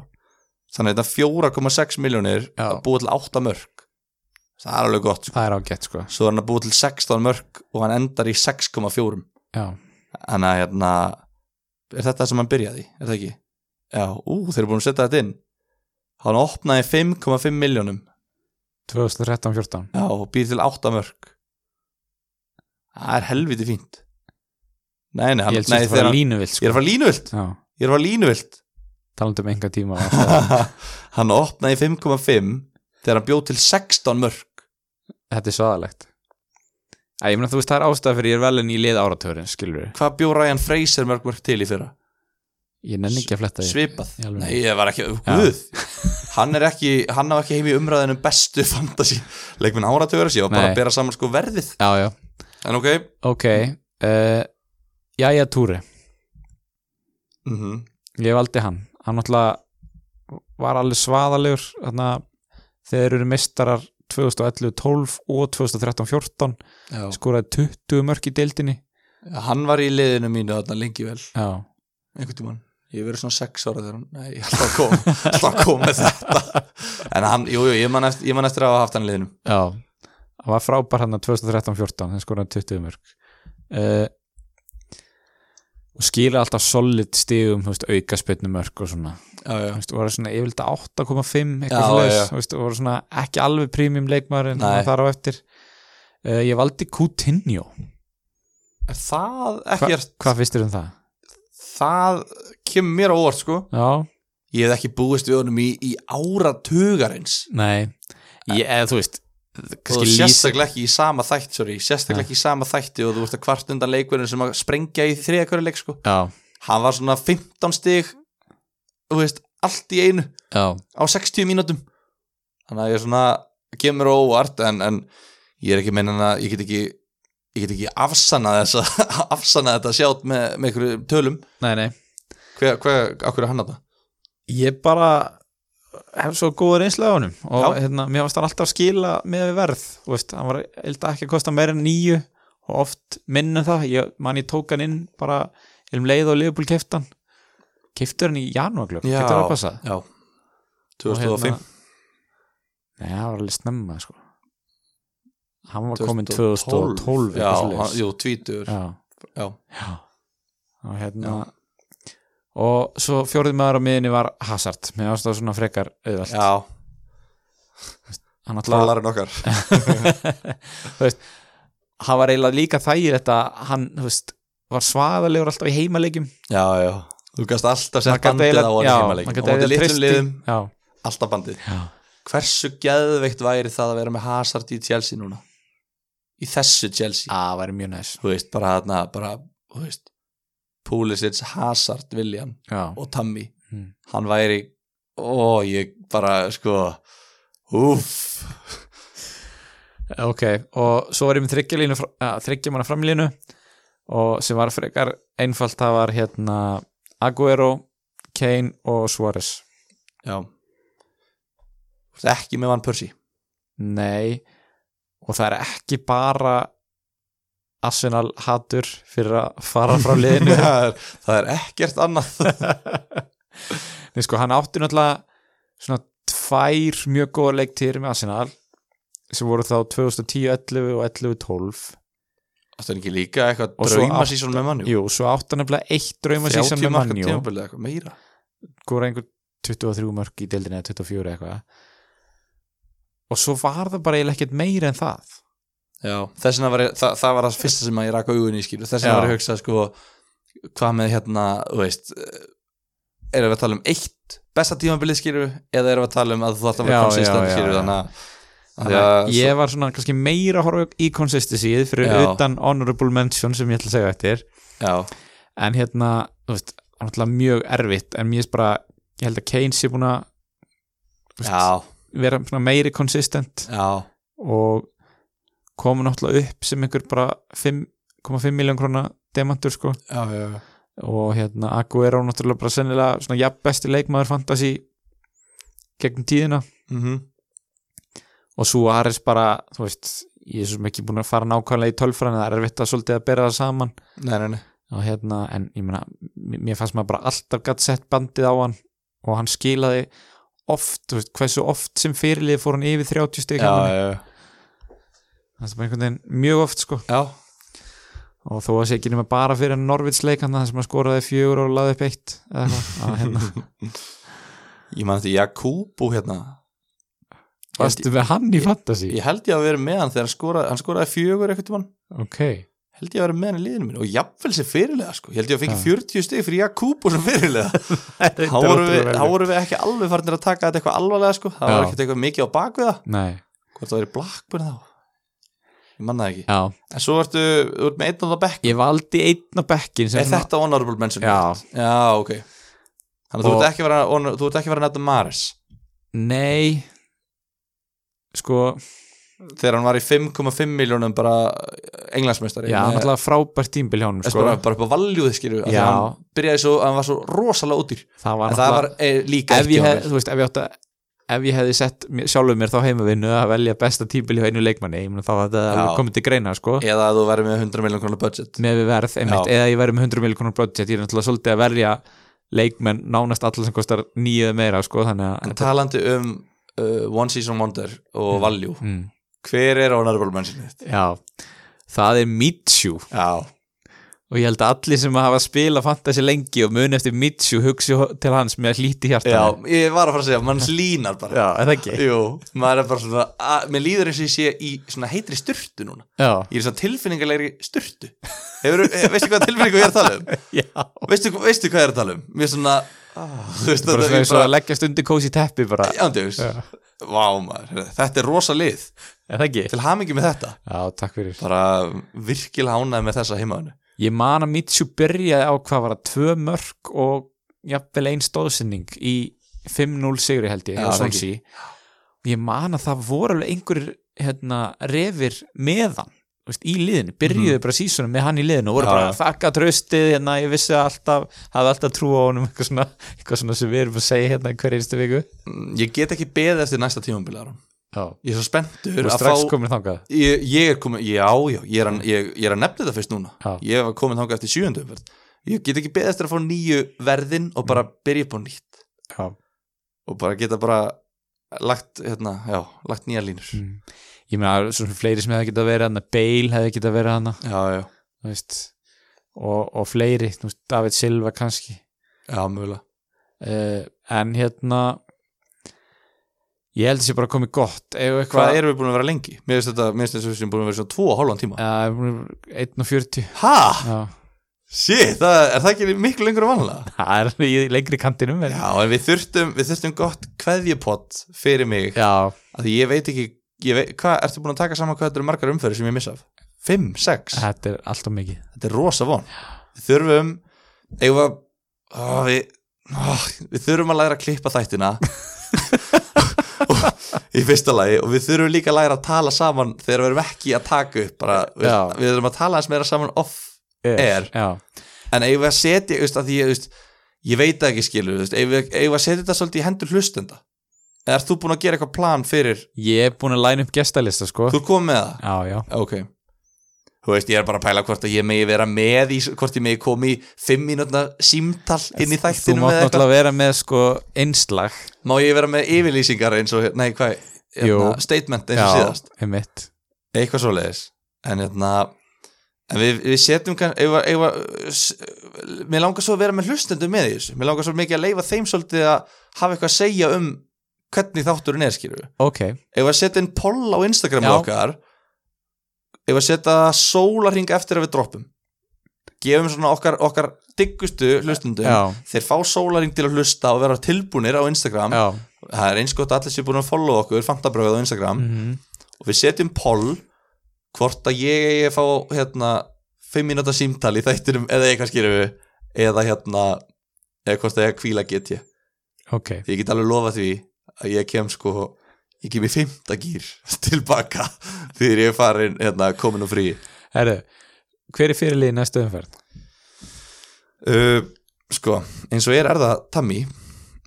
þannig að þetta 4,6 miljónir Já. að búa til 8 mörg það er alveg gott sko. það er ágætt sko svo er hann að búa til 16 mörg og hann endar í 6,4 já, þannig að hérna er þetta sem hann byrjaði, í? er það ekki? Já, ú, þeir eru búin að setja þetta inn hann opnaði 5,5 miljónum 2013-14 já, og býr til 8 mörg það er helviti fínt nei, ég nei, hann, held nei sér að þegar fara hann, línuvill ég er sko. að fara línuvilt já, ég er að fara línuvilt talandi um enga tíma hann opnaði 5,5 þegar hann bjóð til 16 mörg þetta er svaðalegt Æ, ég meina þú veist, það er ástæða fyrir ég er velin í lið áratörin, skilur við hvað bjóð Ryan Fraser mörg mörg til í fyrra ég nenni ekki að fletta því svipað, í alvöru. nei ég var ekki Guð, hann er ekki hann á ekki heim í umræðinu bestu fantasy leikminn áratöður, ég var bara Nei. að bera saman sko verðið já, já, En ok ok uh, Jæja Túri, mm -hmm. ég valdi hann hann náttúrulega var alveg svaðalegur þarna, þegar þeir eru mistarar 2011-12 og 2013-14 Já. skoraði 20 mörk í deildinni Hann var í liðinu mínu þarna lengi vel já, einhvern tímann ég hef verið svona sex ára þegar hann nei, ég ætla að koma, ætla að koma með þetta en hann, jú, jú, ég man eftir, ég man eftir að hafa haft hann í liðinu já hann var frábær hann 2013-14 þeir skoraði 20 mörk uh, og skila alltaf solid stigum, þú veist, auka spynnu mörk og svona já, já, Þú veist, voru svona yfirleitt 8,5 Já, eitthvað slags, já. þú veist, voru svona ekki alveg prímjum leikmaður en Nei. hann þar á eftir uh, ég valdi Coutinho er það Hva, ekkert hvað finnst þér um það? það kemur mér á óvart sko Já, ég hef ekki búist við honum í, í áratugarins nei ég, eða þú veist og kannski lýsa, sérstaklega ekki í sama þætt sorry, sérstaklega ekki í sama þætti og þú ert að kvart undan leikverðin sem að sprengja í þriða hverju leik sko já, hann var svona 15 stig þú veist, allt í einu já, á 60 mínútum þannig að ég svona kemur óvart en, en ég er ekki meina að ég get ekki ég get ekki afsanna þess að afsanna þetta sjátt með, með einhverju tölum nei, nei hver, hver, á hverju hann að það ég bara hef svo góður einslega á honum og Já. hérna, mér varst hann alltaf að skila með við verð þú veist, hann var eitthvað ekki að kosta meira en nýju og oft minna það ég, man ég tók hann inn bara um leið og liðbúl keftan keftur hann í janúarglögg, Já. getur það að passa já, Og 2005 hérna- Nei, það var alveg snemma sko Hann hérna var komin 2012, 2012 já, eitthvað svoleiðis. hann- jú, tvítur já, já. já Og hérna Og svo fjórið maður á miðinni var Hazard Mér varst það svona frekar auðvelt já, Hann alltaf talarinn okkar Hann var eiginlega líka þægir þetta Hann, þú veist, var svaðalegur alltaf í heimaleikjum já, já, þú gast alltaf Maður sett gat bandið á eiginlega- hann já, heimaleik maður á gat móti eiginlega litlum treyst í- liðum, Já, alltaf bandið já, hversu geðveikt væri það að vera með Hazard í Chelsea núna í þessu Chelsea það væri mjög næs þú veist, bara þarna, bara, þú veist Pulisic, Hazard, William Já, og Tammy, Mm. hann væri ó, ég bara, sko úff ok Og svo var ég með þryggjalínu Þryggja manna framlínu Og sem var frekar einfalt Það var hérna Aguero, Kane og Suárez já Þú ert ekki með Van Persie Nei og það er ekki bara Arsenal hatur fyrir að fara frá liðinu það, er, það er ekkert annað Nei sko, hann átti náttúrulega svona tvær mjög góða leiktir með Arsenal sem voru þá 2010-11 og 11-12 það er ekki líka eitthvað Og svo drauma átta- sísón með mann Jú, svo átti hann nefnilega eitt drauma síðan með marka mannjú tímabilið eitthvað meira skora einhver 23 mörg í deildinni eða 24 eitthvað og svo var það bara eiginlega ekkert meira en það Já, þess vegna var ég, það, það var það fyrsta sem að ég rak augun í skilur, þess vegna Já. var ég að hugsa sko, hvað með hérna, þú veist eh, erum við að tala um eitt besta tímabilið skilur, eða erum við að tala um að þú þarf Já, að vera konsistent já, já, skilur, já. þannig að Þannig að að- ég var svona kannski meira að horfa í consistencyið fyrir Já. utan honorable mention sem ég ætla að segja eftir já, en hérna, þú veist, það er náttúrulega mjög erfitt en mér er bara, ég held að Keynes sé búin að já, vera svona meiri consistent já, og koma náttúrulega upp sem einhver bara 5,5 miljón krona demantur sko já, já, og hérna Aguero náttúrulega bara sennilega svona jafn besti leikmaður fantasy gegnum tíðina Mhm. og svo Ares bara, þú veist ég er svo sem ekki búin að fara nákvæmlega í tölfræðin það er erfitt að svolítið að bera það saman nei, nei, nei og hérna, en ég meina m- mér fannst maður bara alltaf gætt sett bandið á hann og hann skilaði oft, þú veist, hversu oft sem fyrirlið fór hann yfir 30 stig hjá já, manni. já, það er bara einhvern veginn mjög oft sko já, og þó að sé ekki nema bara fyrir Norvits leikana hérna, þar sem hann skoraði fjögur og laði upp eitt eða eitthvað, að hérna, ég man þetta Jakúbú hérna varstu með hann í fantasy ég held ég að vera með hann þegar hann skoraði, hann skoraði fjögur eitthvað tímann ok, held ég að vera með hann í liðinu mínu og jafnvel sem fyrirlega sko, ég held ég að fengi Já. 40 stig fyrir Jakúbú sem fyrirlega þá vorum við, þá vorum við ekki alveg farinir að taka þetta eitthvað alvarlega sko, það Já. var ekkert eitthvað mikið á bakvið það, nei, hvort það verið blackburn þá ég manna það ekki, já, en svo ertu þú ert með einn á það bekk, ég valdi einn á bekkin sem er svona- þetta honorable mention? já, já ok þannig að þú Og- ert ekki að vera honor- þú ert ekki að vera nefnda Maris Nei sko þegar hann var í 5,5 miljónum bara englandsmeistari Já, Ég- náttúrulega frábært tímbil hjá honum Sko, sko. bara, bara upp á valjúði skilju Já. hann byrjaði svo, hann var svo rosalega ódýr það var en það var náttúrulega e, líka ef ég, hjá hef, mér. þú veist, ef, ég átt að, ef ég hefði sett mér- sjálfur mér þá heimavinnu að velja besta tímbil hjá einu leikmanni ég mun þá að þetta Já. alveg komið til greina sko, eða að þú verður með 100 miljón krónar budget með við verð einmitt, Já. eða ég verði með 100 miljonar budget ég er náttúrulega svolítið að verja leikmenn nánast allir sem kostar nýju eða meira sko, þannig að en talandi um uh, One Season Wonder og valjú mm, hver er honorable mention þitt? já, það er Mitsu Já, og ég held að allir sem hafa spila fantasi lengi og muni eftir Mitsu hugsi ho- til hans með hlíti hjarta já, ég var að fara að segja mann slínar bara já, er það ekki? Jú, maður er bara svona að, mér líður eins og ég sé í svona heitri styrtu núna Já, ég er svona tilfinningalegri styrtu Hefur, eh, veistu hvað tilfinningu ég er að tala um? já. veistu, veistu hvað ég er að tala um? mér er svona þú veist bara svona þetta ég eins og að leggjast undir kósi teppi bara, Ándjöfis Já. Vá maður, heyrðu, þetta er rosa lið er það ekki? Til hamingi með þetta Já, takk fyrir Bara virkilega ánæði með þessa heimaðinu Ég man að Mitsu byrjaði á hvað var að tvö mörg og jafnvel ein stóðsending í 5-0 sigri held ég Já, hjá það Sonsi og ég man að það voru alveg einhverjir hérna, refir meðan veist, í liðinu, byrjuðu bara sísunum með hann í liðinu og voru Mhm. Já, bara já. að þakka tröstið hérna, ég vissi alltaf, hafði alltaf trú á honum eitthvað svona, eitthvað svona sem við erum að segja hérna í hverju einstu viku Mm, Ég get ekki beðið eftir næsta tímambilar Já, Ég er svo spenntur og að strax fá komin þangað ég, ég er komin, já, já, ég er, að, ég, ég er að nefna þetta fyrst núna Já. Ég var komin þangað eftir sjöundu umferð Ég get ekki beðið eftir að fá nýju verðin og bara byrja upp á nýtt Já Og bara geta bara lagt, hérna, já, lagt nýja línur Mm. Ég meina, svona fleiri sem hefði getað verið hann Bale hefði getað verið hann Já, já, og, og fleiri, þú veist, David Silva kannski já, mögulega uh, en hérna ég held að sé bara komið gott eða Hvað eitthvað erum við búin að vera lengi? Mér finnst þetta, mér finnst þetta sem búin að vera svo tvo og hálfan tíma uh, 1.40 Hæ? Já. Shit, það, er það ekki miklu lengur að vanlega? það er alveg í lengri kantinum en... Já, en við þurftum, við þurftum gott kveðjupott fyrir mig, Já, af því ég veit ekki ég veit, hvað, ertu búin að taka saman hvað þetta eru margar umferði sem ég missa af? Fimm, sex þetta er alltaf mikið Þetta er rosa von Við þurfum, eigum að ó, við, ó, við þurfum að læra að klippa þættina í fyrsta lagi og við þurfum líka að læra að tala saman þegar við erum ekki að taka upp bara, við, Já. við þurfum að tala eins meira saman off Er. Já, en eigum við að setja veist, að því, ég, veist, ég veit það ekki skilur veist, eigum, við, eigum við að setja þetta svolítið í hendur hlustenda eða ert þú búin að gera eitthvað plan fyrir ég er búin að læna upp gestalista sko þú er komið með það, Já, já, ok þú veist, ég er bara að pæla hvort að ég megi vera með í, hvort ég megi komið í fimm mínútna símtal inn í þú þættinum mátt eða eitthvað, náttúrulega vera með sko einslag má ég vera með yfirlýsingar eins og, nei hvað Jú. hérna, statement eins og síðast, einmitt eitthvað svoleiðis en hérna en við, við setjum kann, eigum, við- eigum, við- s- mér langar svo að vera með hlustendum með í þessu, mér langar svo mikið að leifa þeim svolítið að hafa eitthvað að segja um hvernig þátturinn er skýru Ok, eigum við að setja inn poll á Instagram Já. okkar eigum við að setja sólarring eftir að við droppum gefum svona okkar, okkar diggustu hlustendum já, þeir fá sólarring til að hlusta og vera tilbúnir á Instagram já það er eins gott að allir sér búin að follow okkur fantabröðið á Instagram mhm. og við setjum poll hvort að ég eigi að fá hérna 5 minúta símtal í þættinum eða eitthvað skýrum við eða hérna eða hvort að ég kvíla get ég Ok, því ég get alveg lofa því að ég kem sko ég kem í 5. gýr tilbaka þegar ég er farin hérna komin og frí herru Hver er fyrirlið í næstu umferð? uh, sko eins og ég er er það Tammy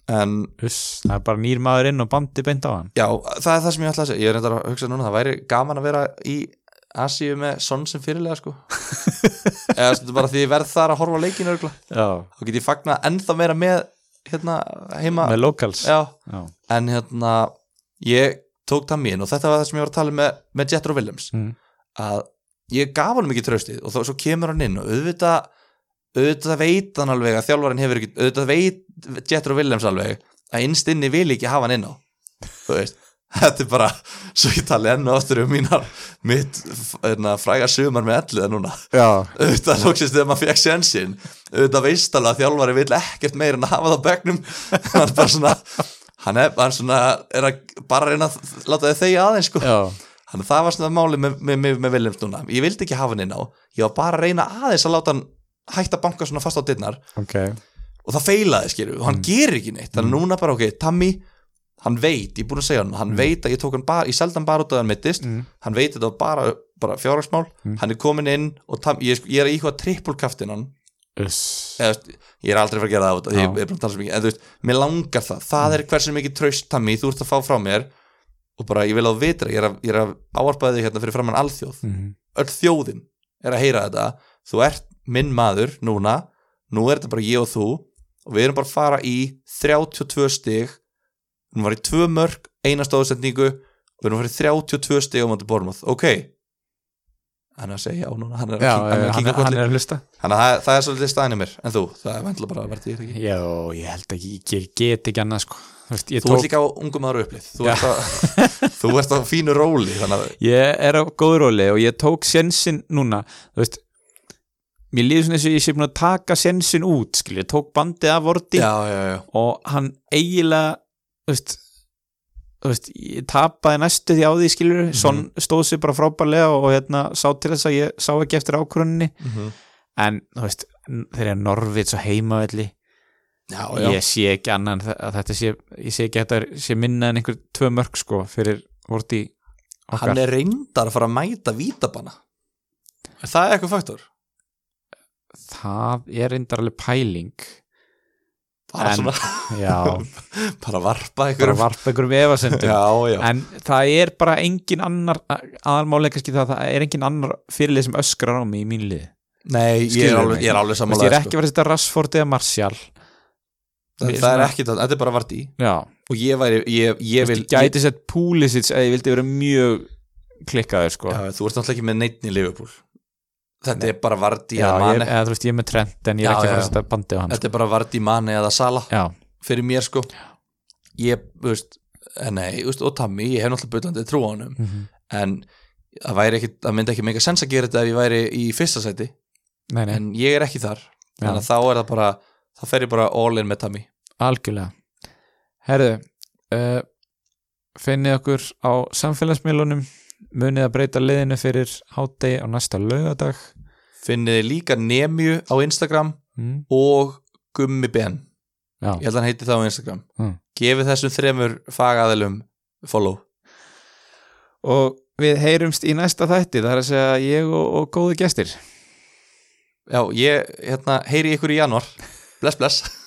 en Uss, það er bara nýr maður inn og bandi beint á hann já það er það sem ég ætla að segja ég er reyndar að hugsa núna það væri gaman að vera í Asíu með sonn sem fyrirlega sko eða stundum bara því ég verð þar að horfa á leikinu örgla Já, þá get ég fagnað ennþá meira með hérna heima með locals já, Já. en hérna ég tók það mín og þetta var það sem ég var að tala um með, með Jethro Williams Mm. að ég gaf hann mikið tröstið og þá svo kemur hann inn og auðvitað auðvitað veit hann alveg að þjálfarinn hefur ekki auðvitað veit Jethro Williams alveg að innst inni vil ekki hafa hann inn á þú veist Þetta er bara, svo ég tali enn og aftur um mínar mitt hérna, fræga sumar með elliða núna Já. auðvitað lóksist þegar maður fekk sjensin auðvitað veist alveg að þjálfari vill ekkert meir en að hafa það á bekknum hann er bara svona hann er, hann svona, er að bara reyna að láta þau þegja aðeins sko. Já. hann, það var svona máli með, með, með, með Williams núna ég vildi ekki hafa hann inn á, ég var bara að reyna aðeins að láta hann hætta að banka svona fast á dyrnar ok Mm. og það feilaði skilju og hann gerir ekki neitt þannig að núna bara ok, Tammy hann veit, ég er búin að segja hann hann veit að ég tók hann bara, ég seldi hann bara út að hann mittist Mm. hann veit að það var bara, bara fjárhagsmál hann er komin inn og tam, ég, ég er að íhuga trippulkaftin hann Uss. eða, þú veist, ég er aldrei að fara að gera það á þetta, Já. Mm. ég er bara að tala svo mikið en þú veist, mér langar það, það er hversu mikið traust tammi þú ert að fá frá mér og bara ég vil á vitra, ég er að, ég er að áarpaði þig hérna fyrir framann alþjóð, Mhm. öll þjóðin er að heyra þetta, þú ert minn maður núna, nú er þetta bara ég og þú og við erum bara að fara í 32 stig hún var í tvö mörg, eina stóðsendingu og við erum að fara í 32 stig á móti Bormoth, ok hann er að segja já núna, hann er að, Já, kink- hann er að hann, kinka hann kolli er að hlusta Þannig að það, það er svolítið staðinni mér En þú, það er vantilega bara að verða í þetta ekki Já, ég held ekki, ég get ekki annað sko. Þú veist, ég, Þú ert tók, líka á ungum aðra upplið Þú, ert, á, þú ert á fínu róli Þannig að ég er á góðróli og ég tók sensin núna þú veist, mér líður svona eins og ég sé búin að taka sensin út skil, ég tók bandið af vorti Já, já, já og hann eiginlega þú veist, þú veist ég tapaði næstu því á því skilur mm stóð sér bara frábærlega og hérna sá til þess að ég sá ekki eftir ákvörunni mm en þú veist, n- þegar Norvits og heimavelli Já, já ég sé ekki annan þa- að þetta sé, ég sé ekki að þetta sé minna en einhver tvö mörg sko fyrir vorti okkar Hann er reyndar að fara að mæta vítabanna Er það eitthvað faktor? það er reyndar alveg pæling Bara En- svona, já, bara varpa bara eitthvað varpa einhverjum efasendum Já, já en það er bara engin annar aðalmálega kannski það, það er engin annar fyrirlið sem öskrar á mig í mín lið Nei, ég er Skilurðu alveg, mig? ég er alveg Vist, ég sammála er þér, ekki að vera að setja Rashford eða Martial sko. Ég Það er svona- ekki það, þetta er bara vart í já, Og ég væri, ég, ég ég vil ég, gæti sett Pulisic eða ég vildi vera mjög klikkaður sko já, Þú ert náttúrulega ekki með neittn í Liverpool Þetta er bara vart í Já, að ég, manni eða þú veist ég er með Trent en ég er Já, ekki að fara já, að setja bandið á hann sko. Þetta er bara vart í manni eða sala já, fyrir mér sko ég, þú veist, eh, nei, þú veist, og Tammy ég hef náttúrulega byllandi trú á honum mhm. en það væri ekki, það myndi ekki mega sens að gera þetta ef ég væri í fyrsta sæti nei, nei, en ég er ekki þar, þannig að þá er það bara þá fer ég bara all in með Tammy algjörlega herðu uh, finnið okkur á samfélagsmiðlunum munið að breyta liðinu fyrir hádegi á næsta laugadag finniði líka Nemju á Instagram mm. og Gummi Ben já, ég held að hann heiti það á Instagram Mm. gefið þessum þremur fagaðilum follow og við heyrumst í næsta þætti það er að segja ég og, og góðu gestir já, ég hérna, heyri ykkur í januar bless bless